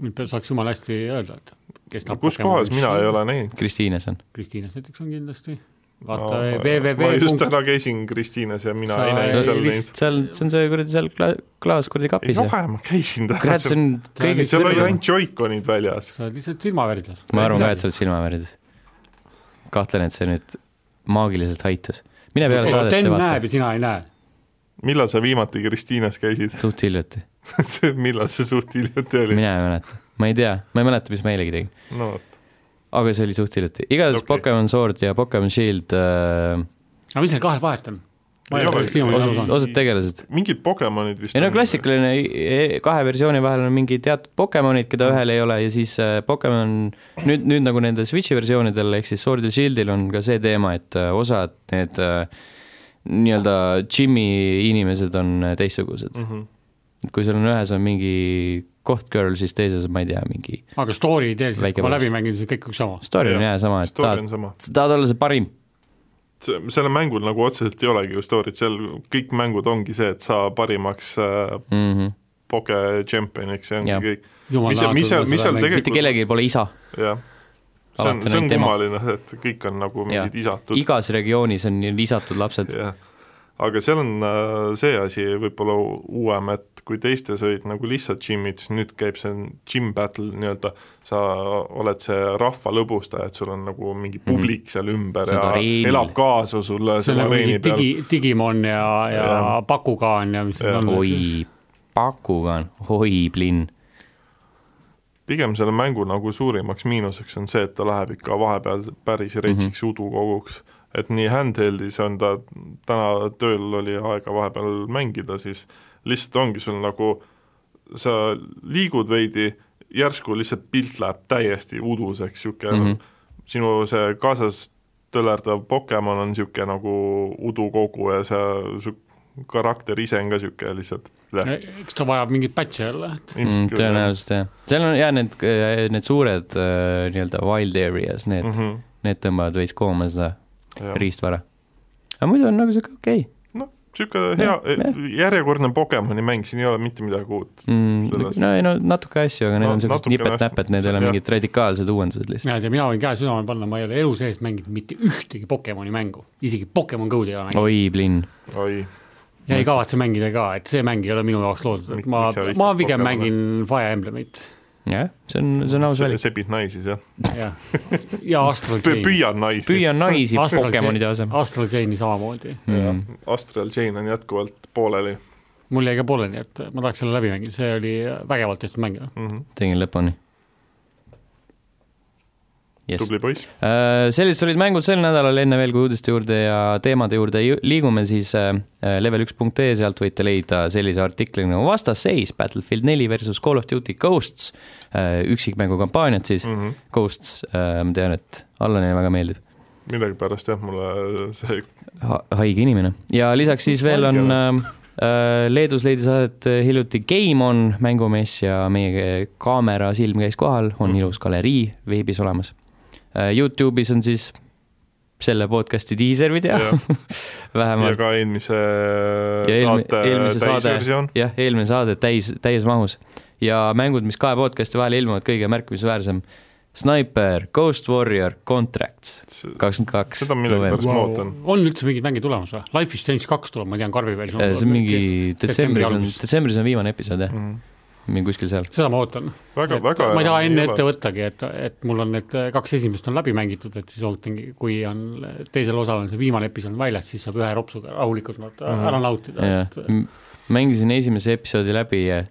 [SPEAKER 3] nüüd pe- saaks jumala hästi öelda , et kes tahab
[SPEAKER 2] kus kohas , mina ei ole näinud .
[SPEAKER 1] Kristiines on .
[SPEAKER 3] Kristiines näiteks on kindlasti , vaata
[SPEAKER 2] No, ma just
[SPEAKER 3] www
[SPEAKER 2] täna käisin Kristiines ja mina
[SPEAKER 3] Sa
[SPEAKER 2] ei
[SPEAKER 3] ei
[SPEAKER 2] näinud seal neid
[SPEAKER 3] vist- .
[SPEAKER 1] seal , see on see kuradi seal kla- , klaas kuradi
[SPEAKER 2] ei
[SPEAKER 1] kapis ja
[SPEAKER 2] ole , ma käisin täna
[SPEAKER 1] kurat , see , on kõige
[SPEAKER 2] seal oli
[SPEAKER 1] kõrgem .
[SPEAKER 2] ainult joikonid väljas .
[SPEAKER 3] sa oled lihtsalt silmavärdjas .
[SPEAKER 1] ma arvan ka , et sa oled silmavärdis . kahtlen , et see nüüd maagiliselt haitus . mine peale saadet
[SPEAKER 3] Sten
[SPEAKER 1] ja
[SPEAKER 3] näeb
[SPEAKER 1] vaata .
[SPEAKER 3] ja sina ei näe .
[SPEAKER 2] millal sa viimati Kristiines käisid ?
[SPEAKER 1] suht hiljuti ,
[SPEAKER 2] millal <laughs> see suht hiljuti oli ?
[SPEAKER 1] mina ei mäleta , ma ei tea , ma ei mäleta , mis ma eilegi tegin ,
[SPEAKER 2] no vot ,
[SPEAKER 1] aga see oli suht hiljuti . igatahes
[SPEAKER 2] Okei.
[SPEAKER 1] okay. Pokemon Sword ja Pokemon Shield äh, ,
[SPEAKER 3] aga mis seal kahet vahet on ? ma
[SPEAKER 2] Ei
[SPEAKER 3] ei
[SPEAKER 2] ole
[SPEAKER 3] ole sellest siiamaani aru
[SPEAKER 2] Ei-
[SPEAKER 1] osad ,
[SPEAKER 3] saanud .
[SPEAKER 1] osad tegelased .
[SPEAKER 2] mingid Pokemonid vist
[SPEAKER 1] ei no . klassikaline e- e- kahe versiooni vahel on mingi teatud Pokemonid , keda
[SPEAKER 2] Mm.
[SPEAKER 1] ühel ei ole ja siis äh, Pokemon nüüd , nüüd nagu nendel Switch'i versioonidel ehk siis Sword ja Shieldil on ka see teema , et äh, osad need äh, nii-öelda džimi inimesed on äh, teistsugused .
[SPEAKER 2] Mm -hmm.
[SPEAKER 1] kui sul on ühes on mingi koht girl , siis teises on, ma ei tea , mingi
[SPEAKER 3] aga story idees ,
[SPEAKER 1] Väike
[SPEAKER 3] kui ma
[SPEAKER 1] vahe.
[SPEAKER 3] läbi mängin , siis on kõik üks sama .
[SPEAKER 1] story on
[SPEAKER 2] Jah,
[SPEAKER 1] jah sama , et
[SPEAKER 2] story
[SPEAKER 1] tahad
[SPEAKER 2] on , sama .
[SPEAKER 1] tahad olla see parim .
[SPEAKER 2] sellel mängul nagu otseselt ei olegi ju story't , seal kõik mängud ongi see , et saa parimaks äh,
[SPEAKER 1] Mhm.
[SPEAKER 2] poke tšempioniks ja ongi
[SPEAKER 1] Jah.
[SPEAKER 2] kõik . Mis seal- mis seal- mis seal tegelikult-
[SPEAKER 1] mitte kellelgi pole isa ,
[SPEAKER 2] jah . see on ,
[SPEAKER 1] Alati
[SPEAKER 2] see on
[SPEAKER 1] neid demo.
[SPEAKER 2] kummaline , et kõik on nagu mingid isatud
[SPEAKER 1] igas regioonis on nii lisatud lapsed .
[SPEAKER 2] jah , aga seal on äh, see asi võib-olla u- uuem , et kui teistes olid nagu lihtsalt džimmid , siis nüüd käib see gym battle nii-öelda , sa oled see rahva lõbustaja , et sul on nagu mingi
[SPEAKER 3] Mhm.
[SPEAKER 2] publik seal ümber
[SPEAKER 1] Sa oled
[SPEAKER 2] ja
[SPEAKER 1] areenil.
[SPEAKER 2] elab kaasa sulle
[SPEAKER 3] nagu see on
[SPEAKER 2] selle
[SPEAKER 3] nagu mingi
[SPEAKER 2] areeni peal
[SPEAKER 3] digi , Digimon ja , ja
[SPEAKER 2] Jah.
[SPEAKER 3] Bakugan ja mis need
[SPEAKER 2] Jah.
[SPEAKER 3] on .
[SPEAKER 1] oi , Bakugan , oi , plinn .
[SPEAKER 2] pigem selle mängu nagu suurimaks miinuseks on see , et ta läheb ikka vahepeal päris retsiks mm -hmm. udukoguks , et nii handheld'is on ta , täna tööl oli aega vahepeal mängida , siis lihtsalt ongi sul nagu , sa liigud veidi , järsku lihtsalt pilt läheb täiesti uduseks , niisugune mm
[SPEAKER 1] Mhm.
[SPEAKER 2] -hmm. sinu see kaasas tölerdav Pokemon on niisugune nagu udukogu ja sa , su karakter ise on ka niisugune lihtsalt
[SPEAKER 3] eks ta vajab mingit patch'i jälle , et
[SPEAKER 1] mm, .
[SPEAKER 2] tõenäoliselt
[SPEAKER 1] tõenäoliselt jah , seal on jah need , need suured äh, nii-öelda wild areas , need mm , -hmm.
[SPEAKER 2] -hmm.
[SPEAKER 1] need tõmbavad veits kooma seda
[SPEAKER 2] Jah.
[SPEAKER 1] riistvara . aga muidu on nagu sihuke okei
[SPEAKER 2] niisugune hea
[SPEAKER 1] Jah, ,
[SPEAKER 2] järjekordne Pokemoni mäng , siin ei ole mitte midagi uut .
[SPEAKER 1] mm,
[SPEAKER 2] Selles- ,
[SPEAKER 1] no ei no natuke asju , aga need no,
[SPEAKER 2] No,
[SPEAKER 1] on siuksed
[SPEAKER 2] natukene
[SPEAKER 1] nipet-näpet , need ei ole
[SPEAKER 2] jah.
[SPEAKER 1] mingid radikaalsed uuendused lihtsalt .
[SPEAKER 3] mina ei tea , mina võin käe südamele panna , ma ei ole elu sees mänginud mitte ühtegi Pokemoni mängu , isegi Pokemon Go'd ei ole mänginud
[SPEAKER 1] oi , plinn ,
[SPEAKER 2] oi ,
[SPEAKER 3] ja ei kavatse mängida ka , et see mäng ei ole minu jaoks loodud ,
[SPEAKER 2] Mik-
[SPEAKER 3] et ma
[SPEAKER 2] miks sa , vihkad
[SPEAKER 3] ma pigem
[SPEAKER 2] Pokemone?
[SPEAKER 3] mängin Fire Emblemit
[SPEAKER 1] jah , see on , see on aus valik .
[SPEAKER 2] sebid naisi seal . <laughs>
[SPEAKER 3] ja , ja Astral Chain ,
[SPEAKER 2] püüan naisi .
[SPEAKER 1] püüa naisi
[SPEAKER 3] Astral
[SPEAKER 1] Pokemonide asemel .
[SPEAKER 3] Astral Chain'i samamoodi .
[SPEAKER 2] Mm. . Astral Chain on jätkuvalt pooleli
[SPEAKER 3] mul jäi ka pooleli , et ma tahaks selle läbi mängida , see oli vägevalt tehtud mäng .
[SPEAKER 2] mm . -hmm.
[SPEAKER 1] tegin lõpuni . jess .
[SPEAKER 2] tubli poiss .
[SPEAKER 1] Äh, sellised olid mängud sel nädalal , enne veel kui uudiste juurde ja teemade juurde ju- liigume , siis äh, level1.ee , sealt võite leida sellise artikli nagu Vastasseis Battlefield neli versus Call of Duty Ghosts , Äh,
[SPEAKER 2] Mhm.
[SPEAKER 1] üksikmängukampaaniad siis mm , -hmm. Ghosts , ma tean , et Allanile väga meeldib .
[SPEAKER 2] millegipärast jah , mulle see
[SPEAKER 1] ha haige inimene ja lisaks siis veel on äh, Leedus leidis aset hiljuti Game On mängumees ja meie kaamera silm käis kohal ,
[SPEAKER 2] Mm.
[SPEAKER 1] on ilus galerii veebis olemas . Youtube'is on siis selle podcast'i diiser video
[SPEAKER 2] jah , ja
[SPEAKER 1] vähemalt
[SPEAKER 2] ka eelmise
[SPEAKER 1] Ja eelmi-
[SPEAKER 2] saate
[SPEAKER 1] eelmise saade-
[SPEAKER 2] täisversioon ,
[SPEAKER 1] jah , eelmine saade täis , täismahus ja mängud , mis kahe podcast'i vahel ilmuvad , kõige märkimisväärsem Sniper , Ghost Warrior , Contracts kakskümmend kaks .
[SPEAKER 2] seda millegipärast ma ootan .
[SPEAKER 3] on üldse mingeid mänge tulemas või ? Life is Strange kaks tuleb , ma tean , Karbi veel .
[SPEAKER 1] Äh, see on mingi
[SPEAKER 3] detsembri
[SPEAKER 1] detsembris on
[SPEAKER 3] alguses. ,
[SPEAKER 1] detsembris on viimane episood jah ,
[SPEAKER 2] Mhm.
[SPEAKER 1] mingi kuskil seal .
[SPEAKER 3] seda ma ootan .
[SPEAKER 2] väga , väga
[SPEAKER 3] ma ei taha enne ette
[SPEAKER 2] ole.
[SPEAKER 3] võttagi , et , et mul on need kaks esimest on läbi mängitud , et siis ootangi , kui on teisel osal on see viimane episood väljas , siis saab ühe ropsuga rahulikult vaata
[SPEAKER 2] Mhm.
[SPEAKER 3] ära nautida , et
[SPEAKER 1] jah , mängisin esimese episoodi läbi ja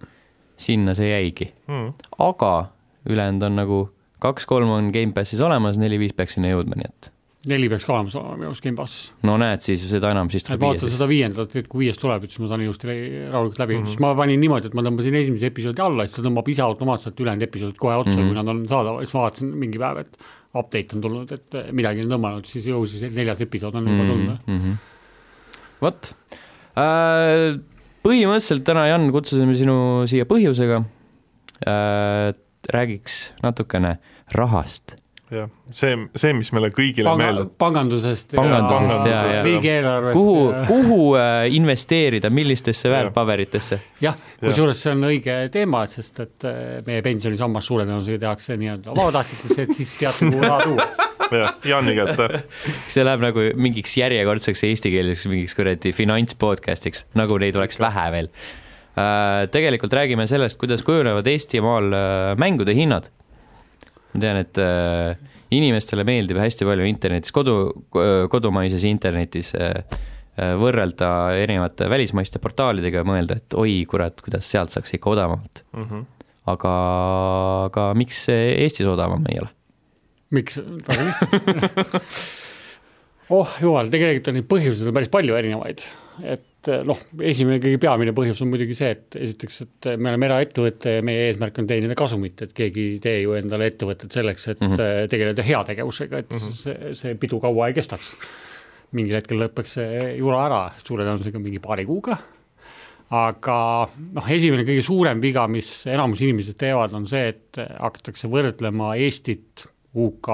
[SPEAKER 1] sinna see jäigi ,
[SPEAKER 2] Mhm.
[SPEAKER 1] aga ülejäänud on nagu kaks-kolm on Gamepassis olemas , neli-viis peaks sinna jõudma , nii et
[SPEAKER 3] neli peaks ka olemas olema minu arust Gamepassis .
[SPEAKER 1] no näed siis seda enam , siis
[SPEAKER 3] et
[SPEAKER 1] tuleb viies
[SPEAKER 3] vaatan . seda viiendat , et kui viies tuleb , et siis ma saan ilusti lei- rahulikult läbi
[SPEAKER 1] Mhm.
[SPEAKER 3] mm , -hmm. siis ma panin niimoodi , et ma tõmbasin esimese episoodi alla , siis ta tõmbab ise automaatselt ülejäänud episoodid kohe otsa mm ,
[SPEAKER 1] Mhm.
[SPEAKER 3] -hmm. kui nad on saadaval , siis ma vaatasin mingi päev , et update on tulnud , et midagi on tõmmanud , siis ju siis neljas episood on juba tulnud .
[SPEAKER 1] mm -hmm. . vot äh, , põhimõtteliselt täna , Jan , kutsusime sinu siia põhjusega äh, . räägiks natukene rahast .
[SPEAKER 2] jah , see , see , mis meile kõigile Panga...
[SPEAKER 3] Panga,
[SPEAKER 2] meeldib ,
[SPEAKER 3] pangandusest ,
[SPEAKER 1] Pangandusest, jaa, jaa.
[SPEAKER 3] riigieelarvest .
[SPEAKER 1] kuhu , kuhu äh, investeerida , millistesse väärtpaberitesse ?
[SPEAKER 3] jah , kusjuures see on õige teema , sest et äh, meie pensionisammas suure tõenäosusega tehakse nii-öelda vabatahtlikuks , et siis teate , kuhu raha tuua .
[SPEAKER 2] jah , Jaani <laughs> kätte ,
[SPEAKER 1] see läheb nagu mingiks järjekordseks eestikeelseks mingiks kuradi finantspodcastiks , nagu neid oleks vähe veel . tegelikult räägime sellest , kuidas kujunevad Eestimaal äh, mängude hinnad . ma tean , et äh, inimestele meeldib hästi palju internetis , kodu , kodumaises internetis äh, äh, võrrelda erinevate välismaiste portaalidega ja mõelda , et oi kurat , kuidas sealt saaks ikka odavamalt .
[SPEAKER 2] Mhm.
[SPEAKER 1] aga , aga miks see Eestis odavam ei ole ?
[SPEAKER 3] miks , väga lihtsalt . oh jumal , tegelikult on neid põhjuseid on päris palju erinevaid , et eh, noh , esimene kõige peamine põhjus on muidugi see , et esiteks , et me oleme eraettevõte ja meie eesmärk on teenida kasumit , et keegi ei tee ju endale ettevõtet selleks , et mm -hmm. tegeleda heategevusega , et mm -hmm. see, see pidu kaua ei kestaks . mingil hetkel lõpeks see jura ära , suure tõenäosusega mingi paari kuuga aga noh , esimene kõige suurem viga , mis enamus inimesed teevad , on see , et hakatakse võrdlema Eestit UK ,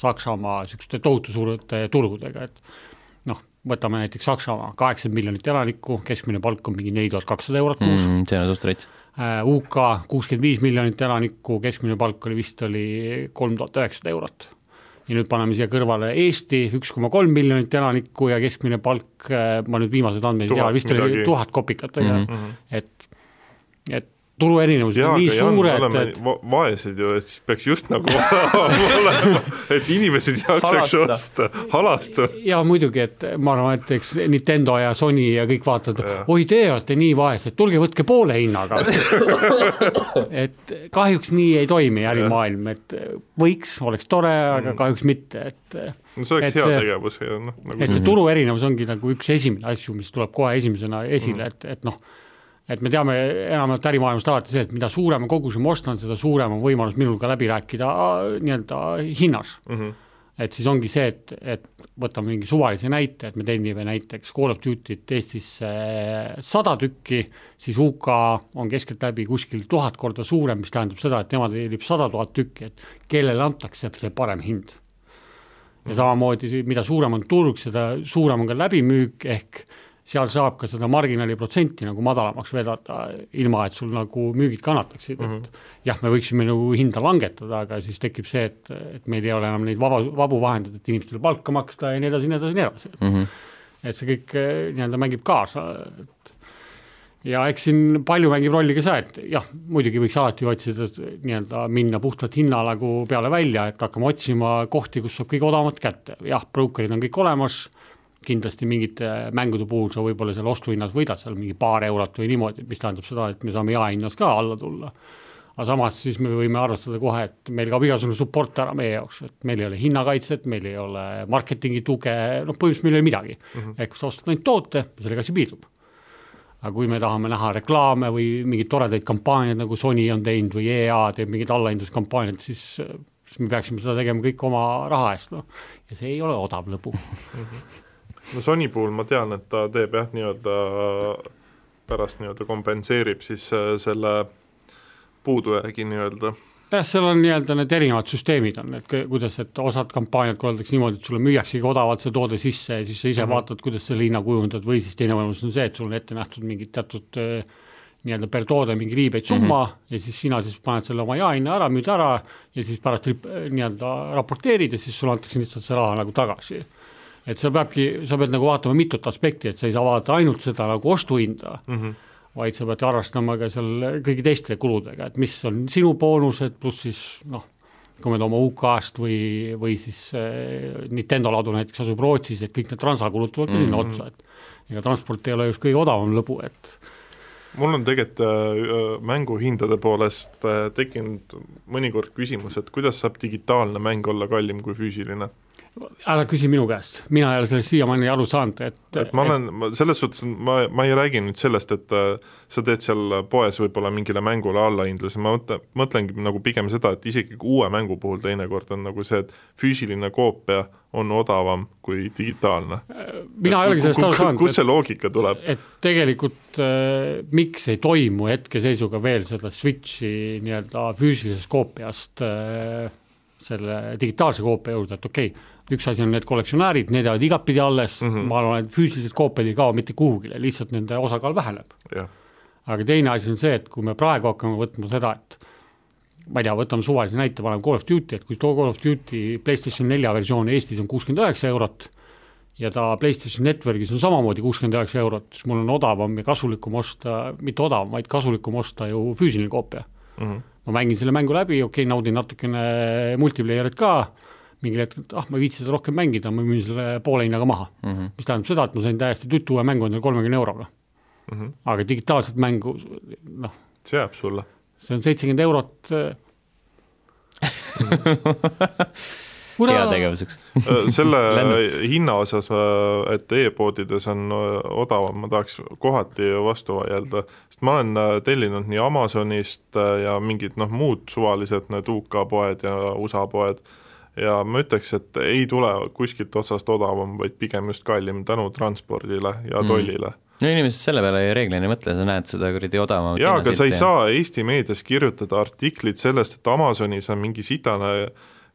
[SPEAKER 3] Saksamaa niisuguste tohutu suurte turgudega , et noh , võtame näiteks Saksamaa , kaheksakümmend miljonit elanikku , keskmine palk on mingi neli tuhat kakssada eurot
[SPEAKER 2] Mhm.
[SPEAKER 3] kuus mm. ,
[SPEAKER 1] see on suht rets .
[SPEAKER 3] UK kuuskümmend viis miljonit elanikku , keskmine palk oli vist oli kolm tuhat üheksasada eurot . ja nüüd paneme siia kõrvale Eesti , üks koma kolm miljonit elanikku ja keskmine palk , ma nüüd viimaseid andmeid ei tea ,
[SPEAKER 2] Tuhat
[SPEAKER 3] vist oli
[SPEAKER 2] midagi.
[SPEAKER 3] tuhat kopikat , on ju
[SPEAKER 1] Mhm.
[SPEAKER 3] et , et turuerinevused
[SPEAKER 2] jaa ,
[SPEAKER 3] on nii
[SPEAKER 2] aga Jaan , me
[SPEAKER 3] suured ,
[SPEAKER 2] oleme
[SPEAKER 3] et
[SPEAKER 2] va- vaesed ju , et siis peaks just nagu <laughs> olema , et inimesed jaksaks
[SPEAKER 4] Halastada.
[SPEAKER 2] osta , halastada .
[SPEAKER 3] ja muidugi , et ma arvan , et eks Nintendo ja Sony ja kõik vaatavad , oi , te olete nii vaesed , tulge võtke poole
[SPEAKER 2] <laughs>
[SPEAKER 3] hinnaga . et kahjuks nii ei toimi ärimaailm , et võiks , oleks tore ,
[SPEAKER 2] Mm.
[SPEAKER 3] aga kahjuks mitte , et ,
[SPEAKER 2] no see
[SPEAKER 3] Et
[SPEAKER 2] oleks hea
[SPEAKER 3] see-
[SPEAKER 2] tegevus ja noh , nagu
[SPEAKER 3] et see turuerinevus ongi nagu üks esimene asju , mis tuleb kohe esimesena
[SPEAKER 2] Mm.
[SPEAKER 3] esile , et , et noh , et me teame enamjaolt ärimaailmast alati see , et mida suurema koguse ma ostan , seda suurem on võimalus minul ka läbi rääkida äh, nii-öelda hinnas
[SPEAKER 2] Mhm.
[SPEAKER 3] et siis ongi see , et , et võtame mingi suvalise näite , et me tellime näiteks Call of Duty't Eestisse eh, sada tükki , siis UK on keskeltläbi kuskil tuhat korda suurem , mis tähendab seda , et nemad tellib sada tuhat tükki , et kellele antakse see parem hind . ja samamoodi , mida suurem on turg , seda suurem on ka läbimüük , ehk seal saab ka seda marginaaliprotsenti nagu madalamaks vedada , ilma et sul nagu müügid kannataksid
[SPEAKER 2] Mhm.
[SPEAKER 3] mm , -hmm. et jah , me võiksime nagu hinda langetada , aga siis tekib see , et , et meil ei ole enam neid vaba , vabu vahendeid , et inimestele palka maksta ja nii edasi , nii edasi , nii edasi .
[SPEAKER 1] Mm -hmm.
[SPEAKER 3] et see kõik eh, nii-öelda mängib kaasa , et ja eks siin palju mängib rolli ka see , et jah , muidugi võiks alati ju otsida , nii-öelda minna puhtalt hinnalagu peale välja , et hakkame otsima kohti , kus saab kõige odavamat kätte , jah , brokerid on kõik olemas , kindlasti mingite mängude puhul sa võib-olla seal ostuhinnas võidad seal mingi paar eurot või niimoodi , mis tähendab seda , et me saame jaehinnas ka alla tulla . aga samas siis me võime arvestada kohe , et meil kaob igasugune support ära meie jaoks , et meil ei ole hinnakaitset , meil ei ole marketingi tuge , noh põhimõtteliselt meil ei ole midagi mm -hmm. . ehk sa ostad ainult toote ja sellega see piirdub . aga kui me tahame näha reklaame E või mingeid toredaid kampaaniaid , nagu Sony on teinud või EA teeb mingeid allahindluskampaaniaid , siis siis me peaksime seda tegema kõik oma raha eest, noh. ja see ei ole odav lõbu .
[SPEAKER 2] no Sony puhul ma tean , et ta teeb jah , nii-öelda pärast nii-öelda kompenseerib siis äh, selle puudujäägi nii-öelda ,
[SPEAKER 3] jah , seal on nii-öelda need erinevad süsteemid on , et kõ- kuidas , et osad kampaaniad korraldatakse niimoodi , et sulle müüaksegi odavalt see toode sisse ja siis sa ise mm -hmm. vaatad , kuidas selle hinna kujundad või siis teine võimalus on see , et sul on ette nähtud mingid teatud öö, nii-öelda per toode mingi riibeid summa mm -hmm. ja siis sina siis paned selle oma jaehinna ära , müüd ära ja siis pärast rip- nii-öelda raporteerid ja siis sulle antakse lihtsalt see raha nagu tagasi et seal peabki , sa pead nagu vaatama mitut aspekti , et sa ei saa vaadata ainult seda nagu ostuhinda mm ,
[SPEAKER 2] Mhm.
[SPEAKER 3] -hmm. vaid sa pead arvestama ka seal kõigi teiste kuludega , et mis on sinu boonused , pluss siis noh , kui me toome UK-st või , või siis äh, Nintendo ladu näiteks asub Rootsis , et kõik need transakulud tulevad ka sinna
[SPEAKER 2] Mhm.
[SPEAKER 3] mm -hmm. otsa , et ega transport ei ole just kõige odavam lõbu , et
[SPEAKER 2] mul on tegelikult äh, mänguhindade poolest äh, tekkinud mõnikord küsimus , et kuidas saab digitaalne mäng olla kallim kui füüsiline ?
[SPEAKER 3] ära küsi minu käest , mina ei ole sellest siiamaani aru saanud , et,
[SPEAKER 2] et ma olen , ma selles suhtes , ma , ma ei räägi nüüd sellest , et äh, sa teed seal poes võib-olla mingile mängule allahindluse , ma mõtlen , mõtlengi nagu pigem seda , et isegi uue mängu puhul teinekord on nagu see , et füüsiline koopia on odavam kui digitaalne .
[SPEAKER 3] eh, mina ei olegi sellest aru saanud .
[SPEAKER 2] kust see loogika tuleb ?
[SPEAKER 3] et tegelikult äh, miks ei toimu hetkeseisuga veel seda switch'i nii-öelda füüsilisest koopiast äh, selle digitaalse koopia juurde , et okei okay, , üks asi on need kollektsionäärid , need jäävad igatpidi alles mm , -hmm. ma arvan , et füüsilised koopiad ei kao mitte kuhugile , lihtsalt nende osakaal väheneb .
[SPEAKER 2] jah ,
[SPEAKER 3] aga teine asi on see , et kui me praegu hakkame võtma seda , et ma ei tea , võtame suvalise näite , paneme Call of Duty , et kui too Call of Duty PlayStation nelja versioon Eestis on kuuskümmend üheksa eurot ja ta PlayStation Networkis on samamoodi kuuskümmend üheksa eurot , siis mul on odavam ja kasulikum osta , mitte odavam , vaid kasulikum osta ju füüsiline koopia mm .
[SPEAKER 2] Mhm.
[SPEAKER 3] -hmm. ma mängin selle mängu läbi , okei okay, , naudin natukene multiplayer'it ka , mingil hetkel , et ah , ma ei viitsi seda rohkem mängida , ma müün selle poole hinnaga maha mm .
[SPEAKER 1] Mhm.
[SPEAKER 3] -hmm. mis tähendab seda , et ma sain täiesti tütu uue mängu endale kolmekümne euroga mm .
[SPEAKER 2] Mhm.
[SPEAKER 3] -hmm. aga digitaalset mängu , noh ,
[SPEAKER 2] see jääb sulle .
[SPEAKER 3] see on seitsekümmend eurot . äh,
[SPEAKER 1] <laughs> hea tegevuseks .
[SPEAKER 2] Äh, selle
[SPEAKER 1] Lennart.
[SPEAKER 2] hinna osas , et e-poodides on äh, odavam , ma tahaks kohati vastu vaielda , sest ma olen äh, tellinud nii Amazonist äh, ja mingid noh , muud suvalised need UK poed ja USA poed ja ma ütleks , et ei tule kuskilt otsast odavam , vaid pigem just kallim tänu transpordile ja tollile mm. .
[SPEAKER 1] no inimesed selle peale ju reeglina ei mõtle , sa näed seda kuradi odavamat
[SPEAKER 2] jaa , aga sa ei . saa Eesti meedias kirjutada artiklit sellest , et Amazonis on mingi sitane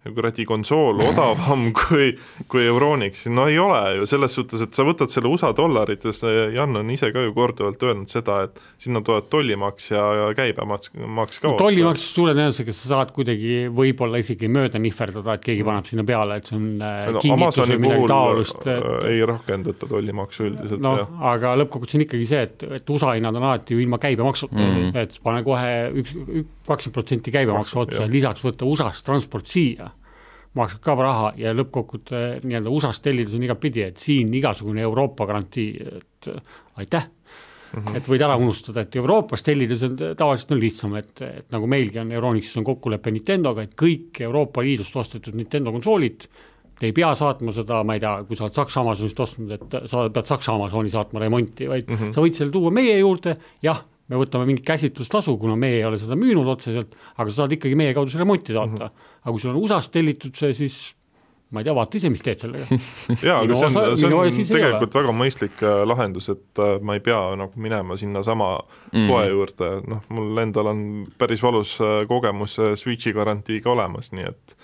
[SPEAKER 2] kuradi konsool odavam <laughs> kui , kui Euronix , no ei ole ju , selles suhtes , et sa võtad selle USA dollarites , Jan on ise ka ju korduvalt öelnud seda , et sinna tulevad tollimaks ja ja käibemaks , maks ka .
[SPEAKER 3] tollimaksust suure tõenäosusega sa saad kuidagi võib-olla isegi mööda nihverdada , et keegi paneb sinna peale , et see on äh,
[SPEAKER 2] Mm. no,
[SPEAKER 3] kingitus
[SPEAKER 2] Amazoni
[SPEAKER 3] või midagi
[SPEAKER 2] puhul
[SPEAKER 3] taolist .
[SPEAKER 2] äh, ei rakendata tollimaksu üldiselt no. ,
[SPEAKER 3] noh
[SPEAKER 2] jah ,.
[SPEAKER 3] aga lõppkokkuvõttes on ikkagi see , et , et USA hinnad on alati ju ilma käibemaksuta mm , -hmm. et pane kohe üks , kakskümmend protsenti käibemaksu otsa ja
[SPEAKER 2] jah.
[SPEAKER 3] lisaks võtta USA-st transport siia , maksab ka raha ja lõppkokkuvõttes nii-öelda USA-st tellides on igatpidi , et siin igasugune Euroopa garantii , et eh, aitäh mm . -hmm. et võid ära unustada , et Euroopas tellides on tavaliselt on lihtsam , et , et nagu meilgi on Euronixis on kokkulepe Nintendoga , et kõik Euroopa Liidust ostetud Nintendo konsoolid te ei pea saatma seda , ma ei tea , kui sa oled Saksa Amazonist ostnud , et sa pead Saksa Amazoni saatma remonti , vaid
[SPEAKER 2] Mhm.
[SPEAKER 3] mm -hmm. sa võid selle tuua meie juurde , jah , me võtame mingi käsitlustasu , kuna meie ei ole seda müünud otseselt , aga sa saad ikkagi meie kaudu selle remonti saata mm . -hmm. aga kui sul on USA-st tellitud see , siis ma ei tea , vaata ise , mis teed sellega .
[SPEAKER 2] jaa , aga
[SPEAKER 3] minu
[SPEAKER 2] see on
[SPEAKER 3] osa- ,
[SPEAKER 2] see
[SPEAKER 3] minu
[SPEAKER 2] on
[SPEAKER 3] asi see ei ole.
[SPEAKER 2] tegelikult väga mõistlik äh, lahendus , et äh, ma ei pea nagu minema sinnasama
[SPEAKER 3] Mhm.
[SPEAKER 1] Mhm.
[SPEAKER 2] mm. poe juurde , noh , mul endal on päris valus äh, kogemus äh, Switchi garantiiga olemas , nii et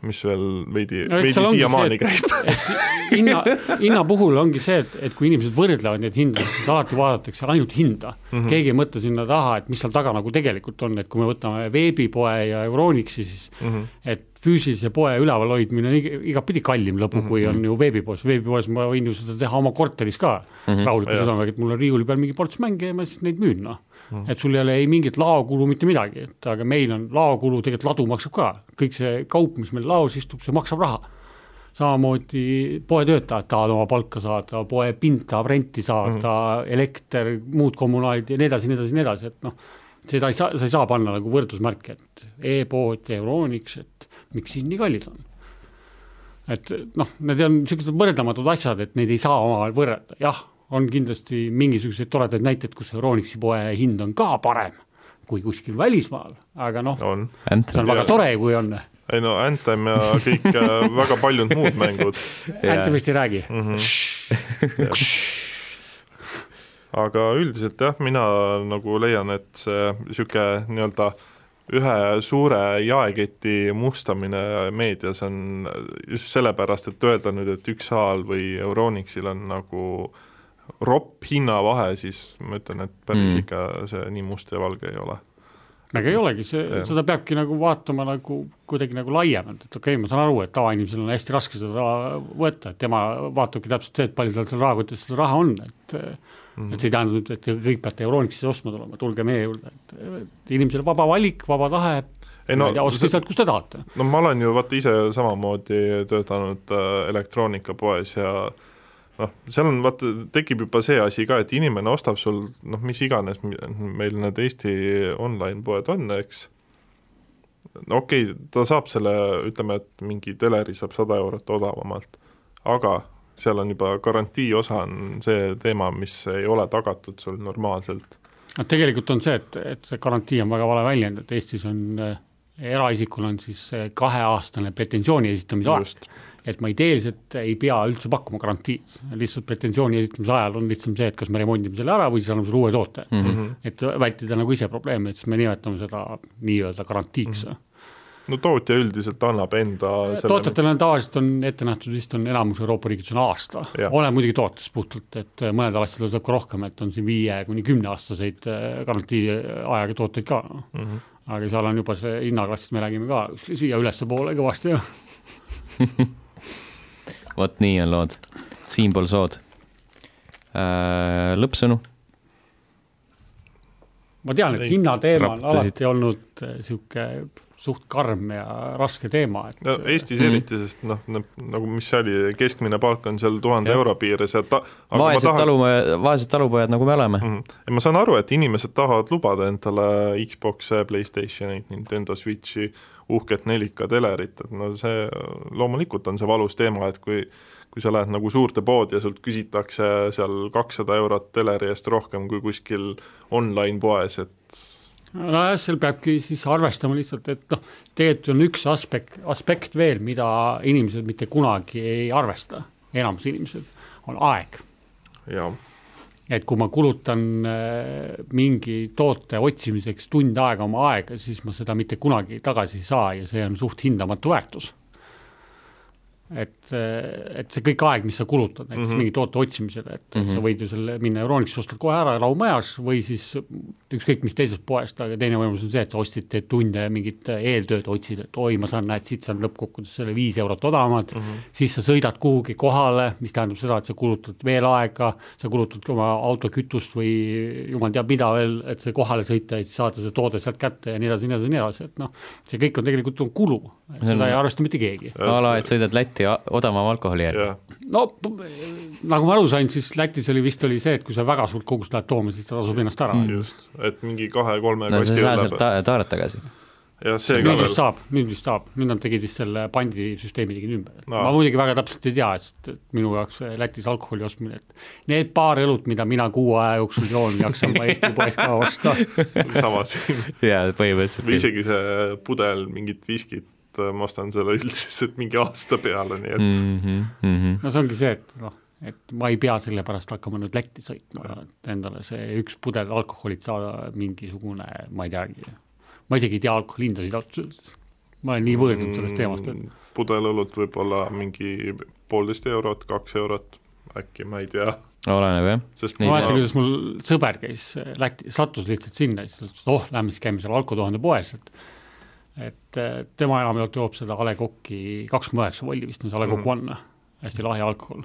[SPEAKER 2] mis veel veidi
[SPEAKER 3] No
[SPEAKER 2] no, ,
[SPEAKER 3] eks
[SPEAKER 2] veidi
[SPEAKER 3] seal ongi
[SPEAKER 2] siiamaani
[SPEAKER 3] see,
[SPEAKER 2] käib .
[SPEAKER 3] hinna , hinna puhul ongi see , et , et kui inimesed võrdlevad neid hindasid , siis alati vaadatakse ainult hinda mm . -hmm. keegi ei mõtle sinna taha , et mis seal taga nagu tegelikult on , et kui me võtame veebipoe ja Euronixi , siis mm
[SPEAKER 2] Mhm,
[SPEAKER 3] -hmm. et füüsilise poe üleval hoidmine on iga- igatpidi kallim lõbu mm , -hmm. kui on ju veebipoes , veebipoes ma võin ju seda teha oma korteris ka mm
[SPEAKER 1] Mhm.
[SPEAKER 3] -hmm. rahuliku
[SPEAKER 2] Jah.
[SPEAKER 3] südamega , et mul on riiuli peal mingi ports mänge ja ma siis neid müün , noh . et sul ei ole ei mingit laokulu , mitte midagi , et aga meil on laokulu , tegelikult ladu maksab ka , kõik see kaup , mis meil laos istub , see maksab raha samamoodi poetöötajad tahavad oma palka saada , poepind tahab renti saada mm , -hmm. elekter , muud kommunaalid ja nii edasi , nii edasi , nii edasi , et noh , seda ei saa , sa ei saa panna nagu võrdusmärki , et e-pood , Euroniks , et miks siin nii kallid on . et noh , need on niisugused võrdlematud asjad , et neid ei saa omavahel võrrelda , jah , on kindlasti mingisuguseid toredaid näiteid , kus Euronixi poe hind on ka parem kui kuskil välismaal , aga noh no, ,
[SPEAKER 2] on ,
[SPEAKER 3] see on väga tore , kui on
[SPEAKER 2] ei no Anthem ja kõik äh, väga paljud muud
[SPEAKER 1] <laughs>
[SPEAKER 2] mängud ,
[SPEAKER 3] Anthemist ei räägi .
[SPEAKER 2] Mhm. aga üldiselt jah , mina nagu leian , et see niisugune nii-öelda ühe suure jaeketi mustamine meedias on just sellepärast , et öelda nüüd , et ükshaaval või Euronixil on nagu ropp hinnavahe , siis ma ütlen , et päris
[SPEAKER 1] Mm.
[SPEAKER 2] mm. ikka see nii must ja valge ei ole .
[SPEAKER 3] aga ei olegi , see , seda peabki nagu vaatama nagu kuidagi nagu laiemalt , et okei okay, , ma saan aru , et tavainimesel on hästi raske seda raha võtta , et tema vaatabki täpselt see , et palju tal seal rahakotis seda raha on , et
[SPEAKER 2] Mhm.
[SPEAKER 3] mm. et see ei tähenda nüüd , et te kõik peate Euronixisse ostma tulema , tulge meie juurde , et inimesel vaba valik , vaba tahe ,
[SPEAKER 2] ei
[SPEAKER 3] no,
[SPEAKER 2] no
[SPEAKER 3] ma ei tea , ostke
[SPEAKER 2] see-
[SPEAKER 3] sealt , kus te tahate .
[SPEAKER 2] no ma olen ju vaata ise samamoodi töötanud äh, elektroonikapoes ja noh , seal on vaata , tekib juba see asi ka , et inimene ostab sul noh , mis iganes , meil need Eesti online-poed on , eks no okei okay, , ta saab selle , ütleme , et mingi teleri saab sada eurot odavamalt , aga seal on juba garantii osa on see teema , mis ei ole tagatud sul normaalselt .
[SPEAKER 3] no tegelikult on see , et , et see garantii on väga vale väljend , et Eestis on äh, eraisikul on siis äh, kaheaastane pretensiooni esitamise aeg .
[SPEAKER 2] just ,
[SPEAKER 3] et ma ideeliselt ei pea üldse pakkuma garantiid , lihtsalt pretensiooni esitamise ajal on lihtsam see , et kas me remondime selle ära või siis anname sulle uue toote mm .
[SPEAKER 2] Mhm.
[SPEAKER 1] Mhm.
[SPEAKER 3] -hmm. et vältida nagu ise probleeme , et siis me nimetame seda nii-öelda garantiiks mm . -hmm.
[SPEAKER 2] no tootja üldiselt annab enda selle
[SPEAKER 3] tootjatele on tavaliselt on ette nähtud vist on enamus Euroopa riigides on aasta ,
[SPEAKER 2] Jah.
[SPEAKER 3] oleneb muidugi tootest puhtalt , et eh, mõnedel asjadel saab ka rohkem , et on siin viie kuni kümneaastaseid äh, garantiiajaga tooteid ka mm .
[SPEAKER 2] Mhm.
[SPEAKER 3] -hmm. aga seal on juba see hinnaklassist , me räägime ka kuskil siia ülespoole kõvasti
[SPEAKER 1] vot nii on lood , siinpool sood . lõppsõnu ,
[SPEAKER 3] ma tean , et
[SPEAKER 2] Ei,
[SPEAKER 3] hinnateema on
[SPEAKER 1] raputasid.
[SPEAKER 3] alati olnud niisugune suht karm ja raske teema , et
[SPEAKER 2] no Eestis
[SPEAKER 1] Mhm.
[SPEAKER 2] mm. eriti , sest noh , nagu mis see oli , keskmine palk on seal tuhande
[SPEAKER 1] Jah.
[SPEAKER 2] euro piires ja ta- , aga ma
[SPEAKER 1] vaesed
[SPEAKER 2] tahan ,
[SPEAKER 1] talumehed , vaesed talupojad , nagu me oleme .
[SPEAKER 2] ma saan aru , et inimesed tahavad lubada endale Xbox'e , Playstationit , Nintendo Switchi , uhket 4K telerit , et no see loomulikult on see valus teema , et kui kui sa lähed nagu suurde poodi ja sult küsitakse seal kakssada eurot teleri eest rohkem kui kuskil online-poes , et
[SPEAKER 3] nojah , seal peabki siis arvestama lihtsalt , et noh , tegelikult on üks aspekt , aspekt veel , mida inimesed mitte kunagi ei arvesta , enamus inimesed , on aeg .
[SPEAKER 2] jaa ,
[SPEAKER 3] et kui ma kulutan äh, mingi toote otsimiseks tund aega oma aega , siis ma seda mitte kunagi tagasi ei saa ja see on suht hindamatu väärtus . et , et see kõik aeg , mis sa kulutad näiteks mm -hmm. mingi toote otsimisele , et mm -hmm. sa võid ju selle minna Euronixi , ostad kohe ära rahumajas või siis ükskõik mis teisest poest , aga teine võimalus on see , et sa ostid , teed tunde ja mingit äh, eeltööd otsid , et oi , ma saan , näed , siit saan lõppkokkuvõttes selle viis eurot odavamalt mm , -hmm. siis sa sõidad kuhugi kohale , mis tähendab seda , et sa kulutad veel aega , sa kulutad ka oma auto kütust või jumal teab mida veel , et see kohale sõita ja siis saada see toode sealt kätte ja nii edasi , nii edasi , nii edasi , et noh , see kõik on tegelikult on kulu , seda ei arvesta mitte keegi .
[SPEAKER 1] a la , et sõidad Lätti a- odavama alkoholi järgi .
[SPEAKER 2] jah ,
[SPEAKER 3] no p- nagu ma aru sain , siis Lätis oli vist oli see , et kui sa väga suurt kogust lähed tooma , siis ta tasub ennast ära mm. .
[SPEAKER 2] just , et mingi kahe-kolme
[SPEAKER 1] no sa ei
[SPEAKER 2] kasti
[SPEAKER 1] saa
[SPEAKER 2] üle
[SPEAKER 1] sealt , ta- taaret tagasi .
[SPEAKER 2] jah , see ka
[SPEAKER 3] nüüd
[SPEAKER 2] veel
[SPEAKER 3] vist saab , nüüd vist saab , nüüd nad tegid vist selle pandisüsteemi tegid ümber no.
[SPEAKER 2] Aa. .
[SPEAKER 3] ma muidugi väga täpselt ei tea , sest et minu jaoks see Lätis alkoholi ostmine , et need paar õlut , mida mina kuu aja jooksul joon , jaksan ma
[SPEAKER 2] <laughs>
[SPEAKER 3] Eesti poes ka osta .
[SPEAKER 1] <laughs>
[SPEAKER 2] sama siin
[SPEAKER 1] jaa ,
[SPEAKER 2] või
[SPEAKER 1] põhimõtteliselt .
[SPEAKER 2] isegi see pudel mingit viskit , ma ostan selle üldiselt mingi aasta peale , nii et
[SPEAKER 1] Mhm,
[SPEAKER 2] mm.
[SPEAKER 3] no see ongi see , et noh , et ma ei pea selle pärast hakkama nüüd Lätti sõitma , et endale see üks pudel alkoholit saada mingisugune , ma ei teagi , ma isegi ei tea alkoholi hindasid ausalt öeldes . ma olen nii võõrdunud sellest teemast , et
[SPEAKER 2] Mm, pudelõlut võib-olla mingi poolteist eurot , kaks eurot äkki , ma ei tea ,
[SPEAKER 1] oleneb jah .
[SPEAKER 2] sest
[SPEAKER 1] Nii,
[SPEAKER 2] ma,
[SPEAKER 3] ma mäletan , kuidas mul sõber käis äh, Läti , sattus lihtsalt sinna , siis ta ütles , et oh , lähme siis käime seal Alko tuhande poes , et et eh, tema enamjaolt joob seda A Le Coq'i kakskümmend üheksa volli vist on see A Le Coq
[SPEAKER 2] Mhm.
[SPEAKER 3] One , hästi lahe alkohol .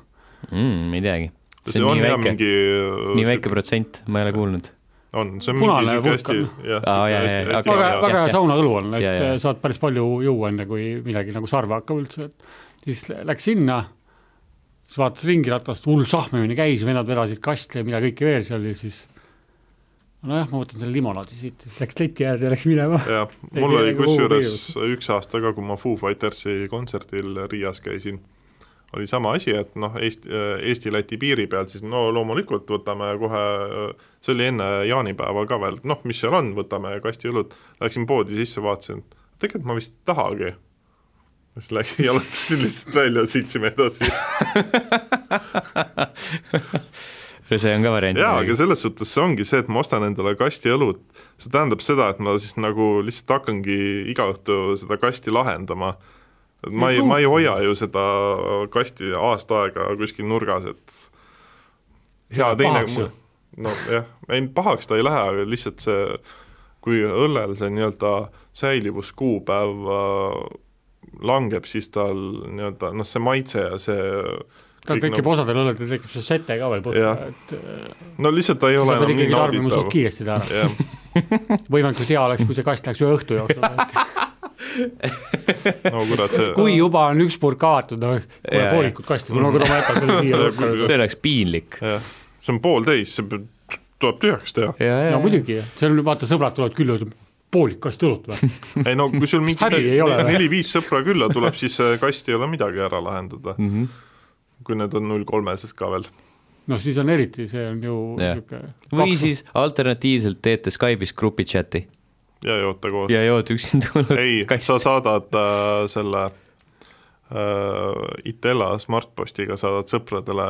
[SPEAKER 1] ei teagi . Mhm, see
[SPEAKER 2] see
[SPEAKER 1] on
[SPEAKER 2] on
[SPEAKER 1] nii
[SPEAKER 2] jah
[SPEAKER 1] väike ,
[SPEAKER 2] mingi äh,
[SPEAKER 1] nii väike , protsent , ma ei ole kuulnud .
[SPEAKER 2] on , see on
[SPEAKER 3] Punane
[SPEAKER 2] mingi
[SPEAKER 3] vulkan.
[SPEAKER 2] sihuke hästi , jah
[SPEAKER 1] Aa, jaa, jaa, jaa, okei,
[SPEAKER 3] väga ,
[SPEAKER 1] jaa.
[SPEAKER 2] väga
[SPEAKER 3] väga hea saunaõlu on , et
[SPEAKER 1] Ja,
[SPEAKER 3] ja,
[SPEAKER 1] ja.
[SPEAKER 3] ja. saad päris palju juua , enne kui midagi nagu sarve hakkab üldse , et siis läks sinna , siis vaatas ringi ratast , hull sahmimine käis , vennad vedasid kaste ja mida kõike veel seal ja siis nojah , ma võtan selle limonaadi siit , läks leti äärde ja läks minema .
[SPEAKER 2] jah ,
[SPEAKER 3] Ei,
[SPEAKER 2] mul
[SPEAKER 3] see
[SPEAKER 2] oli
[SPEAKER 3] nagu
[SPEAKER 2] kusjuures
[SPEAKER 3] hullult
[SPEAKER 2] üks aasta ka , kui ma Foo Fightersi kontserdil Riias käisin , oli sama asi , et noh , Eesti , Eesti-Läti piiri pealt siis no loomulikult võtame kohe , see oli enne jaanipäeva ka veel , noh , mis seal on , võtame kasti õlut , läksin poodi sisse , vaatasin , tegelikult ma vist ei tahagi . siis <laughs> läksin , jalutasin lihtsalt välja , sõitsime edasi .
[SPEAKER 1] see on ka variant .
[SPEAKER 2] jaa , aga selles suhtes see ongi see , et ma ostan endale kasti õlut , see tähendab seda , et ma siis nagu lihtsalt hakkangi iga õhtu seda kasti lahendama . et ma ei , ma ei hoia ju seda kasti aasta aega kuskil nurgas , et hea
[SPEAKER 3] Läheb pahaks ju.
[SPEAKER 2] teine , nojah , ei pahaks ta ei lähe , aga lihtsalt see , kui õllel see nii-öelda säilivuskuupäev äh, langeb , siis tal nii-öelda noh , see maitse ja see
[SPEAKER 3] tal
[SPEAKER 2] kõik
[SPEAKER 3] tekib
[SPEAKER 2] nagu-
[SPEAKER 3] osadel õlledel tekib see sete ka veel põhja
[SPEAKER 2] Jah. ,
[SPEAKER 3] et äh,
[SPEAKER 2] no lihtsalt ta ei
[SPEAKER 3] sa
[SPEAKER 2] ole
[SPEAKER 3] pead
[SPEAKER 2] enam nii
[SPEAKER 3] ikkagi tarbima
[SPEAKER 2] nauditav
[SPEAKER 3] suht . kiiresti ära .
[SPEAKER 2] jah ,
[SPEAKER 3] võimalikult hea oleks , kui see kast läheks ühe õhtu
[SPEAKER 2] <laughs>
[SPEAKER 3] jooksul .
[SPEAKER 2] no kurat , see
[SPEAKER 3] kui juba on üks purk avatud , noh ,
[SPEAKER 1] Jaa,
[SPEAKER 3] kuule
[SPEAKER 1] jaa.
[SPEAKER 3] poolikut kasti , mul on kodus jätab selle siia
[SPEAKER 2] <laughs>
[SPEAKER 3] lõppu .
[SPEAKER 1] see oleks piinlik .
[SPEAKER 2] jah , see on poolteis , see peab , tuleb tühjaks teha .
[SPEAKER 3] no muidugi , see on , vaata , sõbrad tulevad külla , ütlevad poolik kast õlut või ?
[SPEAKER 2] ei no kui sul mingi
[SPEAKER 3] Häbi ei ole või?
[SPEAKER 2] neli-viis sõpra külla tuleb , siis see kast ei ole midagi ära lahendada .
[SPEAKER 1] muidugi .
[SPEAKER 2] kui need on null kolmesed ka veel .
[SPEAKER 3] noh , siis on eriti , see on ju
[SPEAKER 1] Jah. või
[SPEAKER 3] niisugune
[SPEAKER 1] siis alternatiivselt teete Skype'is grupi chati
[SPEAKER 2] ja ei oota koos .
[SPEAKER 1] ja jood üksinda
[SPEAKER 2] ei , sa
[SPEAKER 1] kasti .
[SPEAKER 2] saadad äh, selle äh, Itella Smartpostiga saadad sõpradele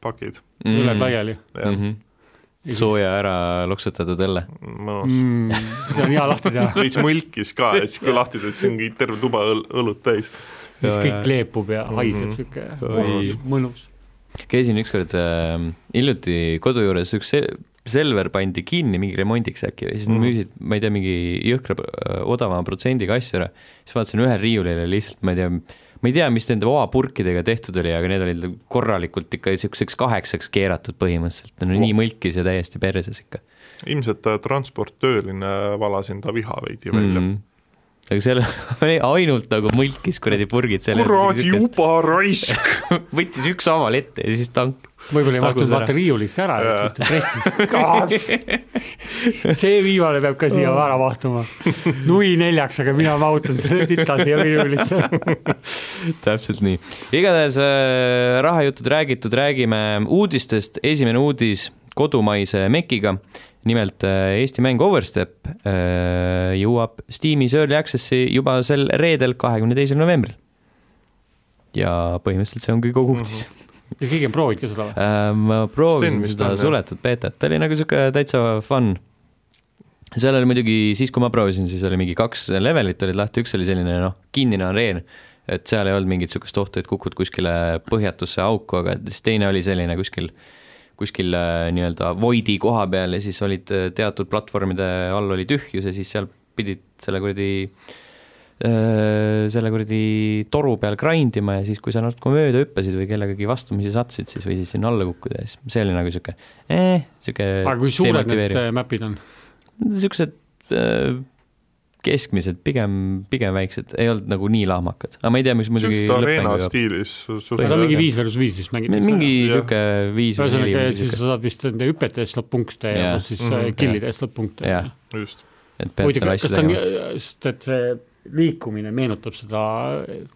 [SPEAKER 2] pakid .
[SPEAKER 3] üle laiali .
[SPEAKER 1] Mhm. Mm. sooja ära loksutatud õlle .
[SPEAKER 2] mõnus mm. .
[SPEAKER 3] see on hea lahti teha ,
[SPEAKER 2] veits mõlkis ka , et siis kui lahti teed , siis ongi terve tuba õl- , õlut täis .
[SPEAKER 3] siis
[SPEAKER 1] Jaa, jaa.
[SPEAKER 3] kõik leepub ja haiseb
[SPEAKER 2] Mhm.
[SPEAKER 1] Oi.
[SPEAKER 3] niisugune mõnus .
[SPEAKER 1] käisin ükskord äh, hiljuti kodu juures , üks sel- Selver pandi kinni mingi remondiks äkki ja siis nad
[SPEAKER 2] Mhm.
[SPEAKER 1] müüsid , ma ei tea , mingi jõhkra äh, odavama protsendiga asju ära . siis vaatasin ühel riiulil oli lihtsalt , ma ei tea , ma ei tea , mis nende oapurkidega tehtud oli , aga need olid korralikult ikka siukseks kaheksaks keeratud põhimõtteliselt , no nii mõlkis ja täiesti perses ikka
[SPEAKER 2] ilmselt äh, transportööline valas enda viha veidi välja mm. .
[SPEAKER 1] mm. . aga seal <laughs> oli ainult nagu mõlkis kuradi purgid selle
[SPEAKER 2] kuradi . juba raisk
[SPEAKER 1] võttis ükshaaval ette ja siis tank .
[SPEAKER 3] võib-olla ei
[SPEAKER 1] Tagus
[SPEAKER 3] mahtunud
[SPEAKER 1] ära.
[SPEAKER 3] vaata riiulisse ära ,
[SPEAKER 2] Jaa.
[SPEAKER 3] siis ta pressis . see viimane peab ka siia ära mahtuma . nui neljaks , aga mina mahutan selle tita siia riiulisse .
[SPEAKER 1] <laughs> täpselt nii . igatahes äh, rahajutud räägitud , räägime uudistest , esimene uudis kodumaise Mekiga . nimelt äh, Eesti mäng Overstep äh, jõuab Steamis Early Access'i juba sel reedel , kahekümne teisel novembril . ja põhimõtteliselt see ongi kogu uudis .
[SPEAKER 3] ja keegi on proovinud ka seda või ?
[SPEAKER 1] Äh, ma proovisin
[SPEAKER 2] Sten vist
[SPEAKER 1] seda
[SPEAKER 2] on, jah?
[SPEAKER 1] suletud beetat , ta oli nagu sihuke täitsa fun . seal oli muidugi siis , kui ma proovisin , siis oli mingi kaks levelit olid lahti , üks oli selline noh , kinnine areen , et seal ei olnud mingit sihukest ohtu , et kukud kuskile põhjatusse auku , aga siis teine oli selline kuskil , kuskil äh, nii-öelda voidi koha peal ja siis olid äh, teatud platvormide all oli tühjus ja siis seal pidid selle kuradi äh, selle kuradi toru peal grind ima ja siis , kui sa natuke mööda hüppasid või kellegagi vastamisi sattusid , siis võisid sinna alla kukkuda ja siis see oli nagu sihuke eh, , sihuke
[SPEAKER 3] aga kui suured need äh, map'id on ?
[SPEAKER 1] niisugused äh, keskmised , pigem , pigem väiksed , ei olnud nagu nii lahmakad , aga ma ei tea , mis muidugi
[SPEAKER 2] just areena
[SPEAKER 1] lõppmängu jõuab.
[SPEAKER 2] stiilis
[SPEAKER 3] ta on mingi
[SPEAKER 1] jah.
[SPEAKER 3] viis versus viis vist mängitakse .
[SPEAKER 1] mingi
[SPEAKER 2] jah.
[SPEAKER 1] sihuke viis või neli
[SPEAKER 3] ühesõnaga ,
[SPEAKER 1] või
[SPEAKER 3] siis
[SPEAKER 1] sihuke ,
[SPEAKER 3] sa saad vist nende hüpete eest lõpp-punkte ja
[SPEAKER 1] Jaa.
[SPEAKER 3] pluss siis
[SPEAKER 2] Mhm.
[SPEAKER 3] äh, killide eest lõpp-punkte .
[SPEAKER 1] Jah.
[SPEAKER 2] just ,
[SPEAKER 1] et pead
[SPEAKER 3] muidugi ,
[SPEAKER 1] seal
[SPEAKER 3] kas
[SPEAKER 1] asju
[SPEAKER 3] ta on
[SPEAKER 1] tegema .,
[SPEAKER 3] sest et see liikumine meenutab seda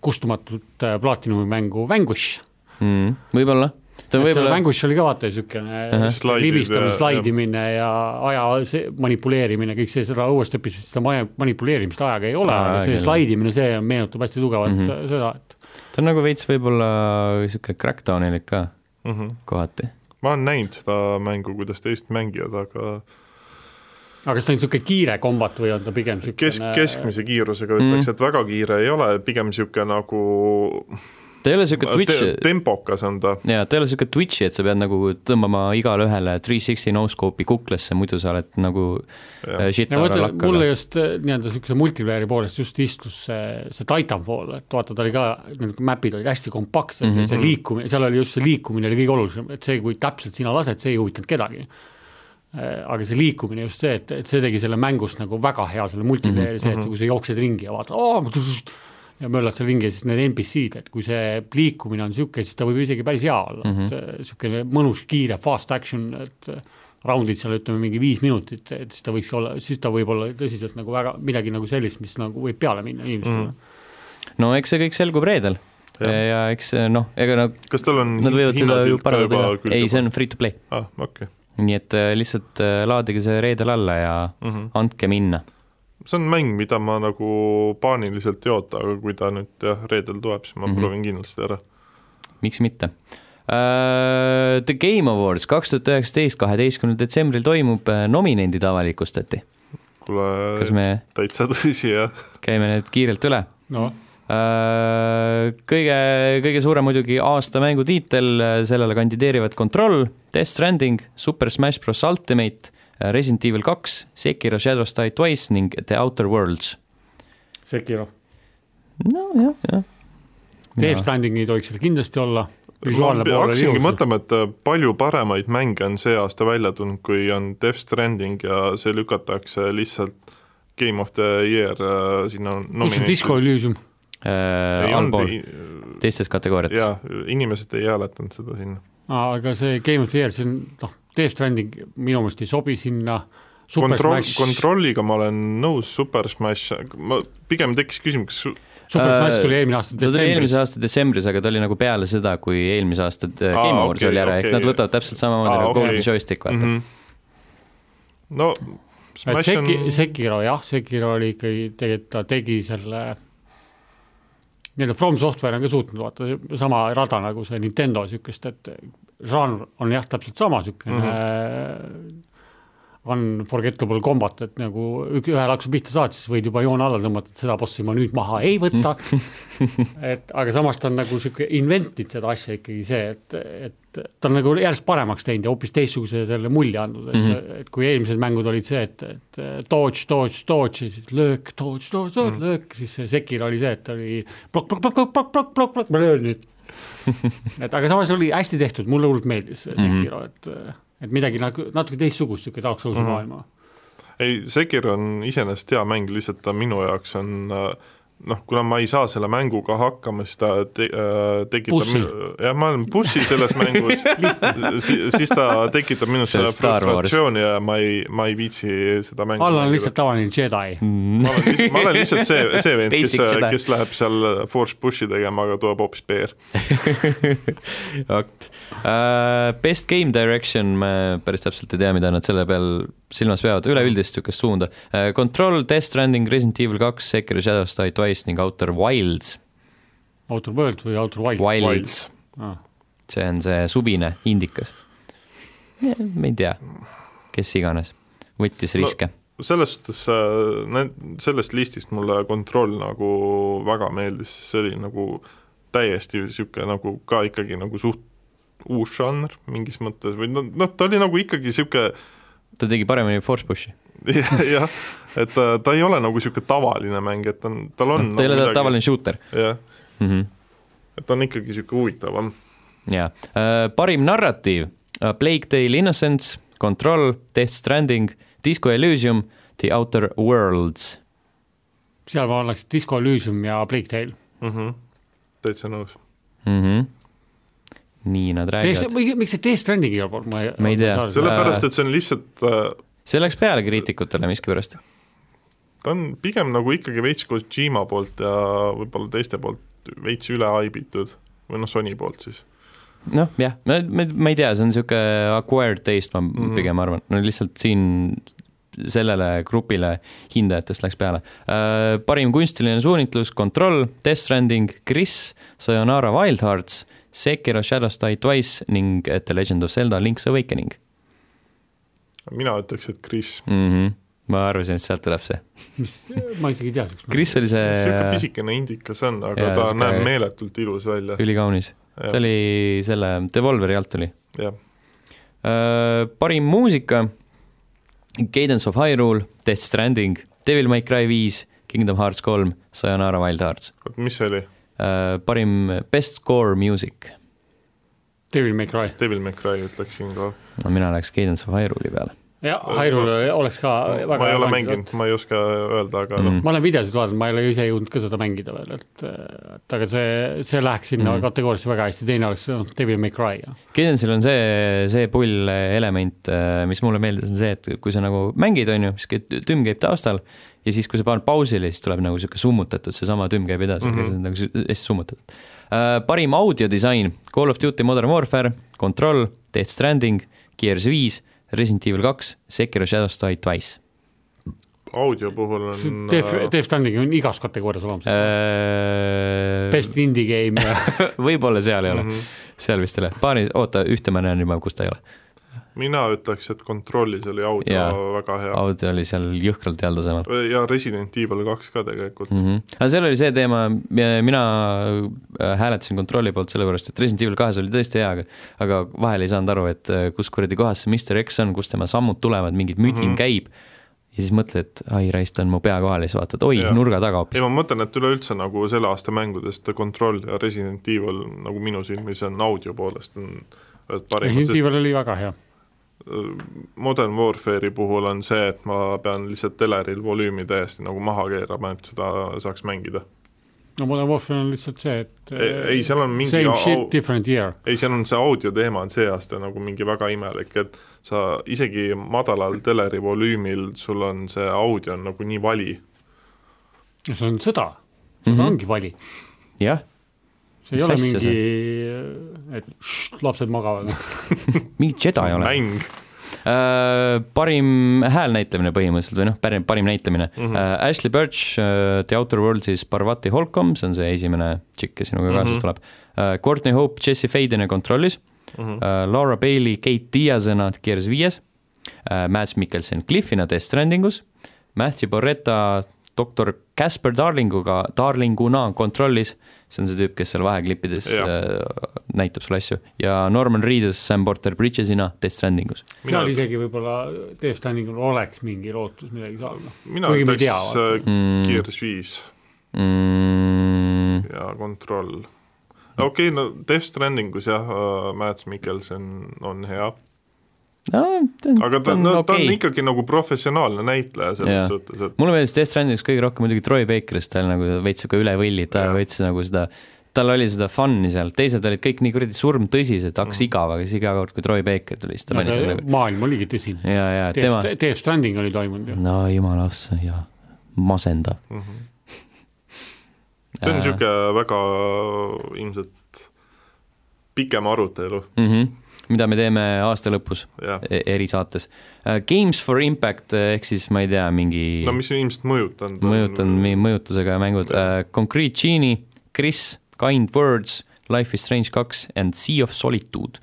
[SPEAKER 3] kustumatut äh, Platinumi mängu Vanquish .
[SPEAKER 1] Mm. võib-olla , ta on
[SPEAKER 3] võib-olla
[SPEAKER 1] võib-olla
[SPEAKER 3] Vanquish oli ka vaata niisugune
[SPEAKER 2] Slaidid
[SPEAKER 3] libistamine ,
[SPEAKER 2] ja-
[SPEAKER 3] slaidimine ja aja see manipuleerimine , kõik see , seda õuestepis , seda maja manipuleerimist ajaga ei ole ,
[SPEAKER 1] Aa,
[SPEAKER 3] aga see
[SPEAKER 1] küll.
[SPEAKER 3] slaidimine , see meenutab hästi tugevalt mm
[SPEAKER 1] Mhm.
[SPEAKER 3] -hmm. seda , et
[SPEAKER 1] ta on nagu veits võib-olla sihuke crackdownilik ka
[SPEAKER 2] mm . -hmm.
[SPEAKER 1] kohati .
[SPEAKER 2] ma olen näinud seda mängu , kuidas teised mängivad , aga
[SPEAKER 3] aga kas ta on niisugune kiire kombat või on ta pigem
[SPEAKER 2] kesk ,
[SPEAKER 3] niisugune
[SPEAKER 2] keskmise kiirusega ütleks
[SPEAKER 1] Mm.
[SPEAKER 2] mm. , et väga kiire ei ole , pigem niisugune nagu
[SPEAKER 1] ta ei ole sihuke
[SPEAKER 2] te,
[SPEAKER 1] Twitch ,
[SPEAKER 2] tempokas on ta ,
[SPEAKER 1] jaa , ta ei ole sihuke Twitch'i , et sa pead nagu tõmbama igale ühele three sixty no-scope'i kuklasse , muidu sa oled nagu äh, shit
[SPEAKER 3] ja ma
[SPEAKER 1] ära
[SPEAKER 3] ütlen , mulle
[SPEAKER 1] lakkaga .
[SPEAKER 3] just äh, nii-öelda niisuguse multiplayer'i poolest just istus see , see Titanfall , et vaata , ta oli ka , need map'id olid hästi kompaktsed mm
[SPEAKER 1] Mhm.
[SPEAKER 3] -hmm. ja see liikumine , seal oli just see liikumine oli kõige olulisem , et see , kui täpselt sina lased , see ei huvitanud kedagi . aga see liikumine just see , et , et see tegi selle mängust nagu väga hea , selle multiplayer'i mm , -hmm. see ,
[SPEAKER 1] Mhm.
[SPEAKER 3] et kui sa jooksed ringi ja vaatad , aa , ja möllad seal ringi ja siis need NPC-d , et kui see liikumine on niisugune , siis ta võib isegi päris hea olla mm ,
[SPEAKER 1] Mhm.
[SPEAKER 3] -hmm. et niisugune mõnus , kiire fast action , et raundid seal ütleme mingi viis minutit , et siis ta võiks olla , siis ta võib olla tõsiselt nagu väga midagi nagu sellist , mis nagu võib peale minna inimestele
[SPEAKER 1] Mhm.
[SPEAKER 3] mm. .
[SPEAKER 1] no eks see kõik selgub reedel ja,
[SPEAKER 2] Jah.
[SPEAKER 1] ja eks äh, noh , ega nad ,
[SPEAKER 2] kas tal on
[SPEAKER 1] nad võivad seda ju parandada ka , ei , see
[SPEAKER 2] on
[SPEAKER 1] on free to play .
[SPEAKER 2] ah, okei okay.
[SPEAKER 1] nii et äh, lihtsalt äh, laadige see reedel alla ja
[SPEAKER 2] mm . -hmm.
[SPEAKER 1] andke minna .
[SPEAKER 2] see on mäng, mida ma nagu paaniliselt ei oota, aga kui ta nüüd jah, reedel tuleb, siis ma mm
[SPEAKER 1] Mhm.
[SPEAKER 2] -hmm. proovin kindlasti ära .
[SPEAKER 1] miks mitte . The Game Awards kaks tuhat üheksateist , kaheteistkümnendal detsembril toimub , nominendid avalikustati .
[SPEAKER 2] kuule
[SPEAKER 1] kas , me
[SPEAKER 2] täitsa tõsi jah ,
[SPEAKER 1] käime need kiirelt üle ?
[SPEAKER 3] noh ,
[SPEAKER 1] kõige , kõige suurem muidugi aasta mängutiitel , sellele kandideerivad Control , Death Stranding , Super Smash Bros Ultimate , Resident Evil kaks , Sekiro Shadows Die Twice ning The Outer Worlds .
[SPEAKER 3] Sekiro .
[SPEAKER 1] nojah , jah .
[SPEAKER 3] Death Stranding ei tohiks seal kindlasti olla .
[SPEAKER 2] ma hakkasingi . mõtlema , et äh, palju paremaid mänge on see aasta välja tulnud , kui on Death Stranding ja see lükatakse lihtsalt Game of the Year äh, sinna
[SPEAKER 3] kus on Disco Elysium ?
[SPEAKER 2] ei
[SPEAKER 1] Äh, allpool
[SPEAKER 2] olnud ,
[SPEAKER 1] teistes kategooriates .
[SPEAKER 2] jaa , inimesed ei hääletanud seda sinna .
[SPEAKER 3] aga see Game of the Year , see on noh , Death Stranding minu meelest ei sobi sinna . Super
[SPEAKER 2] kontroll ,
[SPEAKER 3] Smash , Super
[SPEAKER 2] kontrolliga ma olen nõus , Super Smash , ma pigem tekkis küsimus , kas su-
[SPEAKER 3] Smash
[SPEAKER 1] Äh,
[SPEAKER 3] tuli eelmine aasta
[SPEAKER 1] ta tuli
[SPEAKER 3] detsembris
[SPEAKER 1] eelmise . aasta detsembris , aga ta oli nagu peale seda , kui eelmise aasta äh, Game
[SPEAKER 2] Aa,
[SPEAKER 1] Awards
[SPEAKER 2] okei,
[SPEAKER 1] oli ära , eks
[SPEAKER 2] okei.
[SPEAKER 1] nad võtavad täpselt samamoodi
[SPEAKER 2] Aa,
[SPEAKER 1] nagu
[SPEAKER 2] okei.
[SPEAKER 1] Golden Joystick , vaata .
[SPEAKER 2] Mhm. no
[SPEAKER 3] et
[SPEAKER 2] Smash on
[SPEAKER 3] Seki- , Sekiro jah , Sekiro oli ikkagi tegelikult ta tegi selle nii-öelda From Software on ka suutnud vaata sama rada nagu see Nintendo niisugust , et žanr on jah , täpselt sama niisugune mm -hmm. unforgettable combat , et nagu ük- ühe laksu pihta saad , siis võid juba joone alla tõmmata , et seda bossi ma nüüd maha ei võta . et aga samas ta on nagu niisugune inventid seda asja ikkagi see , et , et ta on nagu järjest paremaks teinud ja hoopis teistsuguse selle mulje andnud , et mm , -hmm. et kui eelmised mängud olid see , et , et dodge , dodge , dodge ja siis löök , dodge , dodge , dodge mm , -hmm. löök , siis see Sekiro oli see , et oli plokk , plokk , plokk , plokk , plokk , plokk , plokk , ma löön
[SPEAKER 1] <laughs>
[SPEAKER 3] nüüd . et aga samas oli hästi tehtud , mulle hullult meeldis see
[SPEAKER 1] Mhm.
[SPEAKER 3] Sekiro , et , et midagi nagu natuke teistsugust , niisugune Dark
[SPEAKER 1] Mhm.
[SPEAKER 3] Soulsi mm -hmm. maailma .
[SPEAKER 2] ei , Sekiro on iseenesest hea mäng , lihtsalt ta minu jaoks on äh, noh , kuna ma ei saa selle mänguga hakkama , siis ta te, äh, tekitab
[SPEAKER 3] Bussi.
[SPEAKER 2] minu- jah , ma olen bussi selles
[SPEAKER 1] <laughs>
[SPEAKER 2] mängus si, , siis ta tekitab minus
[SPEAKER 1] See on
[SPEAKER 2] selle
[SPEAKER 1] Star Wars.
[SPEAKER 2] frustratsiooni ja ma ei , ma ei viitsi seda mängu
[SPEAKER 3] Allan on
[SPEAKER 2] mängida.
[SPEAKER 3] lihtsalt tavaline Jedi
[SPEAKER 2] Mhm. ma olen lihtsalt , ma olen lihtsalt see ,
[SPEAKER 1] <laughs>
[SPEAKER 2] see vend , kes
[SPEAKER 1] Basic , Jedi.
[SPEAKER 2] kes läheb seal Force Pushi tegema , aga tuleb hoopis PR .
[SPEAKER 1] akt uh, . Best Game Direction , ma päris täpselt ei tea , mida nad selle peal silmas peavad , üleüldist niisugust suunda uh, . Control , Death Stranding , Resident Evil kaks , Sekiro Shadows Die Twice ning Outer Wilds ,
[SPEAKER 3] Outer World või Outer Wild,
[SPEAKER 1] Wilds ,
[SPEAKER 3] Ah.
[SPEAKER 1] see on see suvine indikas . ma ei tea , kes iganes võttis
[SPEAKER 2] No-
[SPEAKER 1] riske no. .
[SPEAKER 2] selles suhtes äh, need , sellest listist mulle Control nagu väga meeldis , sest see oli nagu täiesti niisugune nagu ka ikkagi nagu suht uus žanr mingis mõttes või noh- noh , ta oli nagu ikkagi niisugune
[SPEAKER 1] ta tegi paremini Force Pushi .
[SPEAKER 2] <laughs> jah , et ta, ta ei ole nagu niisugune tavaline mäng , et ta on , tal
[SPEAKER 1] Noh, ta
[SPEAKER 2] on
[SPEAKER 1] ei ole
[SPEAKER 2] nagu
[SPEAKER 1] ta- tavaline shooter
[SPEAKER 2] jah ,
[SPEAKER 1] mm . -hmm
[SPEAKER 2] et ta on ikkagi niisugune huvitavam .
[SPEAKER 1] jaa , parim narratiiv , Plague Tale Innocence , Control , Death Stranding , Disco Elysium , The Outer Worlds .
[SPEAKER 3] seal ma annaks Disco Elysium ja Plague Tale .
[SPEAKER 2] Mm -hmm. täitsa nõus .
[SPEAKER 1] Mhm. nii nad räägivad ,
[SPEAKER 3] miks see Death Stranding igal pool , ma ei
[SPEAKER 1] Ma ei tea. Selle-
[SPEAKER 2] sellepärast , et see on lihtsalt äh,
[SPEAKER 1] see läks peale kriitikutele miskipärast .
[SPEAKER 2] ta on pigem nagu ikkagi veits Kojima poolt ja võib-olla teiste poolt veits üle haibitud või noh , Sony poolt siis .
[SPEAKER 1] noh , jah , ma , ma , ma ei tea , see on niisugune acquired taste , ma mm
[SPEAKER 2] Mhm.
[SPEAKER 1] -hmm. pigem arvan , no lihtsalt siin sellele grupile hindajatest läks peale . parim kunstiline suunitlus , Control , Death Stranding , Chris , Sayonara Wild Hearts , Sekiro Shadows Die Twice ning The Legend of Zelda Link's Awakening
[SPEAKER 2] mina ütleks , et Chris ,
[SPEAKER 1] mm . -hmm. ma arvasin , et sealt tuleb see .
[SPEAKER 3] ma isegi ei tea siukest .
[SPEAKER 1] Chris oli
[SPEAKER 2] niisugune
[SPEAKER 1] see
[SPEAKER 2] pisikene indikas on , aga
[SPEAKER 1] jaa,
[SPEAKER 2] ja, ta
[SPEAKER 1] sihuke-
[SPEAKER 2] näeb meeletult ilus välja .
[SPEAKER 1] ülikaunis , ta oli selle Devolveri alt oli .
[SPEAKER 2] jah ,
[SPEAKER 1] parim muusika , Cadence of Hyrule , Death Stranding , Devil May Cry viis , Kingdom Hearts kolm , Sayonara Wild Hearts .
[SPEAKER 2] oot mis see oli ?
[SPEAKER 1] parim best score music ,
[SPEAKER 3] Devil May Cry .
[SPEAKER 2] Devil May Cry ütleks siinkohal .
[SPEAKER 1] no mina läheks Cadence of Hyrule'i peale .
[SPEAKER 3] jah , Hyrule oleks ka väga
[SPEAKER 2] ma ei ole mänginud ,. ma ei oska öelda , aga
[SPEAKER 1] Mhm.
[SPEAKER 2] mm.
[SPEAKER 3] <laughs> ma olen videosid vaadanud , ma ei ole ise jõudnud ka seda mängida veel , et , et aga see , see läheks sinna mm
[SPEAKER 1] Mhm.
[SPEAKER 3] -hmm. kategooriasse väga hästi , teine oleks noh, Devil May Cry .
[SPEAKER 1] Cadence'il on see , see pull element , mis mulle meeldis , on see , et kui sa nagu mängid , on ju , siis käib- tümm käib taustal ja siis , kui sa paned pausile , siis tuleb nagu niisugune summutatud , seesama tümm käib edasi mm ,
[SPEAKER 2] Mhm.
[SPEAKER 1] -hmm. see on nagu sü- hästi summutatud . parim audiodisain , Call of Duty Modern Warfare , Control , Death Stranding , Gears viis , Resident Evil kaks , Sekiro Shadows Die Twice .
[SPEAKER 2] audio puhul on äh,
[SPEAKER 3] Def , Def Standing on igas kategoorias olemas äh, , best indie game
[SPEAKER 2] <laughs>
[SPEAKER 3] ja
[SPEAKER 1] Äh, <laughs> võib-olla seal ei ole mm ,
[SPEAKER 2] Mhm.
[SPEAKER 1] -hmm. seal vist ei ole , paari , oota , ühte ma näen juba , kus ta ei ole .
[SPEAKER 2] mina ütleks , et Kontrollis oli audio
[SPEAKER 1] Jaa.
[SPEAKER 2] väga hea
[SPEAKER 1] audio oli seal jõhkralt heal tasemel .
[SPEAKER 2] ja Resident Evil kaks ka tegelikult mm. .
[SPEAKER 1] mm . -hmm. aga seal oli see teema , mina äh, hääletasin kontrolli poolt sellepärast , et Resident Evil kahes oli tõesti hea , aga aga vahel ei saanud aru , et äh, kus kuradi kohas see Mr X on , kust tema sammud tulevad , mingi mütin mm
[SPEAKER 2] Mhm.
[SPEAKER 1] -hmm. käib ja siis mõtled , et ai , raisk , ta on mu pea kohal ja siis vaatad , oi
[SPEAKER 2] Jaa. ,
[SPEAKER 1] nurga taga hoopis
[SPEAKER 2] ei , ma mõtlen , et üleüldse nagu selle aasta mängudest Control ja Resident Evil nagu minu silmis on audio poolest on ühed parimad ,
[SPEAKER 3] Resident
[SPEAKER 2] sest
[SPEAKER 3] Evil oli väga hea .
[SPEAKER 2] Modern Warfare'i puhul on see , et ma pean lihtsalt teleril volüümi täiesti nagu maha keerama , et seda saaks mängida .
[SPEAKER 3] no Modern Warfare on lihtsalt see , et
[SPEAKER 2] Ei- ei, seal on mingi
[SPEAKER 3] Äh, same
[SPEAKER 2] au-
[SPEAKER 3] shit , different year .
[SPEAKER 2] ei , seal on see audio teema on see aasta nagu mingi väga imelik , et sa isegi madalal teleri volüümil , sul on see audio on nagu nii vali .
[SPEAKER 3] see on sõda , sõda mm
[SPEAKER 1] Mhm.
[SPEAKER 3] -hmm. ongi vali ,
[SPEAKER 1] jah ,
[SPEAKER 3] see ei
[SPEAKER 1] Mis
[SPEAKER 3] ole
[SPEAKER 1] asja
[SPEAKER 3] mingi , et ššt, lapsed magavad .
[SPEAKER 1] mingi Jedi ei ole .
[SPEAKER 2] mäng ,
[SPEAKER 1] Parim häälnäitlemine põhimõtteliselt või noh , parim , parim näitlemine mm .
[SPEAKER 2] Mhm.
[SPEAKER 1] -hmm. Ashley Birch äh, The Outer Worlds'is Parvati Holcomb , see on see esimene tšikk , kes sinuga kaasas
[SPEAKER 2] Mhm.
[SPEAKER 1] tuleb . Courtney Hope , Jesse Faden'i kontrollis
[SPEAKER 2] Mhm.
[SPEAKER 1] Äh, Laura Bailey , Kate Diazena Gears viies , Mads Mikkelsen Cliffina Death Strandingus , Matthew Borreta doktor Casper Darlinguga , Darlinguna kontrollis , see on see tüüp , kes seal vaheklippides
[SPEAKER 2] Jah.
[SPEAKER 1] äh, näitab sulle asju, ja Norman Reedus Sam Porter Bridgesina Death Strandingus .
[SPEAKER 2] Mina-
[SPEAKER 3] seal isegi võib-olla Dave Stanningul oleks mingi lootus midagi saada .
[SPEAKER 2] mina
[SPEAKER 3] Kuigi me ei tea,
[SPEAKER 2] ütleks äh,
[SPEAKER 1] Mm.
[SPEAKER 2] Gears viis
[SPEAKER 1] mm, .
[SPEAKER 2] ja Control . okei okay, , no Death Strandingus jah , Mads Mikkelson on hea ,
[SPEAKER 1] No, ta on,
[SPEAKER 2] aga ta,
[SPEAKER 1] on
[SPEAKER 2] no, okay. ta
[SPEAKER 1] okei
[SPEAKER 2] on
[SPEAKER 1] okay. .
[SPEAKER 2] ikkagi nagu professionaalne näitleja selles
[SPEAKER 1] Jaa.
[SPEAKER 2] suhtes , et
[SPEAKER 1] mulle meeldis Death Strandingis kõige rohkem muidugi Troy Bakerist , ta oli nagu veits sihuke üle võlli , ta
[SPEAKER 2] Jah.
[SPEAKER 1] veits nagu seda , tal oli seda fun'i seal , teised olid kõik nii kuradi surmtõsised , hakkas
[SPEAKER 2] Mhm.
[SPEAKER 1] igav , aga siis iga kord , kui Troy Baker tuli , siis ta pani selle nagu...
[SPEAKER 3] maailm oligi tõsine .
[SPEAKER 1] ja , ja tema ,
[SPEAKER 3] Dave Dave Standing oli toimunud ju .
[SPEAKER 1] no jumala ossa ja masendav . <laughs>
[SPEAKER 2] mm -hmm. see on
[SPEAKER 1] Äh.
[SPEAKER 2] niisugune väga ilmselt pikem arutelu ,
[SPEAKER 1] Mm -hmm. mida me teeme aasta lõpus
[SPEAKER 2] jah .
[SPEAKER 1] e- erisaates . Games for Impact äh, ehk siis ma ei tea , mingi
[SPEAKER 2] no mis on ilmselt mõjutanud .
[SPEAKER 1] mõjutan , mõjutusega mängud uh, , Concrete Genie , Chris , Kind Words , Life is Strange kaks and Sea of Solitude .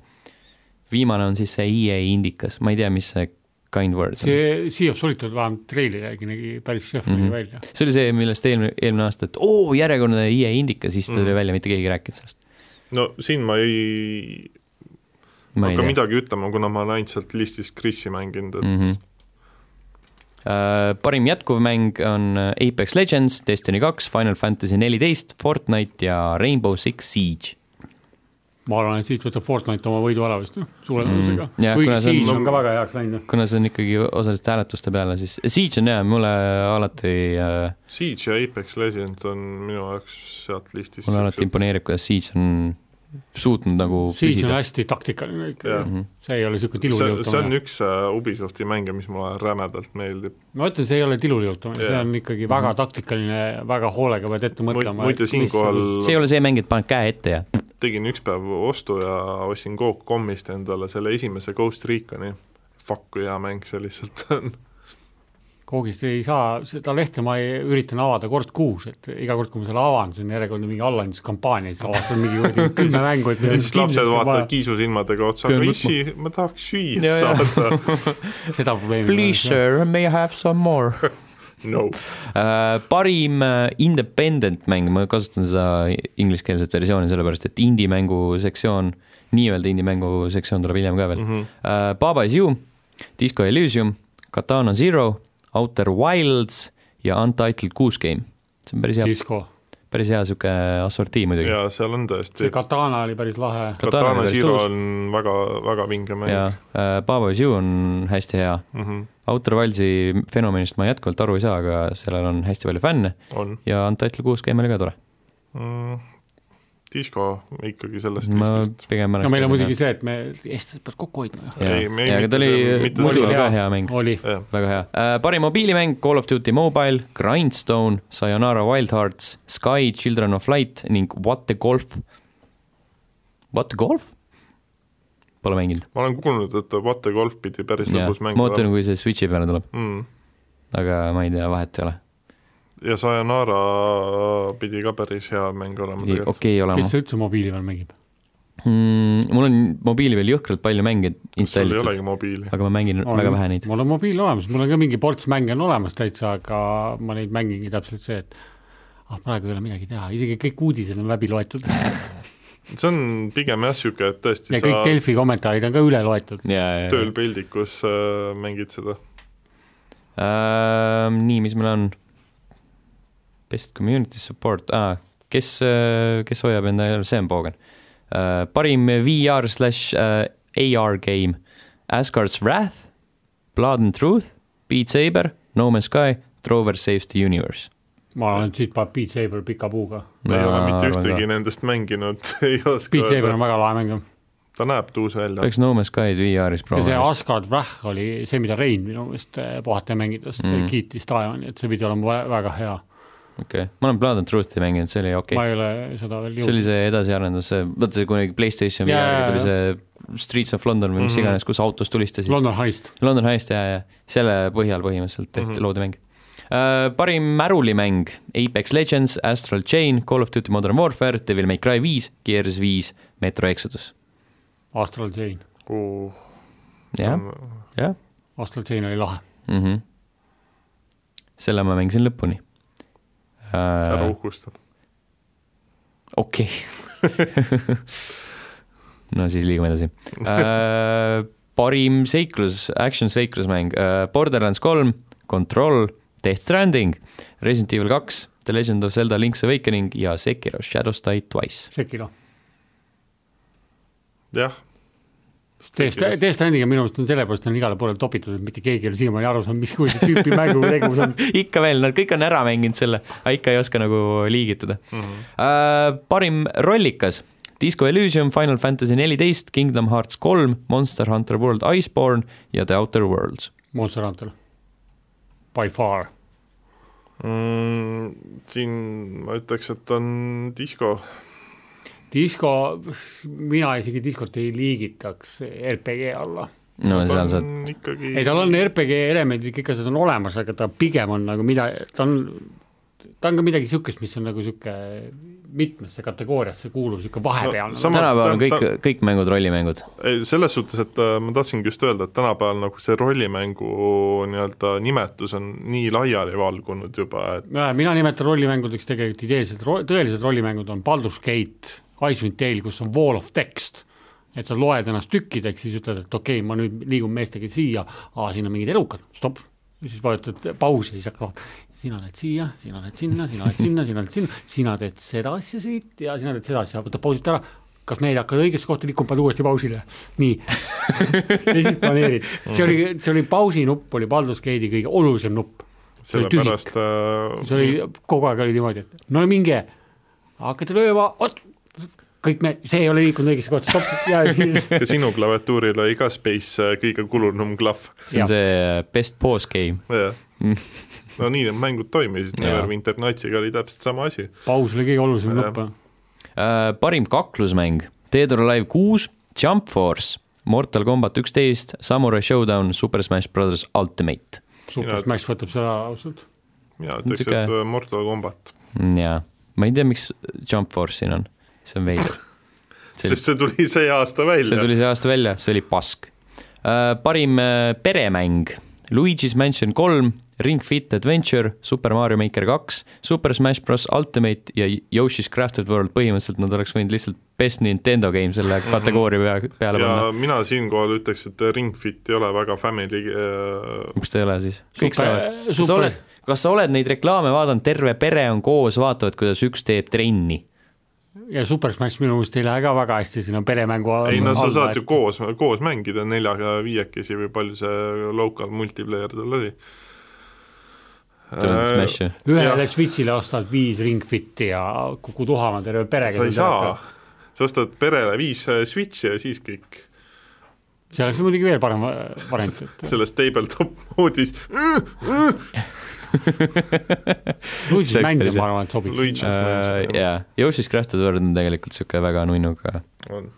[SPEAKER 1] viimane on siis see EA indikas , ma ei tea , mis see Kind Words on .
[SPEAKER 3] see Sea of Solitude vähemalt treili järgi nägi päris šef mm
[SPEAKER 1] Mhm.
[SPEAKER 3] -hmm. välja .
[SPEAKER 1] see oli see , millest eelmine , eelmine aasta , et oo , järjekordne EA indika , siis tuli
[SPEAKER 2] Mhm.
[SPEAKER 1] mm. välja , mitte keegi ei rääkinud sellest .
[SPEAKER 2] no siin ma ei
[SPEAKER 1] ma ei
[SPEAKER 2] hakka
[SPEAKER 1] tea .
[SPEAKER 2] midagi ütlema , kuna ma olen ainult sealt listist Krisi mänginud , et mm.
[SPEAKER 1] Mm -hmm. Uh, parim jätkuv mäng on äh, Apex Legends , Destiny kaks , Final Fantasy neliteist , Fortnite ja Rainbow Six Siege .
[SPEAKER 3] ma arvan , et siit võtab Fortnite oma võidu ära vist , noh , suure
[SPEAKER 1] Mhm.
[SPEAKER 3] tõusega
[SPEAKER 1] Jah,
[SPEAKER 3] mm, . kuigi
[SPEAKER 1] kuna see on- nagu-
[SPEAKER 3] Siege on, on ka väga heaks läinud . noh.
[SPEAKER 1] kuna see on ikkagi osaliselt hääletuste peale , siis Siege on hea , mulle alati , äh,
[SPEAKER 2] Siege ja Apex Legends on minu jaoks sealt listist
[SPEAKER 1] mulle alati imponeerib , kuidas Siege on suutnud nagu
[SPEAKER 3] Siege on
[SPEAKER 1] püsida .
[SPEAKER 3] hästi taktikaline ikka noh.
[SPEAKER 2] Jah. ,
[SPEAKER 1] Mhm.
[SPEAKER 3] see ei ole
[SPEAKER 2] see,
[SPEAKER 3] niisugune
[SPEAKER 2] see on
[SPEAKER 3] tiluliutamine .
[SPEAKER 2] üks äh, Ubisofti mänge , mis mulle rämedalt meeldib .
[SPEAKER 3] ma ütlen , see ei ole tiluliutamine , see
[SPEAKER 2] Jah.
[SPEAKER 3] on ikkagi väga
[SPEAKER 1] Mhm.
[SPEAKER 3] taktikaline , väga hoolega pead ette mõtlema . nagu
[SPEAKER 2] muide , siinkohal
[SPEAKER 1] see ei ole see mäng , et paned käe ette ja
[SPEAKER 2] tegin üks päev ostu ja ostsin Coop.com'ist endale selle esimese Ghost Reconi . Fuck , kui hea mäng see lihtsalt <laughs> on .
[SPEAKER 3] koogist ei saa , seda lehte ma ei, üritan avada kord kuus , et iga kord , kui ma selle avan , see on järjekordne mingi allahinduskampaania , siis avastan mingi kuradi
[SPEAKER 2] <laughs>
[SPEAKER 3] kümme mängu , et
[SPEAKER 2] ja siis lapsed vaatavad . kiisusilmadega otsa ,
[SPEAKER 1] Pean
[SPEAKER 2] aga
[SPEAKER 1] võtma.
[SPEAKER 2] issi , ma tahaks süüa
[SPEAKER 1] Ja, ja.
[SPEAKER 2] saada . <laughs>
[SPEAKER 3] seda probleemi .
[SPEAKER 1] Please sir , may I have some more uh, ? <laughs>
[SPEAKER 2] no ,
[SPEAKER 1] parim äh, independent mäng , ma kasutan seda ingliskeelset versiooni sellepärast , et indie-mängu sektsioon , nii-öelda indie-mängu sektsioon tuleb hiljem ka veel
[SPEAKER 2] Mhm.
[SPEAKER 1] uh, . Baba is you , Disco Elysium , Katana Zero , Outer Wilds ja Untitled Goose Game . see on päris hea
[SPEAKER 3] Disco ,
[SPEAKER 1] päris hea sihuke assortii muidugi ja,
[SPEAKER 2] ja seal on
[SPEAKER 3] see
[SPEAKER 2] tõesti .
[SPEAKER 3] Katana oli päris lahe ,
[SPEAKER 1] Katana on
[SPEAKER 2] Katana
[SPEAKER 1] päris
[SPEAKER 2] Zero
[SPEAKER 1] tõus.
[SPEAKER 2] on väga , väga vinge mäng
[SPEAKER 1] ja . äh, Baba is you on hästi hea .
[SPEAKER 2] Mm -hmm.
[SPEAKER 1] Outer Wildsi fenomenist ma jätkuvalt aru ei saa , aga sellel on hästi palju fänne
[SPEAKER 2] on
[SPEAKER 1] ja Untitled kuus game oli ka tore .
[SPEAKER 2] mm. . Disco ikkagi sellest
[SPEAKER 1] ma
[SPEAKER 2] listist .
[SPEAKER 1] pigem
[SPEAKER 3] no meil on muidugi see , et me eestlased peavad kokku hoidma ju .
[SPEAKER 1] ei
[SPEAKER 2] Ei, , me ei-
[SPEAKER 1] aga ta
[SPEAKER 2] mitte see-
[SPEAKER 1] oli
[SPEAKER 2] mitte
[SPEAKER 1] muidu
[SPEAKER 2] selle-
[SPEAKER 1] ka hea mäng ,
[SPEAKER 3] oli ,
[SPEAKER 1] väga hea äh, . parim mobiilimäng Call of Duty Mobile , Grindstone , Sayonara Wild Hearts , Sky , Children of Light ning What the Golf . What the Golf ? Pole mänginud .
[SPEAKER 2] ma olen kuulnud , et What the Golf pidi päris lõbus mäng
[SPEAKER 1] ma ootan , kui see Switch'i peale tuleb .
[SPEAKER 2] mm. .
[SPEAKER 1] aga ma ei tea , vahet ei ole .
[SPEAKER 2] ja Sayonara pidi ka päris hea mäng olema
[SPEAKER 1] okei
[SPEAKER 2] tegelikult .
[SPEAKER 1] okay, olema
[SPEAKER 3] kes see üldse mobiili peal mängib ?
[SPEAKER 1] mm, . mul on mobiili peal jõhkralt palju mänge
[SPEAKER 2] sul ei olegi
[SPEAKER 1] installitud ,
[SPEAKER 2] mobiili .
[SPEAKER 1] aga ma mängin
[SPEAKER 3] On.
[SPEAKER 1] väga vähe neid .
[SPEAKER 3] mul on mobiil olemas , mul on ka mingi ports mänge on olemas täitsa , aga ma neid mängingi täpselt see , et ah , praegu ei ole midagi teha , isegi kõik uudised on läbi
[SPEAKER 1] <laughs>
[SPEAKER 3] loetud
[SPEAKER 2] see on pigem jah , niisugune , et tõesti
[SPEAKER 3] ja kõik
[SPEAKER 2] sa
[SPEAKER 3] Delfi kommentaarid on ka üle loetud .
[SPEAKER 1] ja , ja , ja
[SPEAKER 2] tööl . peldikus äh, mängid seda .
[SPEAKER 1] Ehm, nii , mis meil on ? Best community support ah, , kes , kes hoiab enda , Sam Bogan uh, . parim VR slash uh, AR game , Asgard's Wrath , Blood and Truth , Beat Saber , No Man's Sky , Drover Saves the Universe .
[SPEAKER 3] ma olen siit pannud Beat Saber pika puuga .
[SPEAKER 2] ma ei ole mitte ühtegi nendest mänginud , <laughs> ei oska
[SPEAKER 3] Beat Saber on väga lahe mäng .
[SPEAKER 2] ta näeb tuus välja .
[SPEAKER 1] peaks No Man's Sky'd VR-is
[SPEAKER 3] ja see
[SPEAKER 1] proovima .
[SPEAKER 3] Asgard Wrath oli see , mida Rein minu meelest eh, puhata mängides
[SPEAKER 1] Mm.
[SPEAKER 3] mm. kiitis taevani , et see pidi olema vä- väga hea okay. .
[SPEAKER 1] okei , ma olen Blood and Truth'i mänginud , see oli okei
[SPEAKER 3] ma
[SPEAKER 1] okay. .
[SPEAKER 3] ei ole seda veel
[SPEAKER 1] see oli
[SPEAKER 3] jõudnud .
[SPEAKER 1] see edasiarendus , see , vaata see kunagi Playstationi
[SPEAKER 3] Jaa,
[SPEAKER 1] VR-ga
[SPEAKER 3] jaa,
[SPEAKER 1] tuli see Streets of London või mis
[SPEAKER 2] Mhm.
[SPEAKER 1] iganes , kus autos tulistasid .
[SPEAKER 3] London Heist ,
[SPEAKER 1] London Heist ja , ja selle põhjal põhimõtteliselt tehti mm
[SPEAKER 2] Mhm.
[SPEAKER 1] -hmm. loodi mäng uh, . parim märulimäng Apex Legends , Astral Chain , Call of Duty Modern Warfare , Devil May Cry viis , Gears viis , Metro Exodus .
[SPEAKER 3] Astral Chain ,
[SPEAKER 1] jah ,
[SPEAKER 3] Astral Chain oli lahe .
[SPEAKER 1] mhmh . selle ma mängisin lõpuni
[SPEAKER 2] ära
[SPEAKER 1] uh, .
[SPEAKER 2] uhkustab .
[SPEAKER 1] okei . no siis liigume edasi uh, . parim seiklus , action seiklusmäng uh, , Borderlands kolm , Control , Death Stranding , Resident Evil kaks , The Legend of Zelda Link's Awakening ja Sekiro Shadows Die Twice .
[SPEAKER 3] Sekiro .
[SPEAKER 2] jah ,
[SPEAKER 3] Death Strand- Death Strandiga minu meelest on sellepärast on igale poole topitud , et mitte keegi ei ole siiamaani aru saanud , mis kui tüüpi mängu tegevus
[SPEAKER 1] <laughs>
[SPEAKER 3] on .
[SPEAKER 1] ikka veel , nad kõik on ära mänginud selle , aga ikka ei oska nagu liigitada mm .
[SPEAKER 2] Mhm.
[SPEAKER 1] -hmm. parim rollikas , Disco Elysium , Final Fantasy neliteist , Kingdom Hearts kolm , Monster Hunter World Iceborne ja The Outer Worlds .
[SPEAKER 3] Monster Hunter , by far .
[SPEAKER 2] mm, . siin ma ütleks , et on disko ,
[SPEAKER 3] disko , mina isegi diskot ei liigitaks RPG alla .
[SPEAKER 1] no seal saad
[SPEAKER 2] on ikkagi
[SPEAKER 3] ei , tal on RPG elemendid , kõik asjad on olemas , aga ta pigem on nagu mida , ta on , ta on ka midagi niisugust , mis on nagu niisugune mitmesse kategooriasse kuuluv , niisugune
[SPEAKER 2] No,
[SPEAKER 3] vahepealne
[SPEAKER 2] sama-
[SPEAKER 3] no, .
[SPEAKER 1] tänapäeval on
[SPEAKER 2] ta-
[SPEAKER 1] kõik , kõik mängud rollimängud .
[SPEAKER 2] ei , selles suhtes , et äh, ma tahtsingi just öelda , et tänapäeval nagu see rollimängu nii-öelda nimetus on nii laiali valgunud juba , et
[SPEAKER 3] mina nimetan rollimängudeks tegelikult ideeliselt , tõelised rollimängud on Baldur's Gate , Icewind Dale , kus on wall of text , et sa loed ennast tükkideks , siis ütled , et okei okay, , ma nüüd liigun meestega siia , aa , siin on mingid elukad , stopp . siis vajutad pausi ja siis hakkab , sina lähed siia , sina lähed sinna , sina lähed sinna , sina lähed sinna , sina teed seda asja siit ja sina teed seda asja , võtad pausilt ära , kas need hakkavad õigesse kohta liikuma , paned uuesti pausile , nii . ja siis planeerid , see oli , see oli pausinupp oli Baldur's Gate'i kõige olulisem nupp . see oli tühik.
[SPEAKER 2] sellepärast äh,
[SPEAKER 3] see
[SPEAKER 2] <laughs>
[SPEAKER 3] oli , kogu aeg oli niimoodi , et no minge , hakkate lööma , oot , kõik me , see ei ole liikunud õigesse kohta , stopp ,
[SPEAKER 2] <laughs>
[SPEAKER 3] ja siis
[SPEAKER 2] ka sinu klaviatuuril oli ka Space äh, kõige kulunum klahv ,
[SPEAKER 1] see on
[SPEAKER 3] Jah.
[SPEAKER 1] see äh, best pause game .
[SPEAKER 2] jah . no nii need mängud toimisid ,
[SPEAKER 1] Jaa.
[SPEAKER 2] Never Winter Nightsiga oli täpselt sama asi .
[SPEAKER 3] paus oli kõige olulisem nupp .
[SPEAKER 1] Äh, parim kaklusmäng , Dead or Alive kuus , Jump Force , Mortal Combat üksteist , Samurai Showdown , Super Smash Brothers Ultimate .
[SPEAKER 3] Super
[SPEAKER 2] Mina-
[SPEAKER 3] Smash võtab seda ausalt ,
[SPEAKER 2] mina ütleks ,
[SPEAKER 1] Sihuke-
[SPEAKER 2] et äh, Mortal Combat ,
[SPEAKER 1] Mm, jaa , ma ei tea , miks Jump Force siin on , see on veider . see
[SPEAKER 2] sest see tuli <laughs> see aasta välja
[SPEAKER 1] see . tuli see aasta välja , see oli pask . parim äh, peremäng , Luigi's Mansion kolm , Ring Fit Adventure , Super Mario Maker kaks , Super Smash Bros Ultimate ja Yoshi's Crafted World , põhimõtteliselt nad oleks võinud lihtsalt best Nintendo game selle
[SPEAKER 3] Mhm.
[SPEAKER 1] kategooria pea , peale panna .
[SPEAKER 2] ja mina siinkohal ütleks , et Ring Fit ei ole väga family äh,
[SPEAKER 1] miks ta ei ole siis ? kõik
[SPEAKER 3] Super-
[SPEAKER 1] saavad . kas sa
[SPEAKER 3] super-
[SPEAKER 1] oled , kas sa oled neid reklaame vaadanud , terve pere on koos , vaatavad , kuidas üks teeb trenni .
[SPEAKER 3] ja Super Smash minu meelest ei lähe ka väga hästi sinna peremängu
[SPEAKER 2] ei no sa saad ju
[SPEAKER 3] et-
[SPEAKER 2] koos , koos mängida neljaga viiekesi või palju see local multiplayer tal oli .
[SPEAKER 3] Äh.
[SPEAKER 2] Äh,
[SPEAKER 1] tõenäoliselt
[SPEAKER 3] <laughs>
[SPEAKER 2] sa
[SPEAKER 1] Smashi .
[SPEAKER 3] ühele Switch'ile ostad viis Ring Fit'i ja kukud uhama terve perega .
[SPEAKER 2] ei saa , sa ostad perele viis äh, Switch'i ja siis kõik
[SPEAKER 3] see oleks muidugi veel parem äh, variant ,
[SPEAKER 2] <laughs>
[SPEAKER 3] et
[SPEAKER 2] selles tabletop <laughs> moodis
[SPEAKER 3] Luigi's
[SPEAKER 1] See oleks
[SPEAKER 3] Mansion
[SPEAKER 1] päris hea.
[SPEAKER 3] ma arvan , et sobiks .
[SPEAKER 2] Luigi's Mansion
[SPEAKER 1] Äh, jaa , Yoshi's Crafted World on tegelikult niisugune väga nunnuga
[SPEAKER 2] on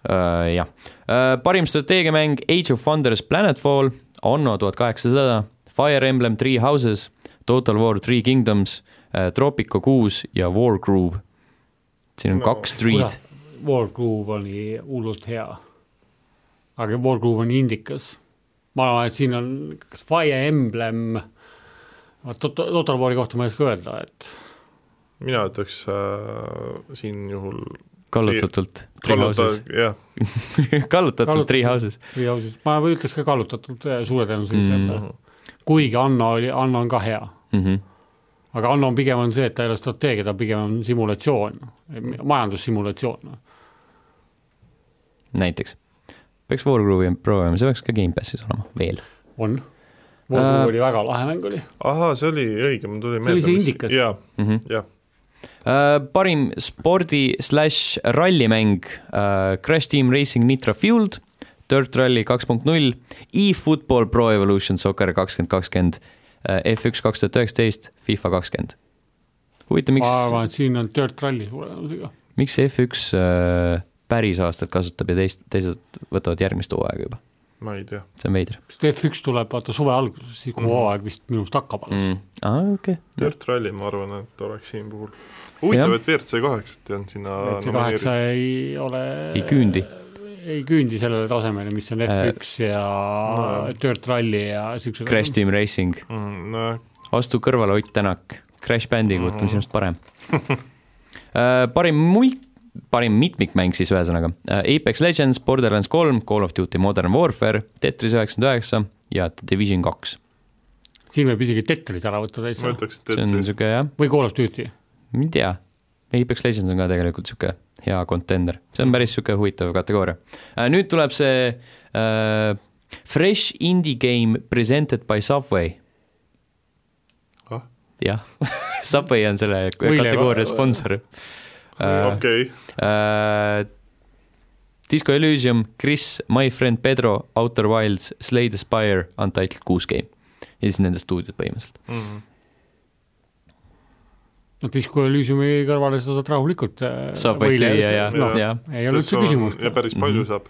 [SPEAKER 1] Äh, jah , parim strateegiamäng Age of Wonders Planetfall , Anno tuhat kaheksasada , Fire Emblem Three Houses , Total War Three Kingdoms , Tropico kuus ja Wargroove . siin on no,
[SPEAKER 2] No,
[SPEAKER 1] kaks tree'd ,
[SPEAKER 3] Wargroove oli hullult hea . aga Wargroove on indikas . ma arvan , et siin on kas Fire Emblem , Total War'i kohta ma ei oska öelda , et
[SPEAKER 2] mina ütleks äh, siin juhul
[SPEAKER 1] kallutatult .
[SPEAKER 2] kalluta- jah ,
[SPEAKER 1] <laughs> kallutatult Three Houses .
[SPEAKER 3] või ausalt , ma ütleks ka kallutatud eh, suure tõenäosusega
[SPEAKER 1] Mhm.
[SPEAKER 3] mm. , kuigi Anno oli , Anno on ka hea
[SPEAKER 1] mm . -hmm.
[SPEAKER 3] aga Anno on pigem on see , et ta ei ole strateegia , ta pigem on simulatsioon , majandusssimulatsioon .
[SPEAKER 1] näiteks . peaks Wargroove'i proovima , see peaks ka Gamepassis olema veel .
[SPEAKER 3] on . Wargroove
[SPEAKER 1] Äh,
[SPEAKER 3] oli väga lahe mäng oli ,
[SPEAKER 2] ahaa , see oli õige , mul tuli
[SPEAKER 3] See oli
[SPEAKER 2] meelde .
[SPEAKER 3] see indikas.
[SPEAKER 2] jaa ,
[SPEAKER 1] Mm -hmm.
[SPEAKER 2] jah ,
[SPEAKER 1] Äh, parim spordi slaš rallimäng äh, Crash Team Racing Nitro Fueled , Dirt Rally kaks punkt null , eFootball Pro Evolution Soccer kakskümmend kakskümmend , F1 kaks tuhat üheksateist , FIFA kakskümmend . huvitav ,
[SPEAKER 3] ma
[SPEAKER 1] miks ,
[SPEAKER 3] arvan , et siin on Dirt Rally suure tõenäosusega .
[SPEAKER 1] miks see F1 äh, päris aastat kasutab ja teist , teised võtavad järgmist hooaega juba ,
[SPEAKER 2] ma ei tea .
[SPEAKER 1] see on veider
[SPEAKER 3] sest F1 tuleb vaata suve alguses , siis kui
[SPEAKER 2] Mhm.
[SPEAKER 3] hooaeg vist minu arust hakkab alles mm. .
[SPEAKER 1] mm. . aa , okei okay. .
[SPEAKER 2] Dirt Rally , ma arvan , et oleks siin puhul . huvitav ,
[SPEAKER 1] Jah.
[SPEAKER 2] et WRC kaheksat ei olnud sinna
[SPEAKER 3] et see kaheksa
[SPEAKER 2] nomineeritud .
[SPEAKER 3] ei ole
[SPEAKER 1] ei küündi . Äh,
[SPEAKER 3] ei küündi sellele tasemele , mis on F1 ja
[SPEAKER 2] no.
[SPEAKER 3] Dirt Rally ja siuksed .
[SPEAKER 1] Crash Team Racing ,
[SPEAKER 2] Mhm, nojah ,
[SPEAKER 1] astu kõrvale , Ott Tänak , Crash Bandicoot on
[SPEAKER 2] Mhm.
[SPEAKER 1] sinust parem <laughs> Äh, parim mult- , parim mitmikmäng siis ühesõnaga , Apex Legends , Borderlands kolm , Call of Duty Modern Warfare , Tetris üheksakümmend üheksa ja The Division kaks .
[SPEAKER 3] siin võib isegi Tetris ära võtta
[SPEAKER 2] ma
[SPEAKER 3] täitsa
[SPEAKER 2] ütleks , et
[SPEAKER 1] see on
[SPEAKER 2] Tetris ,
[SPEAKER 1] niisugune jah ,
[SPEAKER 3] või Call of Duty .
[SPEAKER 1] ma ei tea , Apex Legends on ka tegelikult niisugune hea kontender , see on päris niisugune huvitav kategooria . nüüd tuleb see äh, Fresh Indie Game Presented by Subway
[SPEAKER 2] Ah? .
[SPEAKER 1] jah , <laughs> Subway on selle
[SPEAKER 3] Võileiva-
[SPEAKER 1] kategooria sponsor .
[SPEAKER 2] okei ,
[SPEAKER 1] Äh, Disco Elysium , Chris , My Friend Pedro , Outer Wilds , Slay the Spire , Untitled kuus game . ja siis nende stuudiod põhimõtteliselt .
[SPEAKER 3] no Disco Elysiumi kõrvale sa saad rahulikult äh,
[SPEAKER 1] saab vaid
[SPEAKER 3] võileiva-
[SPEAKER 1] lüüa ja
[SPEAKER 2] no. ,
[SPEAKER 1] ja .
[SPEAKER 3] ei ole üldse küsimust .
[SPEAKER 2] ja päris palju
[SPEAKER 1] Mhm.
[SPEAKER 2] saab .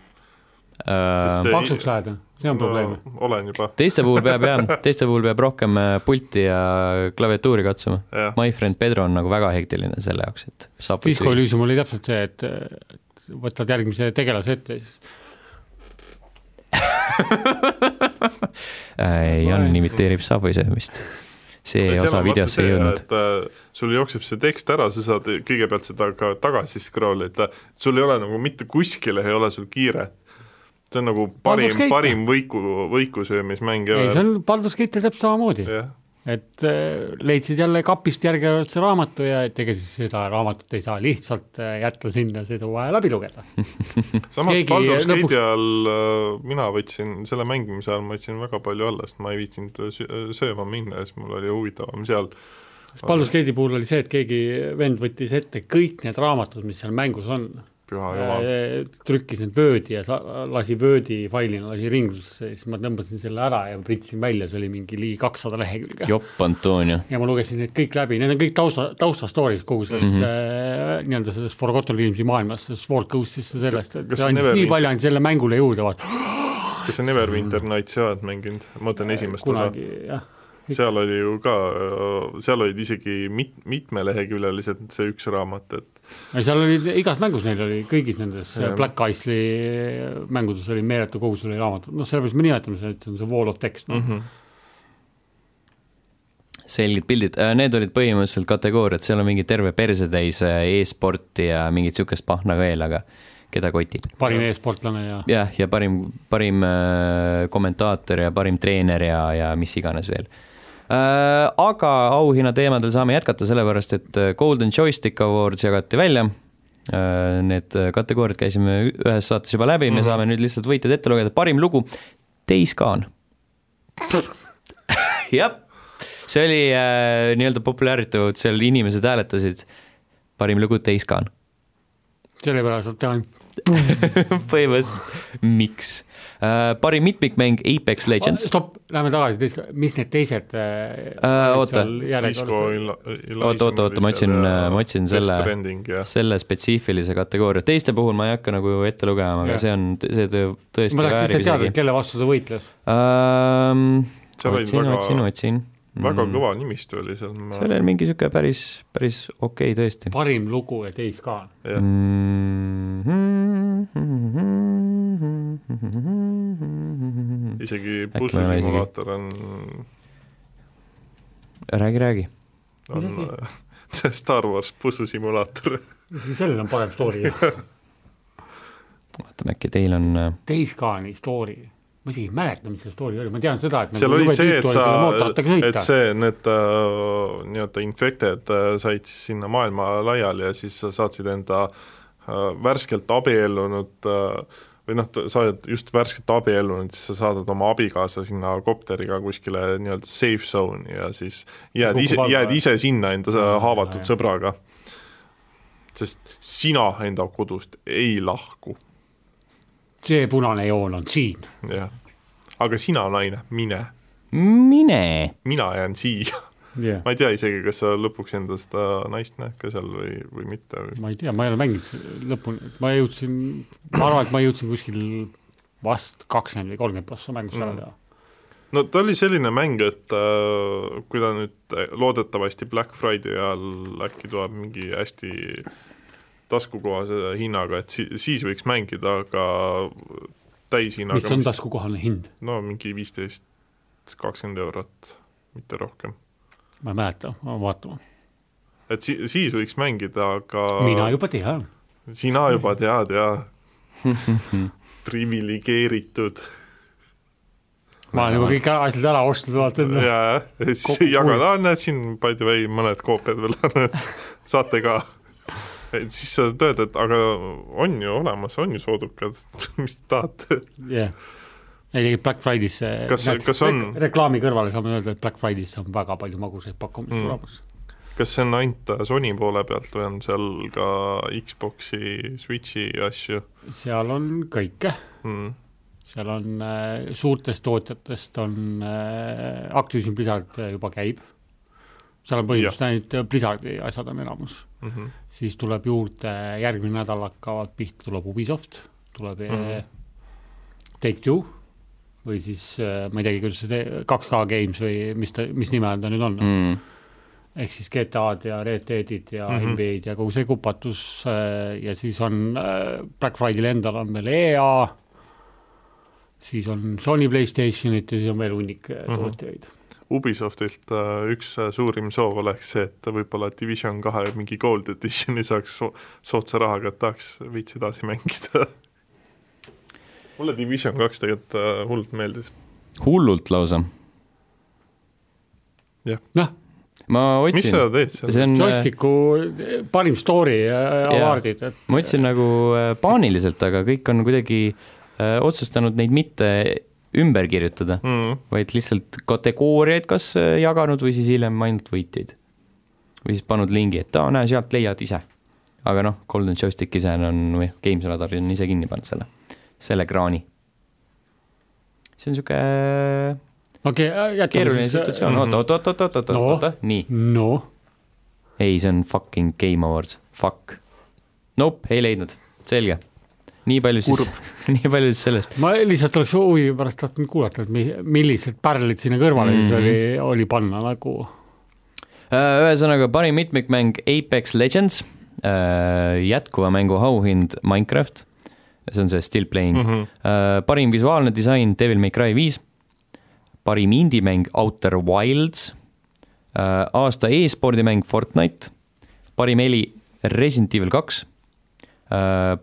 [SPEAKER 2] Sest,
[SPEAKER 3] paksuks lähed , see on probleem .
[SPEAKER 2] olen juba ,
[SPEAKER 1] teiste puhul peab jah , teiste puhul peab rohkem äh, pulti ja klaviatuuri katsuma .
[SPEAKER 2] jah .
[SPEAKER 1] My Friend Pedro on nagu väga hektiline selle jaoks , et saab .
[SPEAKER 3] Disco
[SPEAKER 1] <laughs>
[SPEAKER 3] Elysium oli täpselt see , et et võtad järgmise tegelase ette ja siis
[SPEAKER 1] Äh, Jan imiteerib Subway söömist . see osa videosse ei jõudnud ..
[SPEAKER 2] äh, sul jookseb see tekst ära , sa saad kõigepealt seda ka tagasi scroll ida , sul ei ole nagu mitte kuskile ei ole sul kiiret . see on nagu
[SPEAKER 3] Baldur's
[SPEAKER 2] parim
[SPEAKER 3] Gate. ,
[SPEAKER 2] parim võiku , võikusöömismäng .
[SPEAKER 3] ei , see on Baldur's Gate'il täpselt samamoodi ,
[SPEAKER 2] jah ,
[SPEAKER 3] et äh, leidsid jälle kapist järge otsa raamatu ja et ega siis seda raamatut ei saa lihtsalt äh, jätta sinna , seda on vaja läbi lugeda .
[SPEAKER 2] samas
[SPEAKER 3] Keegi
[SPEAKER 2] Baldur's Gate'i
[SPEAKER 3] lõpuks-
[SPEAKER 2] lõpuks... ajal äh, mina võtsin selle mängimise ajal , ma võtsin väga palju alla , sest ma ei viitsinud sö- sööma minna ja siis mul oli huvitavam seal .
[SPEAKER 3] Baldur's Gate'i puhul oli see , et keegi vend võttis ette kõik need raamatud , mis seal mängus on ,
[SPEAKER 2] püha
[SPEAKER 3] Äh,
[SPEAKER 2] jumal ,
[SPEAKER 3] trükkis need vöödi ja sa- lasi vöödi failina , lasi ringlusesse ja siis ma tõmbasin selle ära ja printsin välja , see oli mingi ligi kakssada lehekülge .
[SPEAKER 1] jopp Antonio .
[SPEAKER 3] ja ma lugesin need kõik läbi , need on kõik tausta , tausta story'd kogu sellest
[SPEAKER 2] Mhm.
[SPEAKER 3] mm -hmm. äh, nii-öelda sellest Forgotten Realmsi maailmast , sellest Sword Coast'ist ja sellest , et
[SPEAKER 2] Kas
[SPEAKER 3] see andis
[SPEAKER 2] Neverwinter-
[SPEAKER 3] nii palju ainult selle mängule juurde , vaata
[SPEAKER 2] kas sa Neverwinter Nightsi oled mänginud , ma mõtlen esimest osa
[SPEAKER 3] Äh, kunagi jah ,
[SPEAKER 2] seal oli ju ka , seal olid isegi mit- , mitmeleheküljelised see üks raamat , et
[SPEAKER 3] seal olid igas mängus neil oli , kõigis nendes
[SPEAKER 2] Jah.
[SPEAKER 3] yeah. Black Isle'i mängudes oli meeletu kogus oli raamatut , noh , sellepärast me nimetame seda , et see on see wall of text no. mm .
[SPEAKER 2] Mhm.
[SPEAKER 3] -hmm.
[SPEAKER 1] selged pildid , need olid põhimõtteliselt kategooriad , seal on mingi terve persetäis äh, e-sporti ja mingit niisugust pahna veel , aga keda kotib .
[SPEAKER 3] parim e-sportlane ja
[SPEAKER 1] jah , ja parim , parim äh, kommentaator ja parim treener ja , ja mis iganes veel . Aga auhinna teemadel saame jätkata , sellepärast et äh, Golden Joystick Awards jagati välja , need äh, kategooriad käisime ü- ühes saates juba läbi , me
[SPEAKER 2] Mhm.
[SPEAKER 1] saame nüüd lihtsalt võitjad ette lugeda , parim lugu , Teiskaan . <laughs> jah , see oli äh, nii-öelda populaarne , seal inimesed hääletasid , parim lugu Teiskaan .
[SPEAKER 3] sellepärast ta on
[SPEAKER 1] <laughs> põhimõtteliselt , miks uh, ? parim mitmikmäng Apex Legends uh, .
[SPEAKER 3] stopp , lähme tagasi , mis need teised äh,
[SPEAKER 1] Äh, oota.
[SPEAKER 2] disko
[SPEAKER 3] oota ,
[SPEAKER 1] oota , oota , oota , ma otsin , ma otsin selle ,
[SPEAKER 2] trending ja
[SPEAKER 1] selle spetsiifilise kategooria , teiste puhul ma ei hakka nagu ette lugema , aga
[SPEAKER 3] Jah.
[SPEAKER 1] see on , see tõ- tõesti
[SPEAKER 3] ma tahaks
[SPEAKER 1] väärib
[SPEAKER 3] lihtsalt teada ,
[SPEAKER 1] isegi
[SPEAKER 3] et . kelle vastu ta võitles .
[SPEAKER 1] Uh,
[SPEAKER 2] seal olid
[SPEAKER 1] otsin , otsin ,
[SPEAKER 2] väga ,
[SPEAKER 1] otsin .
[SPEAKER 2] väga kõva nimistu oli seal , ma
[SPEAKER 1] Mm. seal oli mingi sihuke päris , päris okei okay, tõesti .
[SPEAKER 3] parim lugu ja teis ka .
[SPEAKER 2] jah ,
[SPEAKER 1] Mm-hmm.
[SPEAKER 2] isegi
[SPEAKER 1] Äkki ma ei ole isegi-
[SPEAKER 2] bussisimulaator on ,
[SPEAKER 1] räägi , räägi .
[SPEAKER 2] on äh, <laughs> Star Wars bussisimulaator .
[SPEAKER 3] sellel on parem story .
[SPEAKER 2] <laughs>
[SPEAKER 1] vaatame , äkki teil on äh,
[SPEAKER 3] Teiskaani story , ma isegi ei mäleta , mis see story oli , ma tean seda , et
[SPEAKER 2] seal oli see , et sa , et
[SPEAKER 3] et see
[SPEAKER 2] see , need äh, nii-öelda infected äh, said siis sinna maailma laiali ja siis sa saatsid enda äh, värskelt abiellunud äh, või noh , sa oled just värskelt abiellunud , siis sa saadad oma abikaasa sinna kopteriga kuskile nii-öelda safe zone'i ja siis jääd
[SPEAKER 3] Kukub
[SPEAKER 2] ise ,
[SPEAKER 3] alla,
[SPEAKER 2] jääd
[SPEAKER 3] jah.
[SPEAKER 2] ise sinna enda sa-
[SPEAKER 3] Aa,
[SPEAKER 2] haavatud
[SPEAKER 3] jah.
[SPEAKER 2] sõbraga . sest sina enda kodust ei lahku ,
[SPEAKER 3] see punane joon on siin .
[SPEAKER 2] jah . aga sina , naine , mine ,
[SPEAKER 1] mine . <laughs>
[SPEAKER 2] mina jään siia .
[SPEAKER 3] Yeah.
[SPEAKER 2] ma ei tea isegi , kas sa lõpuks enda seda naist näed ka seal või , või mitte või
[SPEAKER 3] ma ei tea , ma ei ole mänginud se- lõpuni , ma jõudsin , ma arvan , et ma jõudsin kuskil vast kakskümmend või kolmkümmend prossa mängust ära
[SPEAKER 2] Mm.
[SPEAKER 3] teha .
[SPEAKER 2] no ta oli selline mäng , et äh, kui ta nüüd äh, loodetavasti Black Friday ajal äkki tuleb mingi hästi taskukohase hinnaga , et si siis võiks mängida , aga
[SPEAKER 3] mis
[SPEAKER 2] täishinnaga
[SPEAKER 3] on , taskukohane hind ,
[SPEAKER 2] no mingi viisteist , kakskümmend eurot , mitte rohkem .
[SPEAKER 3] ma ei mäleta , ma pean vaatama .
[SPEAKER 2] et si siis võiks mängida , aga
[SPEAKER 3] mina juba tean .
[SPEAKER 2] sina juba tead ja priviligeeritud
[SPEAKER 3] ma olen juba kõik ära- asjad ära ostnud , vaata . noh,
[SPEAKER 2] ja , ja siis
[SPEAKER 3] Kokku
[SPEAKER 2] jagad , aa näed siin by the way mõned koopiad veel on , et saate ka . et siis sa tõed , et aga on ju olemas , on ju soodukad , <laughs> mis te tahate .
[SPEAKER 3] jah . ei tegelikult Black Friday's see
[SPEAKER 2] Kas- kas on-
[SPEAKER 3] reklaami kõrvale saame öelda , et Black Friday's on väga palju magusaid pakkumisi
[SPEAKER 2] Mm.
[SPEAKER 3] mm. tulemas .
[SPEAKER 2] kas see on ainult Sony poole pealt või on seal ka Xbox'i , Switch'i asju
[SPEAKER 3] seal on kõike ,
[SPEAKER 2] mm. ?
[SPEAKER 3] seal on äh, suurtest tootjatest on äh, Activision Blizzard äh, juba käib , seal on põhimõtteliselt ainult äh, Blizzardi asjad on enamus .
[SPEAKER 2] Mm -hmm.
[SPEAKER 3] siis tuleb juurde , järgmine nädal hakkavad pihta , tuleb Ubisoft , tuleb
[SPEAKER 2] Mhm.
[SPEAKER 3] mm. Take Two või siis äh, ma ei teagi , kuidas see te- 2K Games või mis ta , mis nime all ta nüüd on mm. , ehk siis GTA-d ja Red Deadid ja mm
[SPEAKER 2] Mhm.
[SPEAKER 3] -hmm. NBA-d ja kogu see kupatus äh, ja siis on äh, Black Friday'l endal on veel EA , siis on Sony Playstationit ja siis on veel hunnik
[SPEAKER 2] Mhm.
[SPEAKER 3] mm -hmm. tootjaid .
[SPEAKER 2] Ubisoftilt äh, üks äh, suurim soov oleks see , et võib-olla Division kahe mingi Gold Editioni saaks so soodsa rahaga , et tahaks veits edasi mängida . <laughs> mulle Division kaks tegelikult äh, hullult meeldis .
[SPEAKER 1] hullult lausa .
[SPEAKER 3] noh ,
[SPEAKER 1] ma
[SPEAKER 2] mis
[SPEAKER 1] otsin
[SPEAKER 2] sa , teed seal ?
[SPEAKER 1] see on ,
[SPEAKER 3] Joysticku äh, parim story äh, awardid , et
[SPEAKER 1] ma otsin nagu äh, paaniliselt , aga kõik on kuidagi äh, otsustanud neid mitte ümber kirjutada ,
[SPEAKER 2] Mm,
[SPEAKER 1] vaid lihtsalt kategooriaid kas äh, jaganud või siis hiljem ainult võitjaid . või siis pannud lingi , et aa , näe , sealt leiad ise . aga noh , Golden Joystick ise on või Games Radar on ise kinni pannud selle , selle kraani . see on sihuke
[SPEAKER 3] okei okay, , äh, jätame
[SPEAKER 1] keeruline
[SPEAKER 3] siis
[SPEAKER 1] situatsioon , oot , oot , oot , oot , oot , oot ,
[SPEAKER 3] No.
[SPEAKER 1] oot , oot , nii .
[SPEAKER 3] noh ,
[SPEAKER 1] ei , see on fucking Game Awards , fuck . Nope , ei leidnud , selge . nii palju siis , <laughs> nii palju siis sellest .
[SPEAKER 3] ma lihtsalt oleks huvi pärast tahtnud kuulata , et mi- millised pärlid sinna kõrvale mm -hmm. siis
[SPEAKER 1] Mhm.
[SPEAKER 3] oli , oli panna nagu
[SPEAKER 1] Äh, ühesõnaga parim mitmikmäng Apex Legends , jätkuva mängu auhind Minecraft , see on see still playing
[SPEAKER 2] mm , -hmm.
[SPEAKER 1] Äh, parim visuaalne disain Devil May Cry viis , parim indie-mäng Outer Wilds , aasta e-spordimäng Fortnite , parim heli Resident Evil kaks ,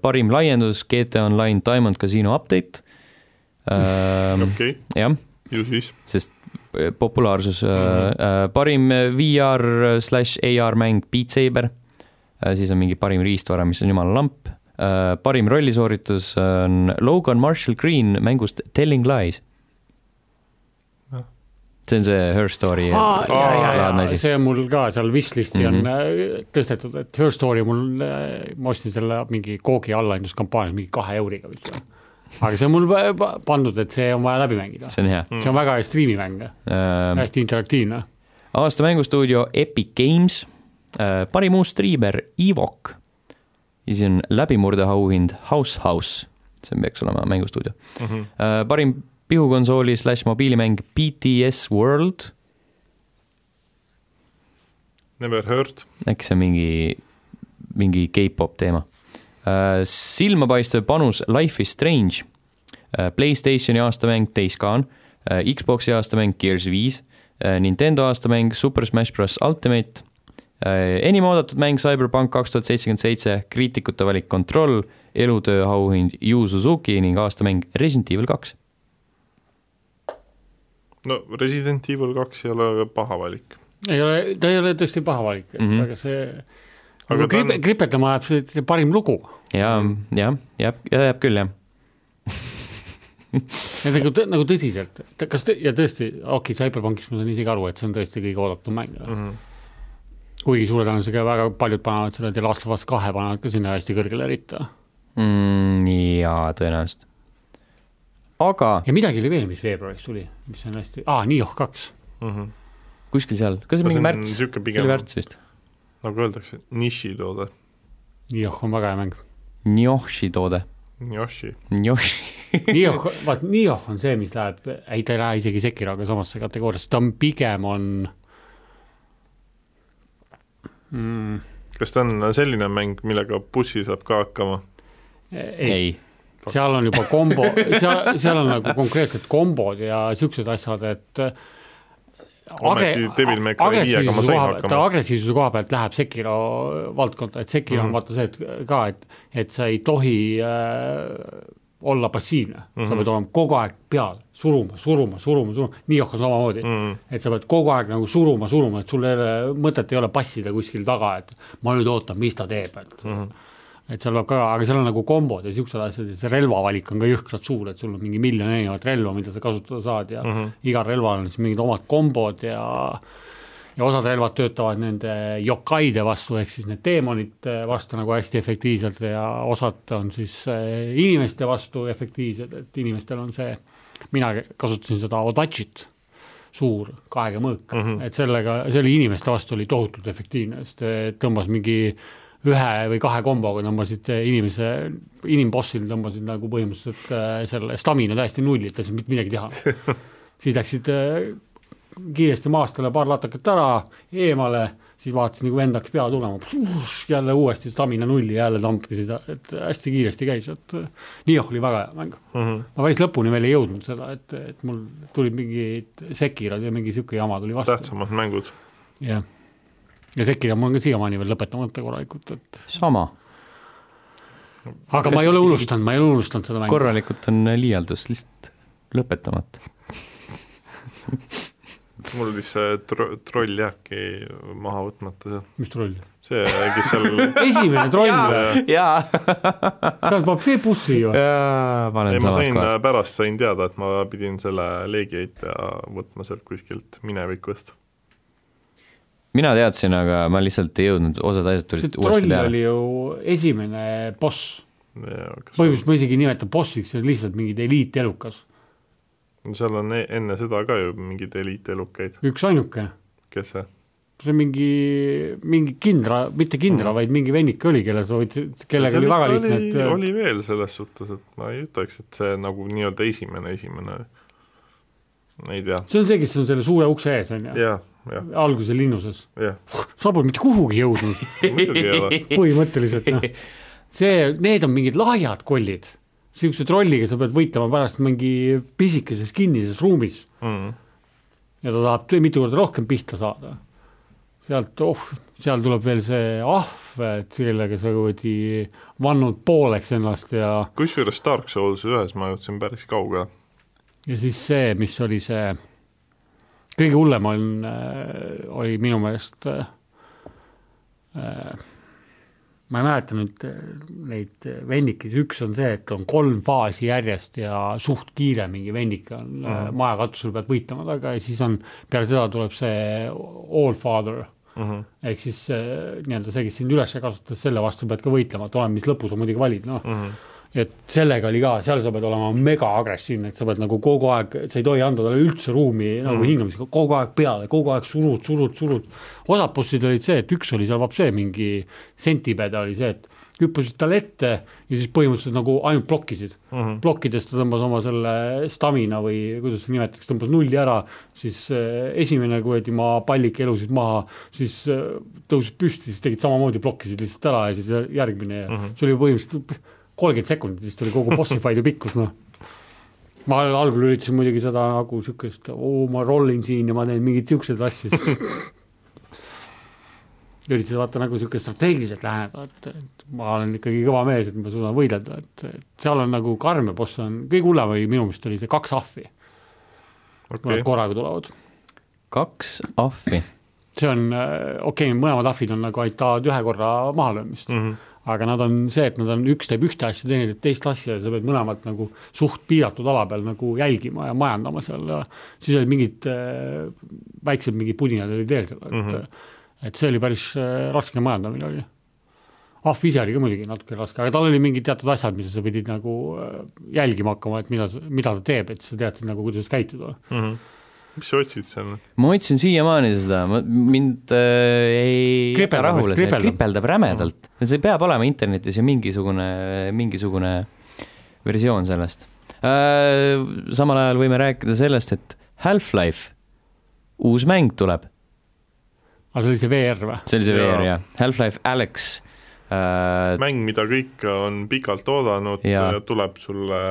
[SPEAKER 1] parim laiendus GTA Online Diamond Casino update , Äh,
[SPEAKER 2] <laughs>
[SPEAKER 4] Mm.
[SPEAKER 1] jah ,
[SPEAKER 2] okei , ju siis
[SPEAKER 1] sest eh, populaarsus ,
[SPEAKER 3] Mhm.
[SPEAKER 1] parim äh, VR slaš AR mäng Beat Saber , siis on mingi parim riistvara , mis on jumala lamp , parim rollisooritus on Logan Marshall Green mängust Telling Lies
[SPEAKER 2] Noh. .
[SPEAKER 1] see on see Her Story
[SPEAKER 3] Aa, jaa, jaa, jaa.
[SPEAKER 1] laadne asi ,
[SPEAKER 3] see on mul ka seal wishlist'i mm
[SPEAKER 1] Mhm.
[SPEAKER 3] -hmm. on äh, tõstetud , et Her Story mul , ma ostsin selle mingi koogi allahindluskampaanias mingi kahe euriga vist . aga see on mul pa- pa- pandud , et see on vaja läbi mängida ,
[SPEAKER 1] see Mhm. on hea .
[SPEAKER 3] see on väga hea striimimäng mm , -hmm. hästi interaktiivne .
[SPEAKER 1] aasta mängustuudio Epic Games , parim uus striimer Evok ja siis on läbimurdeauhind House House , see peaks olema mängustuudio .
[SPEAKER 2] mm . -hmm.
[SPEAKER 1] Äh, parim
[SPEAKER 4] pihukonsooli slaš mobiilimäng BTS World ,
[SPEAKER 2] Never heard ,
[SPEAKER 4] äkki see on mingi , mingi K-pop teema . silmapaistev panus Life is Strange , Playstationi aastamäng Days Gone , Xboxi aastamäng Gears viis , Nintendo aastamäng Super Smash Bros Ultimate , enim oodatud mäng Cyberpunk kaks tuhat seitsekümmend seitse , kriitikute valik Control , elutöö auhind Yu Suzuki ning aastamäng Resident Evil kaks .
[SPEAKER 2] no Resident Evil kaks ei ole paha valik .
[SPEAKER 3] ei ole , ta ei ole tõesti paha valik mm ,
[SPEAKER 4] Mhm.
[SPEAKER 3] -hmm. aga see
[SPEAKER 2] Aga ta
[SPEAKER 3] aga
[SPEAKER 2] on-
[SPEAKER 3] kripe, kripetama ajab see, see parim lugu .
[SPEAKER 4] jaa , jah , jääb , jääb küll , jah .
[SPEAKER 3] nagu , nagu tõsiselt , kas te, ja tõesti , okei okay, , Cyberpunkis ma saan isegi aru , et see on tõesti kõige oodatum mäng mm . -hmm.
[SPEAKER 2] Mhm,
[SPEAKER 3] kuigi suure tõenäosusega väga paljud panevad selle The Last of Us kahe panevad ka sinna hästi kõrgele ritta .
[SPEAKER 4] mm, . jaa , tõenäoliselt . aga
[SPEAKER 3] ja midagi oli veel , mis veebruaris tuli , mis on hästi , aa , Nioh kaks .
[SPEAKER 4] kuskil seal , kas see on mingi märts ? see
[SPEAKER 2] mhm. niisugune
[SPEAKER 4] oli
[SPEAKER 2] pigem ,
[SPEAKER 4] märts vist .
[SPEAKER 2] nagu öeldakse , nišitoode ,
[SPEAKER 3] Nioh on väga hea mäng .
[SPEAKER 4] Njohši toode ,
[SPEAKER 2] Yoshi .
[SPEAKER 4] Njohši .
[SPEAKER 3] Nioh , vaat Nioh on see , mis läheb , ei ta ei lähe isegi Sekiroga samasse kategooriasse , ta on pigem on mm, .
[SPEAKER 2] kas ta on selline mäng , millega bussi saab ka hakkama ?
[SPEAKER 3] ei, ei. ,
[SPEAKER 4] <laughs> ei ,
[SPEAKER 3] seal on juba kombo , seal , seal on nagu konkreetsed kombod ja siuksed asjad , et .
[SPEAKER 2] Ometi Devil May Cry viiega ma sain hakkama.
[SPEAKER 3] ta agressiivsuse koha pealt läheb Sekiro valdkonda , et Sekiro mm -hmm. on
[SPEAKER 2] Mhm.
[SPEAKER 3] vaata see et ka , et , et sa ei tohi äh, olla passiivne mm ,
[SPEAKER 2] Mhm.
[SPEAKER 3] -hmm. sa pead olema kogu aeg peal , suruma , suruma , suruma , suruma , Nioh on samamoodi mm .
[SPEAKER 2] Mhm.
[SPEAKER 3] -hmm. et sa pead kogu aeg nagu suruma , suruma , et sul ei ole mõtet ei ole passida kuskil taga , et ma nüüd ootan , mis ta teeb , et mm .
[SPEAKER 2] mhm.
[SPEAKER 3] -hmm et seal peab ka , aga seal on nagu kombod ja siuksed asjad ja see relvavalik on ka jõhkralt suur , et sul on mingi miljon erinevat relva , mida sa kasutada saad ja mm -hmm. igal relval on siis mingid omad kombod ja ja osad relvad töötavad nende jokaide vastu , ehk siis need teemonite vastu nagu hästi efektiivselt ja osad on siis eh, inimeste vastu efektiivsed , et inimestel on see , mina kasutasin seda Odachit , suur kaega mõõk mm , -hmm. et sellega , see oli inimeste vastu oli tohutult efektiivne , sest eh, tõmbas mingi ühe või kahe komboga tõmbasid eh, inimese , inimbossil tõmbasid nagu põhimõtteliselt eh, selle stamina täiesti nulli , et ei saanud mitte midagi teha . siis läksid eh, kiiresti maast jälle paar latakat ära , eemale , siis vaatasin nagu vend hakkas pea tulema , jälle uuesti stamina nulli , jälle tampkisid , et hästi kiiresti käis , et Nioh oli väga hea mäng mm . -hmm. ma päris lõpuni veel ei jõudnud seda , et , et mul tulid mingid sekirad ja mingi sihuke jama tuli vastu ,
[SPEAKER 2] tähtsamad mängud .
[SPEAKER 3] jah . ja sekirad mul on ka siiamaani veel lõpetamata korralikult , et
[SPEAKER 4] sama ,
[SPEAKER 3] aga ma ei ole unustanud , ma ei ole unustanud seda mängu .
[SPEAKER 4] korralikult on liialdus , lihtsalt lõpetamata .
[SPEAKER 2] mul vist see tro- , troll jääbki maha võtmata seal .
[SPEAKER 3] mis troll ?
[SPEAKER 2] see , kes seal
[SPEAKER 3] esimene troll ,
[SPEAKER 2] ei ,
[SPEAKER 4] jaa ,
[SPEAKER 3] sa oled Popee bussi ju .
[SPEAKER 4] ma olen
[SPEAKER 2] ma
[SPEAKER 4] samas
[SPEAKER 2] sain
[SPEAKER 4] kohas .,
[SPEAKER 2] pärast sain teada , et ma pidin selle leegiheitja võtma sealt kuskilt minevikust .
[SPEAKER 4] mina teadsin , aga ma lihtsalt ei jõudnud , osad asjad
[SPEAKER 3] see
[SPEAKER 4] tulid uuesti
[SPEAKER 3] troll
[SPEAKER 4] peale .
[SPEAKER 3] oli ju esimene boss
[SPEAKER 2] põhimõtteliselt
[SPEAKER 3] põhimõtteliselt ma isegi ei nimeta bossiks , see on lihtsalt mingi eliitelukas ,
[SPEAKER 2] seal on e- enne seda ka ju mingeid eliitelukaid ,
[SPEAKER 3] üksainukene .
[SPEAKER 2] kes see ,
[SPEAKER 3] see on mingi , mingi kindra , mitte kindra mm. , vaid mingi vennike oli , kelle sa võid , kellega
[SPEAKER 2] seal
[SPEAKER 3] oli väga
[SPEAKER 2] ikka
[SPEAKER 3] lihtne ,
[SPEAKER 2] oli,
[SPEAKER 3] et äh,
[SPEAKER 2] oli veel selles suhtes , et ma ei ütleks , et see nagu nii-öelda esimene , esimene , ei tea ,
[SPEAKER 3] see on see , kes on selle suure ukse ees , on ju ,
[SPEAKER 2] jah , jah ,
[SPEAKER 3] alguse linnuses .
[SPEAKER 2] jah ,
[SPEAKER 3] sa pole mitte kuhugi jõudnud ,
[SPEAKER 2] muidugi ei ole ,
[SPEAKER 3] põhimõtteliselt noh . see , need on mingid lahjad kollid , niisuguse trolliga sa pead võitlema pärast mingi pisikeses kinnises ruumis
[SPEAKER 2] Mhm.
[SPEAKER 3] ja ta tahab tõ- mitu korda rohkem pihta saada . sealt , oh , seal tuleb veel see ahv , et sellega sa kuradi vannud pooleks ennast ja ,
[SPEAKER 2] kusjuures Dark Souls ühes ma jõudsin päris kaugele ,
[SPEAKER 3] ja siis see , mis oli see , kõige hullem on , oli minu meelest äh, äh, ma ei mäleta nüüd äh, neid vennikeid , üks on see , et on kolm faasi järjest ja suht kiire mingi vennik on mm -hmm. maja katusel pead võitlema taga ja siis on , peale seda tuleb see All Father mm . -hmm. ehk siis äh, nii-öelda see , kes sind üles kasutas , selle vastu pead ka võitlema , et oleneb , mis lõpu sa muidugi valid , noh mm . -hmm et sellega oli ka , seal sa pead olema megaagressiivne , et sa pead nagu kogu aeg , sa ei tohi anda talle üldse ruumi nagu mm. hingamisega , kogu aeg peale , kogu aeg surud , surud , surud . osad bossid olid see , et üks oli seal vapsee mingi sentipede oli see , et hüppasid talle ette ja siis põhimõtteliselt nagu ainult blokkisid mm. -hmm. plokkides ta tõmbas oma selle stamina või kuidas seda nimetatakse, tõmbas nulli ära, siis äh, esimene kuradi ma pallike elusid maha, siis äh, tõusid püsti, siis tegid samamoodi, blokkisid lihtsalt ära ja siis järgmine ja mm -hmm. see oli põhimõtteliselt kolmkümmend sekundit vist oli kogu bossi fight'i pikkus, noh ma algul üritasin muidugi seda nagu sihukest, oo, ma rollin siin ja ma teen mingeid siukseid asju üritasin vaata nagu sihukest strateegiliselt läheneda, et, et ma olen ikkagi kõva mees, et ma suudan võidelda, et, et seal on nagu karm ja boss on, kõige hullem oli minu meelest oli see kaks ahvi okay.. kui nad korraga tulevad.
[SPEAKER 4] kaks ahvi?
[SPEAKER 3] see on, äh, okei okay,, mõlemad ahvid on nagu aitavad ühe korra mahalöömist mm. -hmm aga nad on see, et nad on, üks teeb ühte asja, teine teeb teist asja ja sa pead mõlemat nagu suht piiratud ala peal nagu jälgima ja majandama seal ja siis olid mingid äh, väiksed mingid pudinad olid veel seal, et mm,
[SPEAKER 4] Mhm.
[SPEAKER 3] -hmm. et see oli päris äh, raske majandamine oli. ahv ise oli ka muidugi natuke raske, aga tal oli mingid teatud asjad, mida sa pidid nagu äh, jälgima hakkama, et mida, mida ta teeb, et sa teadsid nagu, kuidas käituda
[SPEAKER 2] mm. -hmm mis sa otsid seal?
[SPEAKER 4] ma otsin siiamaani seda, mind äh, ei
[SPEAKER 3] Kripeldab,
[SPEAKER 4] jäta rahule, see
[SPEAKER 3] kripeldab. Mm.
[SPEAKER 4] kripeldab rämedalt. see peab olema internetis ju mingisugune, mingisugune versioon sellest äh,. samal ajal võime rääkida sellest, et Half-Life, uus mäng tuleb.
[SPEAKER 3] aga see oli see VR või?
[SPEAKER 4] see oli see VR
[SPEAKER 2] Jaa.
[SPEAKER 4] jah, Half-Life Alex äh, .
[SPEAKER 2] mäng, mida kõik on pikalt oodanud ja,
[SPEAKER 4] Jaa.
[SPEAKER 2] ja tuleb sulle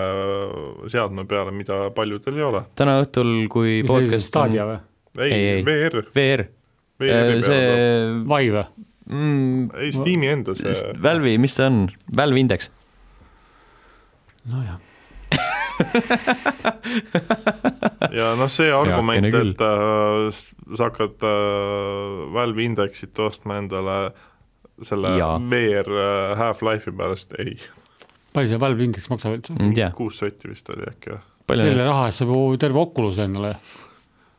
[SPEAKER 2] seadme peale, mida paljudel ei ole.
[SPEAKER 4] täna õhtul, kui
[SPEAKER 3] mis oli see,
[SPEAKER 4] podcast on
[SPEAKER 3] Stadia või?
[SPEAKER 2] ei,
[SPEAKER 4] Ei, ei.
[SPEAKER 2] ei, ei. VR,
[SPEAKER 4] VR, äh,
[SPEAKER 2] VR-i
[SPEAKER 4] see
[SPEAKER 2] peale tuleb.
[SPEAKER 3] Vai või?
[SPEAKER 4] mm,
[SPEAKER 2] ei , Steam'i enda see
[SPEAKER 4] s- Valve'i , mis ta on , Valve Index ,
[SPEAKER 3] nojah ,
[SPEAKER 2] ja noh , see argument ,
[SPEAKER 4] küll.
[SPEAKER 2] et äh, s- sa hakkad äh, Valve indeksit ostma endale selle
[SPEAKER 4] Jaa.
[SPEAKER 2] VR äh, Half-Life'i pärast , ei ,
[SPEAKER 3] palju see Valve indeks maksab üldse ?
[SPEAKER 4] ei tea ,
[SPEAKER 2] kuus sotti vist oli äkki või ?
[SPEAKER 4] palju ,
[SPEAKER 3] selle raha eest saab ju terve Oculus endale ,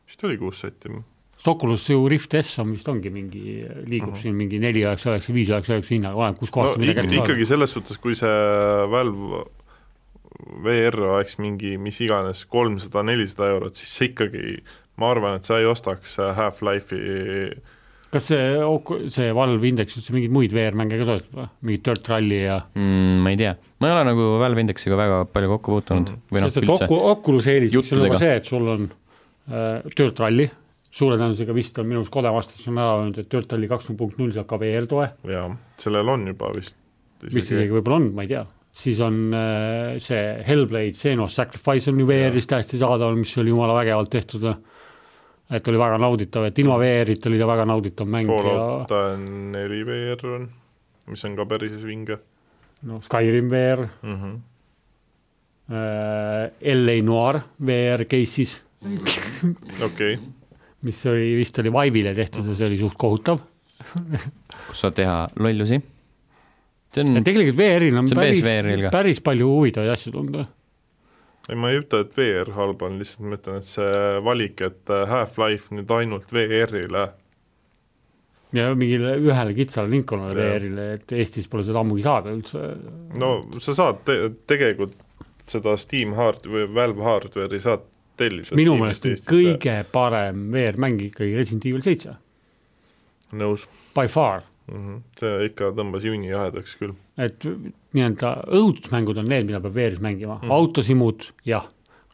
[SPEAKER 2] vist oli kuus sotti ,
[SPEAKER 3] sest Oculus ju Rift S on vist ongi mingi , liigub siin mingi neli üheksa üheksa , viis üheksa üheksa hinnaga , oleneb kus
[SPEAKER 2] no
[SPEAKER 3] kohas sa midagi
[SPEAKER 2] ikka,
[SPEAKER 3] kätte saad .
[SPEAKER 2] ikkagi selles suhtes , kui see Valve VR oleks mingi mis iganes kolmsada , nelisada eurot , siis see ikkagi ma arvan , et sa ei ostaks äh, Half-Life'i
[SPEAKER 3] kas see , see Valve indeks üldse mingeid muid VR-mänge ka toetab või , mingit Dirt Rally ja
[SPEAKER 4] Mm, ma ei tea , ma ei ole nagu Valve Indexiga väga palju kokku puutunud või noh ,
[SPEAKER 3] sest et
[SPEAKER 4] üldse ,
[SPEAKER 3] Ocu- , Oculus eeliseks on
[SPEAKER 4] Juttudega.
[SPEAKER 3] juba see , et sul on äh, Dirt Rally , suure tõenäosusega vist on minu arust Kode vastas on ära öelnud , et Dirt Rally kaks punkt null saab ka VR-toe ,
[SPEAKER 2] ja sellel on juba vist
[SPEAKER 3] vist isegi võib-olla on , ma ei tea siis on äh, see Hellblade , Xenos Sacrifice on ju VR-is täiesti saadaval , mis oli jumala vägevalt tehtud . et oli väga nauditav , et ilma VR-ita oli ta väga nauditav mäng
[SPEAKER 2] Fallout äh, neli VR on , mis on ka päris vinge
[SPEAKER 3] ja noh , Skyrim VR äh, ,
[SPEAKER 2] mm . -hmm.
[SPEAKER 3] LA Noir VR case'is ,
[SPEAKER 2] okei okay. ,
[SPEAKER 3] mis oli vist oli Vive'ile tehtud ja see oli suht kohutav .
[SPEAKER 4] kus saad teha lollusi . see on
[SPEAKER 3] et tegelikult VR-il on
[SPEAKER 4] Mm. See on PSVR-il
[SPEAKER 3] päris
[SPEAKER 4] ka. ,
[SPEAKER 3] päris palju huvitavaid asju tulnud .
[SPEAKER 2] ei ma ei ütle , et VR halb on , lihtsalt ma ütlen , et see valik , et äh, Half-Life nüüd ainult VR-ile ,
[SPEAKER 3] ja mingile ühele kitsale ringkonnale
[SPEAKER 2] Jah.
[SPEAKER 3] VR-ile , et Eestis pole seda ammugi saada üldse .
[SPEAKER 2] no sa saad te tegelikult seda Steam hard- või Valve hardware'i saad tellida .
[SPEAKER 3] minu meelest on . kõige parem VR-mäng ikkagi Resident Evil seitse ,
[SPEAKER 2] nõus
[SPEAKER 3] by far .
[SPEAKER 2] mm . -hmm. see ikka tõmbas juuni jahedaks küll .
[SPEAKER 3] et nii-öelda õudusmängud on need , mida peab VR-is mängima mm. , autosimud jah .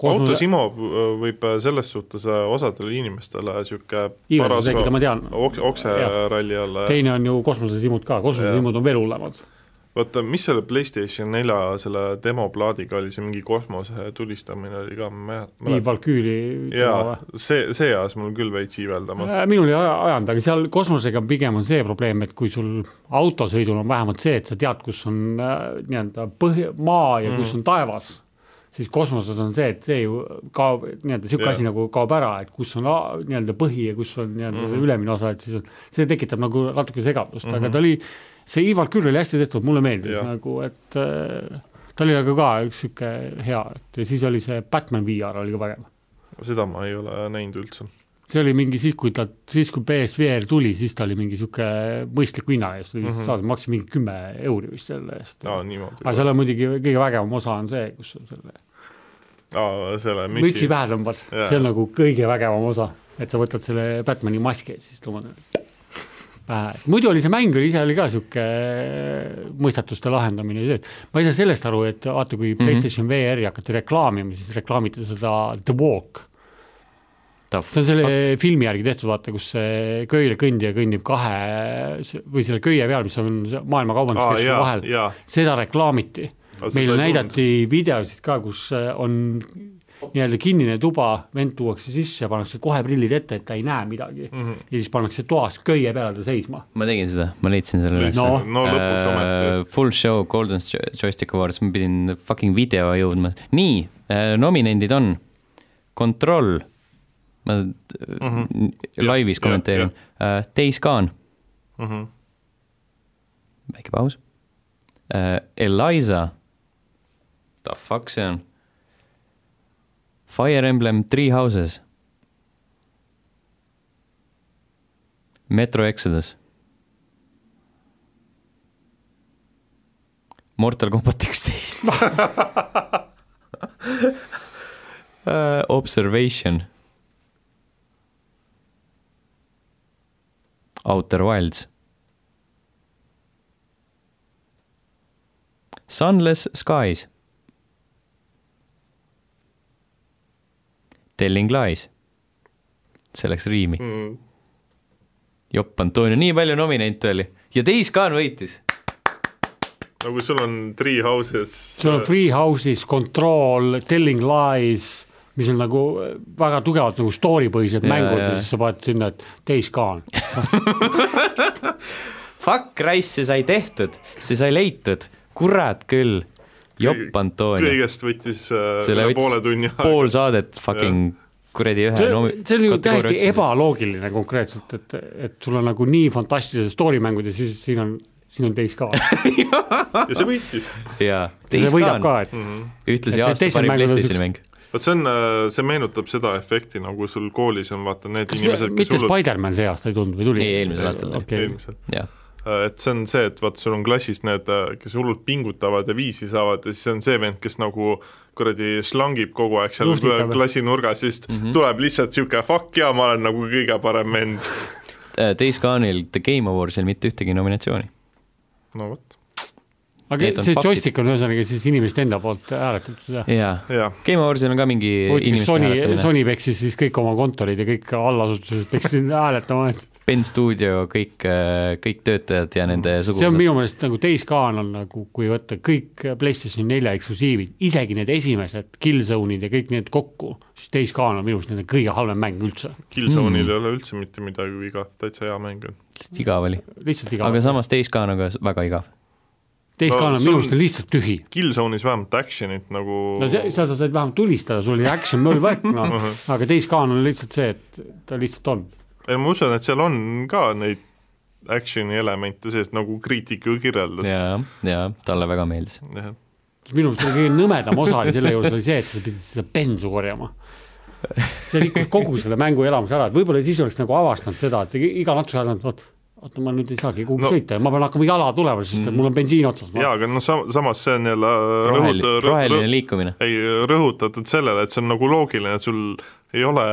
[SPEAKER 2] autosimo v- äh, võib selles suhtes äh, osadele inimestele niisugune paras
[SPEAKER 3] tekitada , ma tean ,
[SPEAKER 2] oks- ,
[SPEAKER 3] Jah.
[SPEAKER 2] okseralli alla
[SPEAKER 3] teine on ju kosmosesimud ka , kosmosesimud on veel hullemad .
[SPEAKER 2] vaata , mis selle PlayStation nelja selle demoplaadiga oli , see mingi kosmose tulistamine oli ka , ma ei
[SPEAKER 3] nii
[SPEAKER 2] mäleta .
[SPEAKER 3] Valküüri
[SPEAKER 2] jaa , see , see ajas mul küll veits iiveldama .
[SPEAKER 3] Äh, minul ei aja- ajanud , aga seal kosmosega pigem on see probleem , et kui sul autosõidul on vähemalt see , et sa tead , kus on äh, nii-öelda põhja , maa ja mm. kus on taevas , siis kosmoses on see , et see ju kaob , nii-öelda niisugune
[SPEAKER 2] Jah.
[SPEAKER 3] asi nagu kaob ära , et kus on a- nii-öelda põhi ja kus on nii-öelda
[SPEAKER 2] Mm-hmm.
[SPEAKER 3] mm. ülemine osa , et siis on , see tekitab nagu natuke segadust mm , -hmm. aga ta oli , see Ivar Küür oli hästi tehtud , mulle meeldis ja.
[SPEAKER 2] Jah.
[SPEAKER 3] nagu , et äh, ta oli nagu ka üks niisugune hea , et ja siis oli see Batman VR oli ka vägev .
[SPEAKER 2] seda ma ei ole näinud üldse .
[SPEAKER 3] see oli mingi siis , kui ta , siis kui BSVR tuli , siis ta oli mingi sihuke mõistliku hinna eest oli mm -hmm. saada , maksis mingi kümme euri vist selle eest
[SPEAKER 2] Mhm. aa , niimoodi .
[SPEAKER 3] aga seal on muidugi kõige vägevam osa on see , kus sa selle
[SPEAKER 2] aa , selle
[SPEAKER 3] mütsi
[SPEAKER 2] mütsi .
[SPEAKER 3] pähe tõmbad ,
[SPEAKER 2] Jaa.
[SPEAKER 3] see on nagu kõige vägevam osa , et sa võtad selle Batman'i maski ja siis tõmbad . pähe , muidu oli see mäng oli ise oli ka sihuke mõistatuste lahendamine , et ma ei saa sellest aru , et vaata , kui mm
[SPEAKER 2] Mhm.
[SPEAKER 3] -hmm. PlayStation VR-i hakati reklaamima , siis reklaamiti seda The Walk . see on selle filmi järgi tehtud , vaata , kus see köielekõndija kõnnib kahe või selle köie peal , mis on maailma kaubanduskeskuse
[SPEAKER 2] jaa ,
[SPEAKER 3] vahel ,
[SPEAKER 2] jaa ,
[SPEAKER 3] seda reklaamiti .
[SPEAKER 2] Aga seda
[SPEAKER 3] meile
[SPEAKER 2] ei
[SPEAKER 3] näidati videosid ka , kus äh, on nii-öelda kinnine tuba , vend tuuakse sisse , pannakse kohe prillid ette , et ta ei näe midagi mm .
[SPEAKER 2] Mhm.
[SPEAKER 3] -hmm. ja siis pannakse toas köie peale ta seisma .
[SPEAKER 1] ma tegin seda , ma leidsin selle üles
[SPEAKER 3] No.
[SPEAKER 2] no
[SPEAKER 4] Äh,
[SPEAKER 2] lõpuks
[SPEAKER 3] Äh,
[SPEAKER 2] ometi .
[SPEAKER 1] Full show Golden Joy- Joystick Awards , ma pidin fucking video jõudma . nii ,
[SPEAKER 4] äh,
[SPEAKER 1] nominendid on Control , ma mm -hmm. laivis
[SPEAKER 2] Mhm. Jah, Mhm.
[SPEAKER 1] kommenteerin , Days Gone , väike paus , Eliza , the fuck see on , Fire Emblem Three Houses , Metro Exodus , Mortal Combat <laughs>
[SPEAKER 2] <laughs>
[SPEAKER 1] üksteist Äh, Observation . Outer Wilds . Sunless Skies . Telling Lies . see läks riimi . jopp , Antonio , nii palju nominente oli ja Days Gone võitis .
[SPEAKER 2] no kui Nagu sul on Three Houses äh,
[SPEAKER 3] sul on Free House'is Control , Telling Lies , mis on nagu väga tugevalt nagu story põhised
[SPEAKER 1] Jaa,
[SPEAKER 3] mängud ja
[SPEAKER 1] jaa.
[SPEAKER 3] siis sa paned sinna , et Days Gone .
[SPEAKER 1] Fuck Rice , see sai tehtud , see sai leitud , kurat küll , jopp , Antonio .
[SPEAKER 2] kõigest võttis äh,
[SPEAKER 1] selle
[SPEAKER 2] üle
[SPEAKER 1] võttis
[SPEAKER 2] poole tunni aega .
[SPEAKER 1] pool saadet fucking kuradi ühe
[SPEAKER 3] see
[SPEAKER 1] no,
[SPEAKER 3] see on ju täiesti . ebaloogiline konkreetselt , et , et sul on nagu nii fantastilised story mängud ja siis siin on , siin on
[SPEAKER 1] <laughs>
[SPEAKER 3] Days Gone .
[SPEAKER 2] ja see võitis .
[SPEAKER 1] jaa ,
[SPEAKER 3] see
[SPEAKER 1] teist
[SPEAKER 3] võidab
[SPEAKER 1] ka
[SPEAKER 3] ka
[SPEAKER 1] on ,,
[SPEAKER 3] et
[SPEAKER 2] Mm,
[SPEAKER 3] et-
[SPEAKER 1] ühtlasi
[SPEAKER 3] et
[SPEAKER 1] aasta
[SPEAKER 3] teised
[SPEAKER 1] parim
[SPEAKER 3] mängud on
[SPEAKER 1] PlayStationi
[SPEAKER 3] siuksed-
[SPEAKER 1] mäng .
[SPEAKER 2] vot see on , see meenutab seda efekti , nagu sul koolis on vaata need
[SPEAKER 3] kas
[SPEAKER 2] inimesed , kes
[SPEAKER 3] mitte
[SPEAKER 2] hullult ,
[SPEAKER 3] Spider-man see aasta ei tulnud või tuli ?
[SPEAKER 1] Ei, eelmisel aastal tuli.
[SPEAKER 2] <laughs>
[SPEAKER 3] okay. .
[SPEAKER 1] jah ,
[SPEAKER 2] Äh, et see on see , et vaat sul on klassis need , kes hullult pingutavad ja viisi saavad ja siis on see vend , kes nagu kuradi slangib kogu aeg seal
[SPEAKER 3] Luhvlitab.
[SPEAKER 2] klassi nurgas , siis mm
[SPEAKER 3] Mhm.
[SPEAKER 2] -hmm. tuleb lihtsalt niisugune fuck jaa , ma olen nagu kõige parem vend .
[SPEAKER 1] Äh, Days Gone'il The Game Awardsil mitte ühtegi nominatsiooni .
[SPEAKER 2] no vot ,
[SPEAKER 3] aga
[SPEAKER 1] Need on
[SPEAKER 3] see
[SPEAKER 1] faktid.
[SPEAKER 3] joystick on ühesõnaga siis inimeste enda poolt hääletatud , jah ?
[SPEAKER 1] jaa ,
[SPEAKER 2] jah .
[SPEAKER 1] Game Awardsil on ka mingi
[SPEAKER 3] huvitav , kas
[SPEAKER 1] inimeste
[SPEAKER 3] Sony ,
[SPEAKER 1] hääletamine ,
[SPEAKER 3] Sony peksis siis kõik oma kontorid ja kõik allasutused peksid hääletama , et
[SPEAKER 1] Ben Studio , kõik , kõik töötajad ja nende
[SPEAKER 3] see on
[SPEAKER 1] sugulased .
[SPEAKER 3] minu meelest nagu Dayscan on nagu , kui võtta kõik PlayStation nelja eksklusiivid , isegi need esimesed Killzone'id ja kõik need kokku , siis Dayscan on minu arust nende kõige halvem mäng üldse , Hmm.
[SPEAKER 2] Killzone'il mm. ei ole üldse mitte midagi viga , täitsa hea mäng on .
[SPEAKER 1] igav oli ,
[SPEAKER 3] lihtsalt igav
[SPEAKER 1] aga . samas Days Gone on ka s- väga igav .
[SPEAKER 3] Dayscan
[SPEAKER 2] no see
[SPEAKER 3] on
[SPEAKER 2] on-
[SPEAKER 3] minu arust on lihtsalt tühi .
[SPEAKER 2] Killzone'is vähemalt action'it nagu
[SPEAKER 3] no se- seal sa said vähemalt tulistada , sul oli action möllvõrk , noh , aga Dayscan on lihtsalt see , et ta lihtsalt on .
[SPEAKER 2] ei ma usun , et seal on ka neid action'i elemente sees , nagu kriitik ju kirjeldas .
[SPEAKER 1] jaa , jaa , talle väga meeldis .
[SPEAKER 3] minu arust oli kõige nõmedam osa oli selle juures oli see , et sa pidid seda bensu korjama . see rikkus kogu selle mänguelamuse ära , et võib-olla siis oleks nagu avastanud seda , et ig- iga natukese aja tagant , vot oota , ma nüüd ei saagi kuhugi
[SPEAKER 2] No.
[SPEAKER 3] no. sõita ja ma pean hakkama jala tulema , sest et mul on bensiin otsas .
[SPEAKER 2] jaa , aga noh , sam- , samas see on jälle
[SPEAKER 1] roheline ,
[SPEAKER 2] rõhut- ,
[SPEAKER 1] roheline liikumine .
[SPEAKER 2] ei , rõhutatud sellele , et see on nagu loogiline , et sul ei ole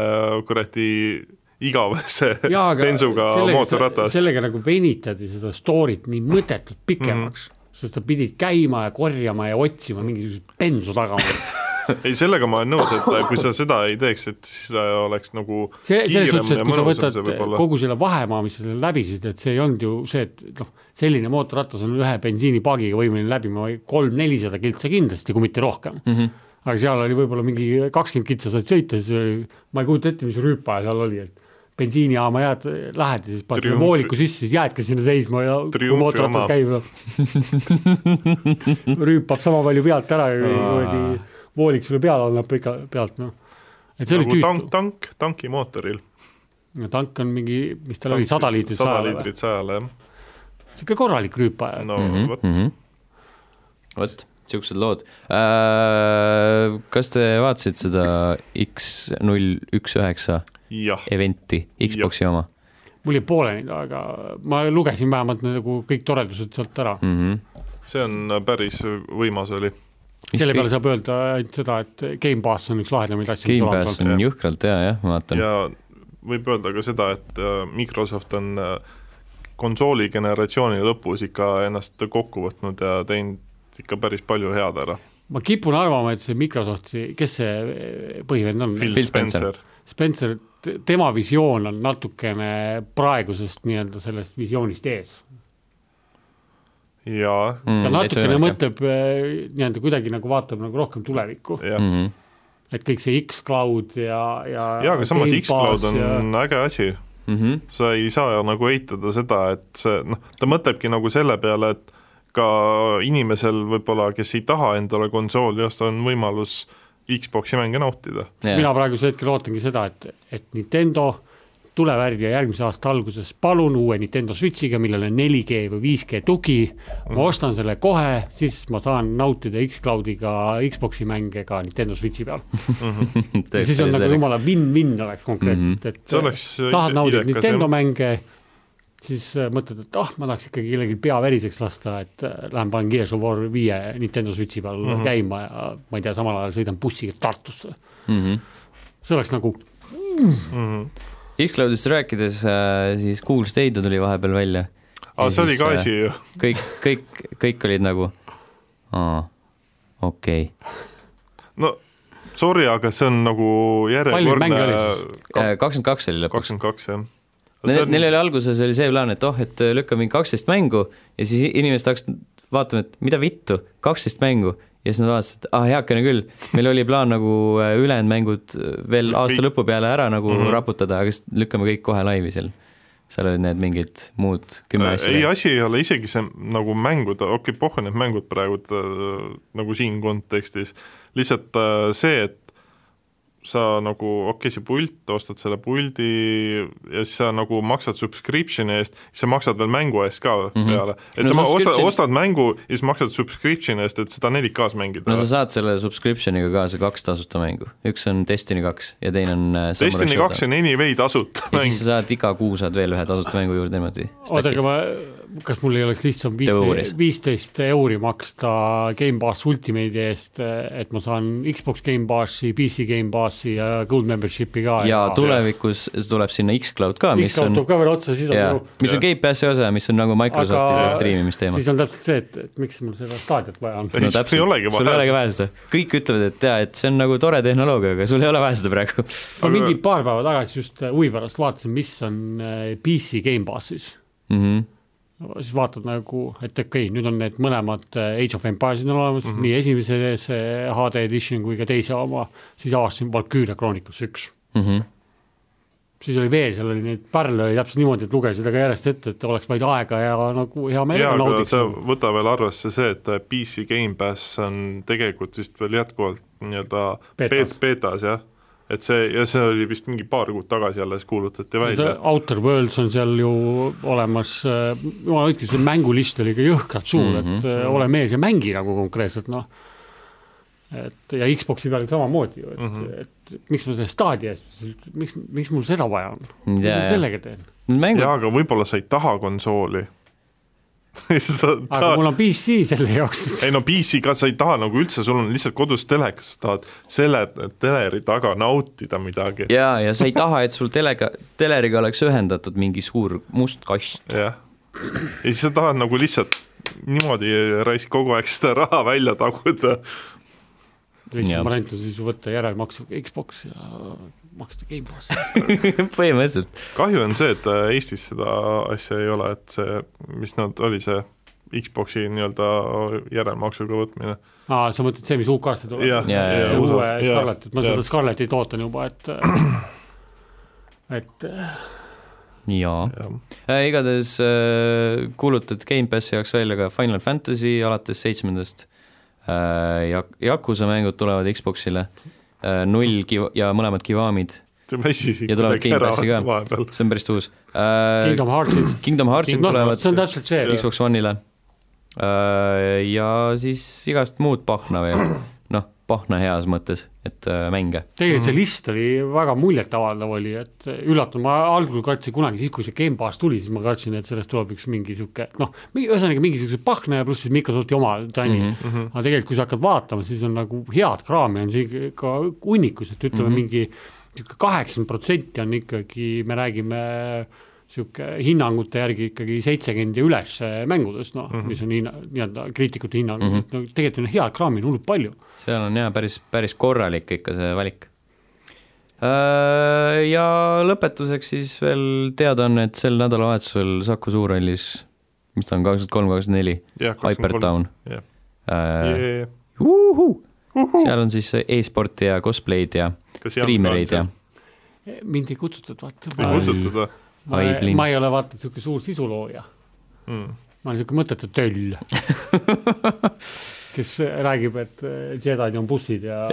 [SPEAKER 2] kuradi <laughs> igavese bensuga mootorratast .
[SPEAKER 3] sellega nagu venitati seda story't nii mõttetult pikemaks mm , -hmm. sest sa pidid käima ja korjama ja otsima mingisugust bensu tagant .
[SPEAKER 2] ei , sellega ma olen nõus , et äh, kui sa seda ei teeks , et siis ta oleks nagu
[SPEAKER 3] see , selles
[SPEAKER 2] kiirem
[SPEAKER 3] suhtes ,
[SPEAKER 2] ja
[SPEAKER 3] et kui sa
[SPEAKER 2] mõnusam
[SPEAKER 3] võtad
[SPEAKER 2] see võib olla.
[SPEAKER 3] kogu selle vahemaa , mis sa seal läbisid , et see ei olnud ju see , et noh , selline mootorratas on ühe bensiinipaagiga võimeline läbima kolm-nelisada kiltsa kindlasti , kui mitte rohkem mm .
[SPEAKER 1] Mhm,
[SPEAKER 3] -hmm. aga seal oli võib-olla mingi kakskümmend kiltsa said sõita , siis oli , ma ei kujuta ette , mis rüüpaja seal oli , et bensiinijaama jääd , lähed ja siis paned selle
[SPEAKER 2] Triumfi-
[SPEAKER 3] vooliku sisse , siis jäädki sinna seisma ja kui
[SPEAKER 2] Triumfi
[SPEAKER 3] mootorratas
[SPEAKER 2] oma.
[SPEAKER 3] käib
[SPEAKER 2] <laughs>
[SPEAKER 3] ja rüüpab sama palju pealt ära ja kuradi voolik sulle peale annab ikka pealt , noh . et see
[SPEAKER 2] nagu
[SPEAKER 3] oli tüütu
[SPEAKER 2] tank , tank , tankimootoril .
[SPEAKER 3] no tank on mingi , mis tal oli , sada liitrit
[SPEAKER 2] sada
[SPEAKER 3] sajale Mhm, või ?
[SPEAKER 2] liitrit sajale , jah .
[SPEAKER 3] sihuke korralik rüüpaja no. .
[SPEAKER 2] no Oh, vot ,
[SPEAKER 1] mhm, vot , siuksed lood . kas te vaatasite seda X null üks üheksa
[SPEAKER 2] jah .
[SPEAKER 1] eventi , Xbox'i oma
[SPEAKER 3] mul jäi pooleni , aga ma lugesin vähemalt nagu kõik toredused sealt ära .
[SPEAKER 1] mm ? -hmm.
[SPEAKER 2] see on päris võimas oli .
[SPEAKER 3] selle peale saab öelda ainult seda , et Gamepass on üks lahedamaid asju , mis olemas
[SPEAKER 1] Gamepass
[SPEAKER 3] on .
[SPEAKER 1] on
[SPEAKER 2] jah.
[SPEAKER 1] jõhkralt hea jah , ma vaatan .
[SPEAKER 2] ja võib öelda ka seda , et äh, Microsoft on äh, konsooli generatsiooni lõpus ikka ennast kokku võtnud ja teinud ikka päris palju head ära .
[SPEAKER 3] ma kipun arvama , et see Microsofti , kes see põhivend on ?
[SPEAKER 2] Phil
[SPEAKER 1] Phil Spencer.
[SPEAKER 2] Spencer .
[SPEAKER 3] Spencer , tema visioon on natukene praegusest nii-öelda sellest visioonist ees .
[SPEAKER 2] jaa ,
[SPEAKER 3] ta mm, natukene . mõtleb eh, nii-öelda kuidagi nagu vaatab nagu rohkem tulevikku ,
[SPEAKER 2] jah .
[SPEAKER 1] Mm -hmm.
[SPEAKER 3] et kõik see X-Cloud ja , ja
[SPEAKER 2] jaa , aga samas
[SPEAKER 3] Game
[SPEAKER 2] X-Cloud
[SPEAKER 3] Pass
[SPEAKER 2] on
[SPEAKER 3] ja...
[SPEAKER 2] ja... äge asi
[SPEAKER 1] Mm -hmm.
[SPEAKER 2] sa ei saa nagu eitada seda , et see noh , ta mõtlebki nagu selle peale , et ka inimesel võib-olla , kes ei taha endale konsooli osta , on võimalus Xboxi mänge nautida .
[SPEAKER 1] <laughs>
[SPEAKER 3] mina praegusel hetkel ootangi seda , et , et Nintendo tule värvi järgmise aasta alguses , palun uue Nintendo Switch'iga , millel on 4G või 5G tugi , ma ostan selle kohe , siis ma saan nautida X-Cloudiga , Xbox'i mänge ka Nintendo Switch'i peal . ja siis on nagu jumala win-win oleks konkreetselt , et
[SPEAKER 2] see oleks
[SPEAKER 3] tahad naudida
[SPEAKER 2] idekas,
[SPEAKER 3] Nintendo
[SPEAKER 2] jah.
[SPEAKER 3] mänge , siis äh, mõtled , et ah , ma tahaks ikkagi kellelgi pea veriseks lasta , et äh, lähen panen Gears of War viie Nintendo Switchi peal
[SPEAKER 2] Mhm.
[SPEAKER 3] mm -hmm. käima ja ma ei tea , samal ajal sõidan bussiga Tartusse .
[SPEAKER 1] Mhm.
[SPEAKER 3] see oleks nagu ,
[SPEAKER 1] X-Cloudist rääkides äh, , siis Google Stadia tuli vahepeal välja .
[SPEAKER 2] aga see oli ka asi . ju ,
[SPEAKER 1] kõik , kõik , kõik olid nagu , aa , okei
[SPEAKER 2] no sorry , aga see on nagu järjekordne
[SPEAKER 3] mänge oli siis?
[SPEAKER 1] okay. . Äh, kakskümmend kaks oli lõpuks .
[SPEAKER 2] kakskümmend kaks , jah .
[SPEAKER 1] Neil, neil oli alguses oli see plaan , et oh , et lükkame mingi kaksteist mängu ja siis inimesed hakkasid vaatama , et mida vittu , kaksteist mängu ja siis nad vaatasid , et ah , heakene küll , meil oli plaan nagu äh, ülejäänud mängud äh, veel aasta
[SPEAKER 2] Kõik-
[SPEAKER 1] lõpu peale ära nagu mm
[SPEAKER 2] Mhm.
[SPEAKER 1] -hmm. raputada , aga siis lükkame kõik kohe laivi seal . seal olid need mingid muud kümme asja .
[SPEAKER 2] Äh, ei , asi ei ole isegi see nagu mängud , okei okay, , pohhu need mängud praegu äh, nagu siin kontekstis , lihtsalt äh, see , et sa nagu , okei okay, , see pult , ostad selle puldi ja siis sa nagu maksad subscription'i eest , siis sa maksad veel mängu eest ka mm -hmm. peale .
[SPEAKER 1] Mhm. No
[SPEAKER 2] et no, sa ma- ostad ,
[SPEAKER 1] subscription-
[SPEAKER 2] ostad mängu ja siis maksad subscription'i eest , et seda 4K-s mängida
[SPEAKER 1] no sa . saad selle subscription'iga kaasa kaks tasuta mängu , üks on Destiny kaks ja teine on äh, Samurai
[SPEAKER 2] Destiny
[SPEAKER 1] Showdown.
[SPEAKER 2] kaks on anyway tasuta
[SPEAKER 1] ja
[SPEAKER 2] mäng
[SPEAKER 1] siis , sa saad iga kuu saad veel ühe tasuta mängu juurde niimoodi .
[SPEAKER 3] oota , aga ma , kas mul ei oleks lihtsam
[SPEAKER 1] Teoorias.
[SPEAKER 3] viis- viisteist euri maksta Gamepass Ultimate'i eest , et ma saan Xbox Gamepassi , PC Gamepassi ja Gold Membership'i ka .
[SPEAKER 1] ja tulevikus tuleb sinna X-Cloud ka , mis
[SPEAKER 3] X-Cloud
[SPEAKER 1] on
[SPEAKER 3] tuleb , ka veel otsa , siis on nagu-
[SPEAKER 1] jaa
[SPEAKER 3] ju ,,
[SPEAKER 1] mis on Gatepassi osa , mis on nagu Microsofti
[SPEAKER 3] Aga-
[SPEAKER 1] see striimimisteema .
[SPEAKER 3] siis on täpselt see , et , et miks mul seda staadiot vaja on .
[SPEAKER 2] Ei, sul ei olegi
[SPEAKER 1] sul ei
[SPEAKER 2] vaja.
[SPEAKER 1] olegi vaja seda . kõik ütlevad , et jaa , et see on nagu tore tehnoloogia , aga sul ei ole vaja seda praegu .
[SPEAKER 3] ma
[SPEAKER 2] Aga-
[SPEAKER 3] mingi paar päeva tagasi just äh, huvi pärast vaatasin , mis on äh, PC Gamepassis .
[SPEAKER 1] Mhm.
[SPEAKER 3] siis vaatad nagu , et okei okay, , nüüd on need mõlemad äh, Age of Empires'id on olemas mm , -hmm. nii esimese see HD edition kui ka teise oma , siis avastasin Valkyria Chronicles üks .
[SPEAKER 1] Mhm.
[SPEAKER 3] siis oli veel , seal oli neid pärle oli täpselt niimoodi , et lugesid aga järjest ette , et oleks vaid aega ja nagu hea meel
[SPEAKER 2] jaa , aga
[SPEAKER 3] naudiks
[SPEAKER 2] sa . võta veel arvesse see , et äh, PC Gamepass on tegelikult vist veel jätkuvalt nii-öelda
[SPEAKER 3] Betas.
[SPEAKER 2] beetas, beetas , jah . et see , ja see oli vist mingi paar kuud tagasi alles kuulutati välja .
[SPEAKER 3] Outer Worlds on seal ju olemas , jumala hoidku , see mängulist oli ikka jõhkralt suur mm , -hmm. et äh, ole mees ja mängi nagu konkreetselt noh . et ja Xbox'i peal samamoodi ju , et mm ,
[SPEAKER 2] Mhm.
[SPEAKER 3] -hmm. et miks ma selle staadi eest , miks , miks mul seda vaja on , mis ma sellega teen ,
[SPEAKER 1] Need
[SPEAKER 2] jaa ,
[SPEAKER 1] mängud ,
[SPEAKER 2] aga võib-olla sa ei taha konsooli . <laughs> sa
[SPEAKER 3] aga
[SPEAKER 2] tahad ,
[SPEAKER 3] mul on PC selle jaoks . <laughs>
[SPEAKER 2] ei no PC-ga sa ei taha nagu üldse , sul on lihtsalt kodus telekas , sa tahad selle teleri taga nautida midagi .
[SPEAKER 1] jaa , ja sa ei taha , et sul telega , teleriga oleks ühendatud mingi suur must
[SPEAKER 2] <laughs>
[SPEAKER 1] kast .
[SPEAKER 2] jah . ja siis sa tahad nagu lihtsalt niimoodi raisk kogu aeg seda raha välja taguda .
[SPEAKER 1] Jah.
[SPEAKER 3] lihtsam variant on siis ju võtta järelmaksuga Xbox ja maksta Gamepassi .
[SPEAKER 1] põhimõtteliselt .
[SPEAKER 2] kahju on see , et äh, Eestis seda asja ei ole , et see , mis nad , oli see Xboxi nii-öelda järelmaksuga võtmine .
[SPEAKER 3] aa , sa mõtled see , mis UK-sse tuleb ?
[SPEAKER 2] jah ,
[SPEAKER 1] Jaa, jaa,
[SPEAKER 3] see
[SPEAKER 1] jaa,
[SPEAKER 3] uue Scarletit , ma seda Scarletit ootan juba , et äh,
[SPEAKER 1] <clears throat>
[SPEAKER 3] et äh,
[SPEAKER 1] jaa .
[SPEAKER 2] jah ,
[SPEAKER 1] igatahes äh, kuulutati Gamepassi jaoks välja ka Final Fantasy alates seitsmendast äh, , Jak- , Yakuza mängud tulevad Xboxile äh, , null kiv- ja mõlemad Kivamid ,
[SPEAKER 2] see väsi
[SPEAKER 1] Ja tulevad Gamepassi ka.
[SPEAKER 2] vahepeal .
[SPEAKER 1] see on päris uus äh, .
[SPEAKER 3] Kingdom Heartsid ,
[SPEAKER 1] Kingdom Heartsid
[SPEAKER 3] Kingdom-
[SPEAKER 1] tulevad
[SPEAKER 3] see on täpselt see.
[SPEAKER 1] Xbox Xbox One'ile . ja siis igast muud pahna veel , noh , pahna heas mõttes , et äh, mänge .
[SPEAKER 3] tegelikult see list oli väga muljetavaldav oli , et äh, üllatunud , ma algul kartsin kunagi siis , kui see Gamepass tuli , siis ma kartsin , et sellest tuleb üks mingi sihuke noh , ühesõnaga mingisuguse pahna ja pluss siis Microsofti oma tanni
[SPEAKER 1] Mhm.
[SPEAKER 3] mm .
[SPEAKER 2] Mhm.
[SPEAKER 3] -hmm. aga tegelikult , kui sa hakkad vaatama , siis on nagu head kraami on siin ikka
[SPEAKER 1] Mhm.
[SPEAKER 3] hunnikus , et ütleme mm -hmm. mingi niisugune kaheksakümmend protsenti on ikkagi , me räägime sihuke hinnangute järgi ikkagi seitsekümmend ja üles mängudest, noh mm,
[SPEAKER 1] Mhm.
[SPEAKER 3] -hmm. mis on hinna, nii-öelda kriitikute hinnang mm, -hmm. et no tegelikult on hea kraami on hullult palju.
[SPEAKER 1] seal on jaa, päris, päris korralik ikka see valik. Äh, Ja lõpetuseks siis veel teadaanne, et sel nädalavahetusel Saku Suurhallis, mis ta on, kakskümmend kolm, kakskümmend neli,
[SPEAKER 2] jah ,
[SPEAKER 1] Hypertown
[SPEAKER 2] jah ,
[SPEAKER 1] äh, . Uhuhu. seal on siis e-sporti ja cosplay'd ja striimereid ja .
[SPEAKER 3] mind ei kutsutud vaata ,
[SPEAKER 2] ei
[SPEAKER 1] Ai.
[SPEAKER 2] kutsutud või
[SPEAKER 3] ma
[SPEAKER 1] Ai,
[SPEAKER 3] ei,
[SPEAKER 1] Blin.
[SPEAKER 3] ma ei ole vaata niisugune suur sisulooja ,
[SPEAKER 2] mm. ?
[SPEAKER 3] ma olen niisugune mõttetu
[SPEAKER 1] <laughs>
[SPEAKER 3] töll , kes räägib , et eh, Jedi'd on bussid ja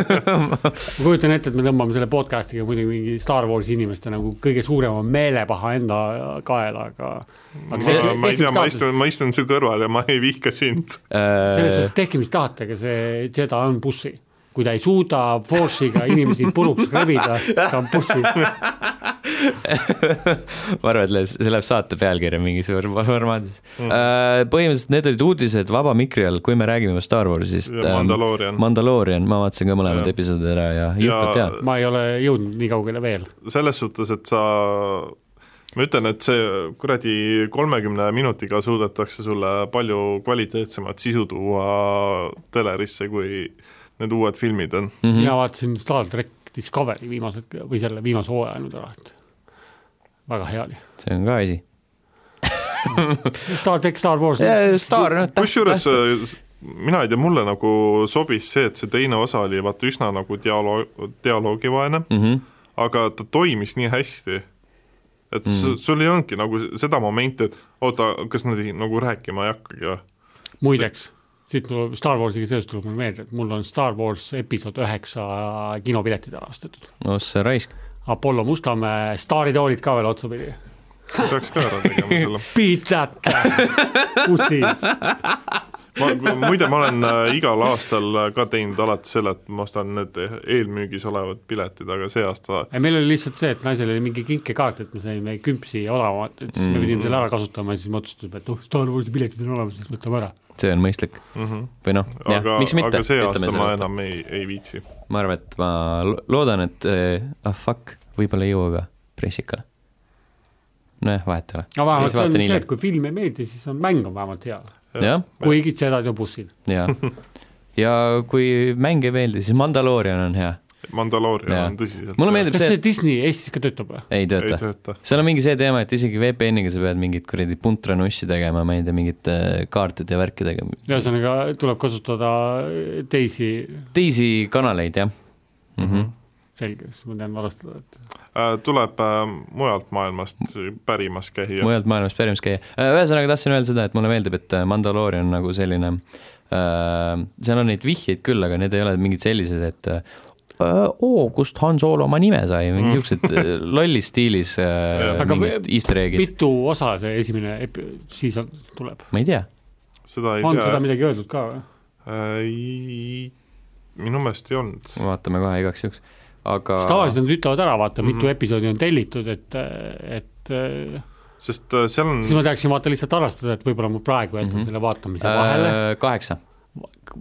[SPEAKER 2] <laughs>
[SPEAKER 3] ma kujutan ette , et me tõmbame selle podcast'iga muidugi mingi Star Warsi inimeste nagu kõige suurema meelepaha enda kaela , aga
[SPEAKER 2] ma,
[SPEAKER 3] aga tehke-
[SPEAKER 2] ma ei tea ,
[SPEAKER 3] tehke, mis
[SPEAKER 2] ma
[SPEAKER 3] tahate.
[SPEAKER 2] istun , ma istun su kõrval ja ma ei vihka sind .
[SPEAKER 3] selles suhtes tehke , mis tahate , aga see Jedi on bussi . kui ta ei suuda Force'iga inimesi puruks rebida , ta on bussi .
[SPEAKER 1] Äh, ma arvan , et les- see läheb saate pealkirja mingi suur formaadis mm. . põhimõtteliselt need olid uudised Vaba Mikri all , kui me räägime Star Warsist .
[SPEAKER 2] Mandaloorian .
[SPEAKER 1] Mandaloorian , ma vaatasin ka mõlemad
[SPEAKER 2] Jah.
[SPEAKER 1] episoodid ära ja jõhkralt hea .
[SPEAKER 3] ma ei ole jõudnud nii kaugele veel .
[SPEAKER 2] selles suhtes , et sa , ma ütlen , et see kuradi kolmekümne minutiga suudetakse sulle palju kvaliteetsemat sisu tuua telerisse , kui need uued filmid on .
[SPEAKER 1] Mhm.
[SPEAKER 3] mina vaatasin Star track Discovery viimased või selle viimase hooaja nüüd ära , et väga hea oli .
[SPEAKER 1] see on ka asi .
[SPEAKER 3] Star track , Star Wars ,
[SPEAKER 1] Star ,
[SPEAKER 2] noh, kusjuures mina ei tea , mulle nagu sobis see , et see teine osa oli vaata üsna nagu dialoog , dialoogivaene ,
[SPEAKER 1] Mhm.
[SPEAKER 2] aga ta toimis nii hästi , et mm. sul ei olnudki nagu s- seda momenti , et oota , kas nad ei, nagu rääkima ei hakkagi või ?
[SPEAKER 3] muideks , siit tuleb Star Warsiga seoses tuleb mulle meelde , et mul on Star Wars episood üheksa kinopiletid ära ostetud .
[SPEAKER 1] oh see raisk .
[SPEAKER 3] Apollo Mustamäe staaritoolid ka veel otsapidi .
[SPEAKER 2] peaks ka ära tegema selle . <laughs>
[SPEAKER 3] Beat that , bussis
[SPEAKER 2] ma , muide , ma olen äh, igal aastal äh, ka teinud alati selle , et ma ostan need eelmüügis olevad piletid , aga see aasta
[SPEAKER 3] ei , meil oli lihtsalt see , et naisel oli mingi kinkekaart , et me saime kümpsi odavamat , et siis me pidime selle ära kasutama ja siis me otsustasime , et noh , Star Warsi piletid on olemas , siis võtame ära .
[SPEAKER 1] see on mõistlik
[SPEAKER 2] mm ,
[SPEAKER 3] Mhm.
[SPEAKER 2] -hmm.
[SPEAKER 1] või noh , jah
[SPEAKER 2] aga ,,
[SPEAKER 1] miks mitte ,
[SPEAKER 2] aga see
[SPEAKER 1] ütleme
[SPEAKER 2] aasta ma
[SPEAKER 1] selle .
[SPEAKER 2] enam ei , ei viitsi .
[SPEAKER 1] ma arvan , et ma lo- loodan , et eh, ah fuck , võib-olla ei jõua ka pressikale . nojah , vahet ei ole .
[SPEAKER 3] aga vähemalt
[SPEAKER 1] siis
[SPEAKER 3] see on
[SPEAKER 1] vaatan
[SPEAKER 3] see ,
[SPEAKER 1] hiljem
[SPEAKER 3] et . kui film ei meeldi , siis on mäng on vähemalt hea ,
[SPEAKER 1] jah ,
[SPEAKER 3] kuigi sedad ja bussid .
[SPEAKER 1] jaa . ja kui mäng ei meeldi , siis Mandaloorian on hea .
[SPEAKER 2] Mandaloorian
[SPEAKER 1] Jaa.
[SPEAKER 2] on tõsiselt
[SPEAKER 1] mulle meeldib
[SPEAKER 3] kas
[SPEAKER 1] see ,
[SPEAKER 3] see Disney Eestis ka töötab või ?
[SPEAKER 1] et ei
[SPEAKER 2] ei
[SPEAKER 1] tööta .
[SPEAKER 2] tööta .
[SPEAKER 1] seal on mingi see teema , et isegi VPN-iga sa pead mingit kuradi puntranuissi tegema , ma ei tea , mingite kaartide ja värkidega .
[SPEAKER 3] ühesõnaga tuleb kasutada teisi ,
[SPEAKER 1] teisi kanaleid , jah mm . -hmm.
[SPEAKER 3] selge , siis ma tean arvestada , et
[SPEAKER 2] Tuleb äh, mujalt maailmast pärimas käia .
[SPEAKER 1] mujalt maailmast pärimas käia . ühesõnaga tahtsin öelda seda , et mulle meeldib , et Mandaloorion on nagu selline , seal on neid vihjeid küll , aga need ei ole mingid sellised , et äh, oo , kust Han Solo oma nime sai , mingi siuksed äh, lollis stiilis äh,
[SPEAKER 3] Aga
[SPEAKER 1] mingid easter egg'id ,
[SPEAKER 3] mitu osa see esimene epi- , siis on , tuleb .
[SPEAKER 1] ma ei tea .
[SPEAKER 2] seda ei
[SPEAKER 3] on seda
[SPEAKER 2] tea ,
[SPEAKER 3] midagi öeldud ka või ?
[SPEAKER 2] ei , minu meelest ei olnud .
[SPEAKER 1] vaatame kohe igaks juhuks , aga
[SPEAKER 3] siis tavaliselt nad ütlevad ära , vaata , mitu
[SPEAKER 2] Mhm.
[SPEAKER 3] episoodi on tellitud , et , et äh,
[SPEAKER 1] Mhm.
[SPEAKER 2] sest äh, seal on
[SPEAKER 3] siis ma tahaksin vaata lihtsalt arvestada , et võib-olla ma praegu jätan mm
[SPEAKER 1] Mhm.
[SPEAKER 3] -hmm. selle vaatamise vahele äh... ,
[SPEAKER 1] äh, kaheksa ,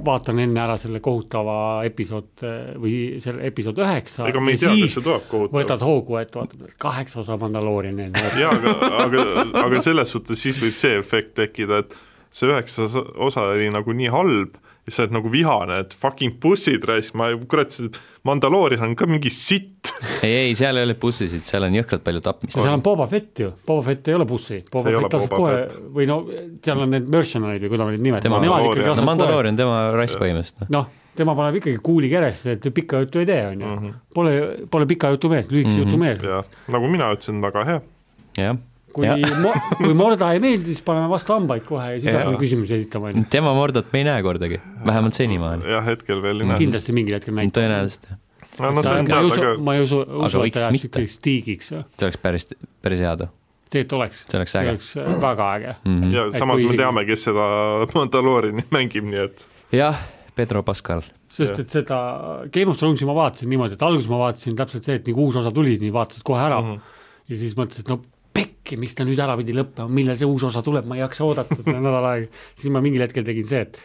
[SPEAKER 3] vaatan enne ära selle kohutava episood äh, või selle episood üheksa
[SPEAKER 2] ega me
[SPEAKER 3] ja
[SPEAKER 2] ei tea , kas
[SPEAKER 3] siis
[SPEAKER 2] see tuleb kohutavalt .
[SPEAKER 3] võtad hoogu , et vaatad , et kaheksa osa Mandalooriani on
[SPEAKER 2] <laughs>
[SPEAKER 3] veel .
[SPEAKER 2] jaa , aga , aga , aga selles suhtes siis võib see efekt tekkida , et see üheksas osa oli nagu nii halb ja sa oled nagu vihane , et fucking bussid raisk , ma kurat , see Mandaloorian on ka mingi sitt .
[SPEAKER 1] ei , ei , seal ei ole bussisid , seal on jõhkralt palju tapmist .
[SPEAKER 3] seal on Boba Fett ju , Boba Fett ei ole bussi , Boba
[SPEAKER 2] ei ole
[SPEAKER 3] Fett asub
[SPEAKER 2] Boba
[SPEAKER 3] kohe
[SPEAKER 2] Fett.
[SPEAKER 3] või no seal on need mercenary'd või kuidas ma neid nimetan ,
[SPEAKER 1] Tema
[SPEAKER 3] nemad
[SPEAKER 2] Mandalorian.
[SPEAKER 3] ikkagi
[SPEAKER 1] no
[SPEAKER 3] asuvad kohe ,
[SPEAKER 1] Mandaloorion , tema rass põhimõtteliselt ,
[SPEAKER 3] noh , tema paneb ikkagi kuuli keresse , et pikka juttu ei tee , on ju . Pole , pole pika jutu mees , lühikese
[SPEAKER 1] Mhm.
[SPEAKER 3] jutu mees .
[SPEAKER 2] Mm. ja Mhm. nagu mina ütlesin , väga hea ,
[SPEAKER 1] noh , jah .
[SPEAKER 3] kui
[SPEAKER 1] Ja.
[SPEAKER 3] mo- , kui Morda ei meeldi , siis paneme vastu hambaid kohe ja siis
[SPEAKER 1] Jaa.
[SPEAKER 3] hakkame küsimusi esitama , on ju .
[SPEAKER 1] tema Mordat me ei näe kordagi , vähemalt senimaani .
[SPEAKER 2] jah , hetkel veel ei näe .
[SPEAKER 3] kindlasti mingil hetkel näitab .
[SPEAKER 1] tõenäoliselt jah ,
[SPEAKER 2] Mm. no see on
[SPEAKER 3] ma ei
[SPEAKER 2] teada
[SPEAKER 3] usu
[SPEAKER 2] ka ,,
[SPEAKER 3] ma ei usu , usu , et
[SPEAKER 1] võiks
[SPEAKER 3] ta jääb
[SPEAKER 1] mitte.
[SPEAKER 3] siukeseks tiigiks ,
[SPEAKER 1] see oleks päris , päris hea too
[SPEAKER 3] tegelikult oleks ,
[SPEAKER 1] See oleks
[SPEAKER 3] see
[SPEAKER 1] äge.
[SPEAKER 3] oleks äh, väga äge .
[SPEAKER 1] mm -hmm. .
[SPEAKER 2] ja
[SPEAKER 3] et
[SPEAKER 2] samas
[SPEAKER 3] kui
[SPEAKER 2] me
[SPEAKER 3] isegi-
[SPEAKER 2] teame , kes seda <laughs> Mandalooriani mängib , nii et
[SPEAKER 1] jah , Pedro Pascal ,
[SPEAKER 3] sest et seda Game of Thronesi ma vaatasin niimoodi , et alguses ma vaatasin täpselt see , et nii kui uus osa tuli , nii vaatasid kohe ära
[SPEAKER 2] Mhm.
[SPEAKER 3] mm -hmm. ja siis mõtlesin , et no pekki , miks ta nüüd ära pidi lõppema , millal see uus osa tuleb , ma ei jaksa oodata seda <laughs> nädal aega . siis ma mingil hetkel tegin see , et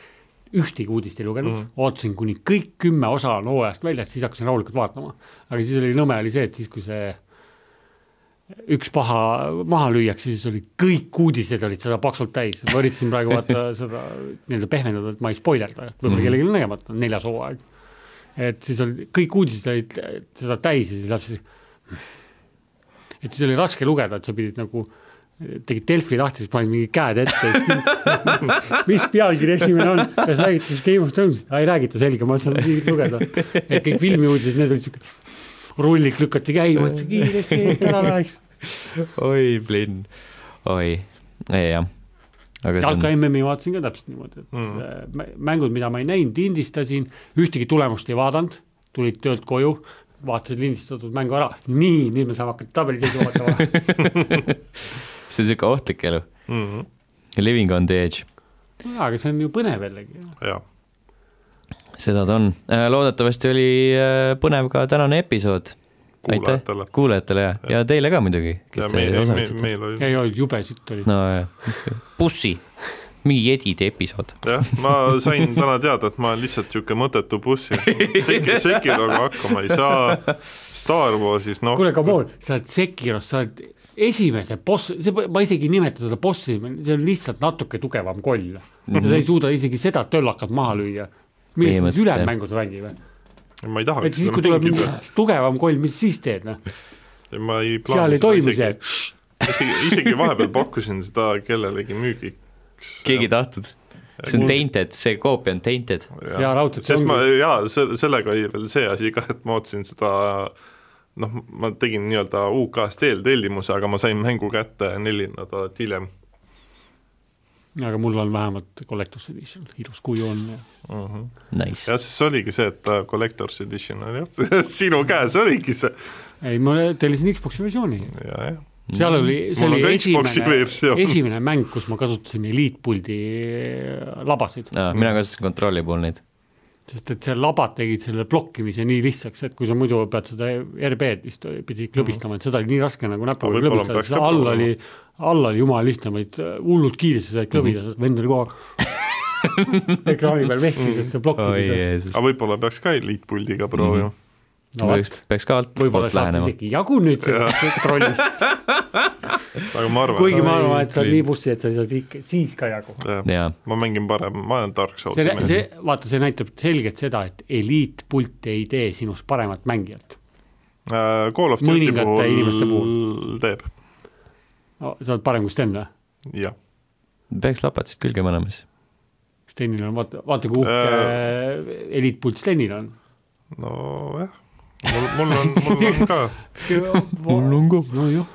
[SPEAKER 3] ühtegi uudist ei lugenud mm , -hmm. ootasin , kuni kõik kümme osa on hooajast väljas , siis hakkasin rahulikult vaatama . aga siis oli nõme oli see , et siis , kui see üks paha maha lüüakse, siis olid kõik uudised olid seda paksult täis, ma üritasin praegu vaata seda nii-öelda pehmendada, et ma ei spoilerda, et võib-olla kellelgi on nägemata, neljas hooaeg. et siis olid kõik uudised olid seda täis ja siis lapsed. "Hmm." et siis oli raske lugeda, et sa pidid nagu tegid Delfi lahti, siis panid mingid käed ette, siis <laughs> mis pealkiri esimene on ja siis räägiti siis Game of Thrones'ist, ei räägita, selge, ma saan mingit lugeda. et kõik filmiuudised, need olid siuke, rullik lükati käima, et see kiiresti eest ära läheks.
[SPEAKER 4] oi , plinn , oi , jah . aga see
[SPEAKER 3] jalka
[SPEAKER 4] on ,
[SPEAKER 3] MM-i vaatasin ka täpselt niimoodi , et
[SPEAKER 2] Mm.
[SPEAKER 3] mm. mängud , mida ma ei näinud , lindistasin , ühtegi tulemust ei vaadanud , tulid töölt koju , vaatasid lindistatud mängu ära , nii , nüüd me saame hakata tabeliseisu
[SPEAKER 4] <laughs>
[SPEAKER 3] vaatama .
[SPEAKER 4] see on siuke ohtlik elu .
[SPEAKER 2] mm -hmm.
[SPEAKER 4] Living on the edge ,
[SPEAKER 3] jaa , aga see on ju põnev jällegi .
[SPEAKER 2] jah ,
[SPEAKER 4] seda ta on . loodetavasti oli äh, põnev ka tänane episood . aitäh
[SPEAKER 2] kuulajatele .
[SPEAKER 4] kuulajatele ja , ja teile ka muidugi ,
[SPEAKER 2] ja
[SPEAKER 4] kes te
[SPEAKER 2] meil , meil,
[SPEAKER 4] osalesite .
[SPEAKER 2] meil oli
[SPEAKER 3] ei olnud jube sitt oli .
[SPEAKER 4] no jah , bussi , mingi jedide episood .
[SPEAKER 2] jah , ma sain täna teada , et ma olen lihtsalt niisugune mõttetu buss , seki , sekiroga hakkama ei saa , Star Warsis noh ,
[SPEAKER 3] kuule , come on , sa oled Sekiros , sa oled esimese boss , see , ma isegi ei nimeta seda bossi , see on lihtsalt natuke tugevam koll . ja sa ei suuda isegi seda töllakat maha lüüa . millest
[SPEAKER 4] Mhm. Põhimõtteliselt,
[SPEAKER 3] siis ülejäänud
[SPEAKER 4] jah.
[SPEAKER 3] mängus mängime ?
[SPEAKER 2] ma ei
[SPEAKER 3] et
[SPEAKER 2] tahaks
[SPEAKER 3] siis ,
[SPEAKER 2] seda
[SPEAKER 3] kui tuleb mingi
[SPEAKER 2] mängida ,
[SPEAKER 3] tugevam koll , mis siis teed , noh ?
[SPEAKER 2] ma ei
[SPEAKER 3] seal
[SPEAKER 2] plaani
[SPEAKER 3] ei toimu see .
[SPEAKER 2] isegi , isegi vahepeal pakkusin seda kellelegi müügiks .
[SPEAKER 4] keegi ei tahtnud . see on tainted , see koopia on tainted .
[SPEAKER 3] jaa , raudselt see
[SPEAKER 2] sest ma
[SPEAKER 3] ongi .
[SPEAKER 2] jaa , se- , sellega oli veel see asi ka , et ma ootasin seda noh , ma tegin nii-öelda UK-st eeltellimuse , aga ma sain mängu kätte neli nädalat hiljem
[SPEAKER 3] aga mul on vähemalt Collector's Edition , ilus kuju on ja
[SPEAKER 2] uh . -huh.
[SPEAKER 4] Nice .
[SPEAKER 2] jah , sest see oligi see , et äh, Collector's Edition on jah , <laughs> sinu käes oligi see
[SPEAKER 3] ei , ma tellisin Xbox'i versiooni ,
[SPEAKER 2] ja, , jah .
[SPEAKER 3] seal oli ,
[SPEAKER 2] Mm-hmm. Mul
[SPEAKER 3] see
[SPEAKER 2] on
[SPEAKER 3] oli
[SPEAKER 2] ka Xbox'i
[SPEAKER 3] esimene
[SPEAKER 2] versioon. ,
[SPEAKER 3] esimene mäng , kus ma kasutasin eliitpuldi eh, labasid ,
[SPEAKER 4] mina kasutasin kontrolli puhul neid .
[SPEAKER 3] sest et see labad tegid selle blokkimise nii lihtsaks , et kui sa muidu pead seda RB-d vist pidi klõbistama , et seda oli nii raske nagu näpuga
[SPEAKER 2] Aga võib-olla
[SPEAKER 3] klõbistada ,
[SPEAKER 2] peaks
[SPEAKER 3] seda
[SPEAKER 2] ka
[SPEAKER 3] all
[SPEAKER 2] proovima.
[SPEAKER 3] oli , all oli jumala lihtne , vaid eh, hullult kiiresti said klõbida ,
[SPEAKER 2] Mhm.
[SPEAKER 3] vend oli kogu aeg <laughs> ekraani peal vehkis ,
[SPEAKER 2] Mm.
[SPEAKER 3] et see
[SPEAKER 4] oi
[SPEAKER 3] blokkis .
[SPEAKER 4] Jeesus
[SPEAKER 2] aga . võib-olla peaks ka eliitpuldiga proovima
[SPEAKER 3] Mhm.
[SPEAKER 2] mm .
[SPEAKER 3] no
[SPEAKER 4] peaks
[SPEAKER 3] vot ,,
[SPEAKER 4] peaks ka
[SPEAKER 3] võib-olla
[SPEAKER 4] altpoolt
[SPEAKER 3] saate
[SPEAKER 4] lähenema .
[SPEAKER 3] isegi jagu nüüd sellest trollist .
[SPEAKER 2] -hmm. aga ma arvan
[SPEAKER 3] kuigi ma
[SPEAKER 4] Oi,
[SPEAKER 3] arvan , et sa oled
[SPEAKER 4] Clint.
[SPEAKER 3] nii bussi , et sa ei saa siit , siis ka jagu .
[SPEAKER 2] et
[SPEAKER 4] jaa ,
[SPEAKER 2] ma mängin parem , ma olen Dark Soulsi
[SPEAKER 3] see ,
[SPEAKER 2] mees
[SPEAKER 3] see , vaata , see näitab selgelt seda , et eliitpult ei tee sinust paremat mängijat
[SPEAKER 2] Äh, Call of Duty
[SPEAKER 3] mõningate inimeste
[SPEAKER 2] puhul teeb ,
[SPEAKER 3] no, . sa oled parem kui Sten või ?
[SPEAKER 2] jah .
[SPEAKER 4] peaks lapatsid külge panema siis .
[SPEAKER 3] Stenil on , vaata , vaata kui uhke äh... eliitpult Stenil on .
[SPEAKER 2] nojah , mul , mul on , mul on ka ,
[SPEAKER 3] <laughs> mul on ka . nojah ,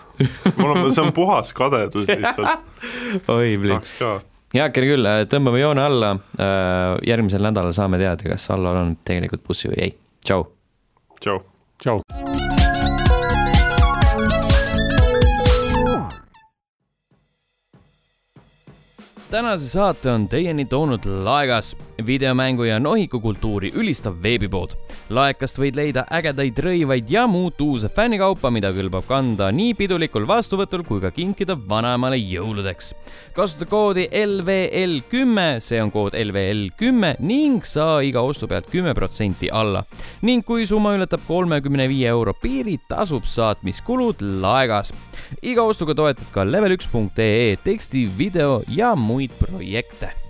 [SPEAKER 2] mul on , see on puhas kadedus lihtsalt ,
[SPEAKER 4] oi , plinn .
[SPEAKER 2] tahaks ka
[SPEAKER 4] heakene Ah. küll , tõmbame joone alla . järgmisel nädalal saame teada , kas Allar on tegelikult bussi või ei . tšau .
[SPEAKER 2] tšau .
[SPEAKER 3] tšau .
[SPEAKER 1] tänase saate on teieni toonud Laegas , videomängu ja nohikukultuuri ülistav veebipood . laekast võid leida ägedaid rõivaid ja muud uuse fännikaupa , mida kõlbab kanda nii pidulikul vastuvõtul kui ka kinkida vanaemale jõuludeks . kasuta koodi LVL kümme , see on kood LVL kümme ning saa iga ostu pealt kümme protsenti alla . ning kui summa ületab kolmekümne viie euro piiri , tasub saatmiskulud Laegas . iga ostuga toetad ka level1.ee teksti , video ja muid projekte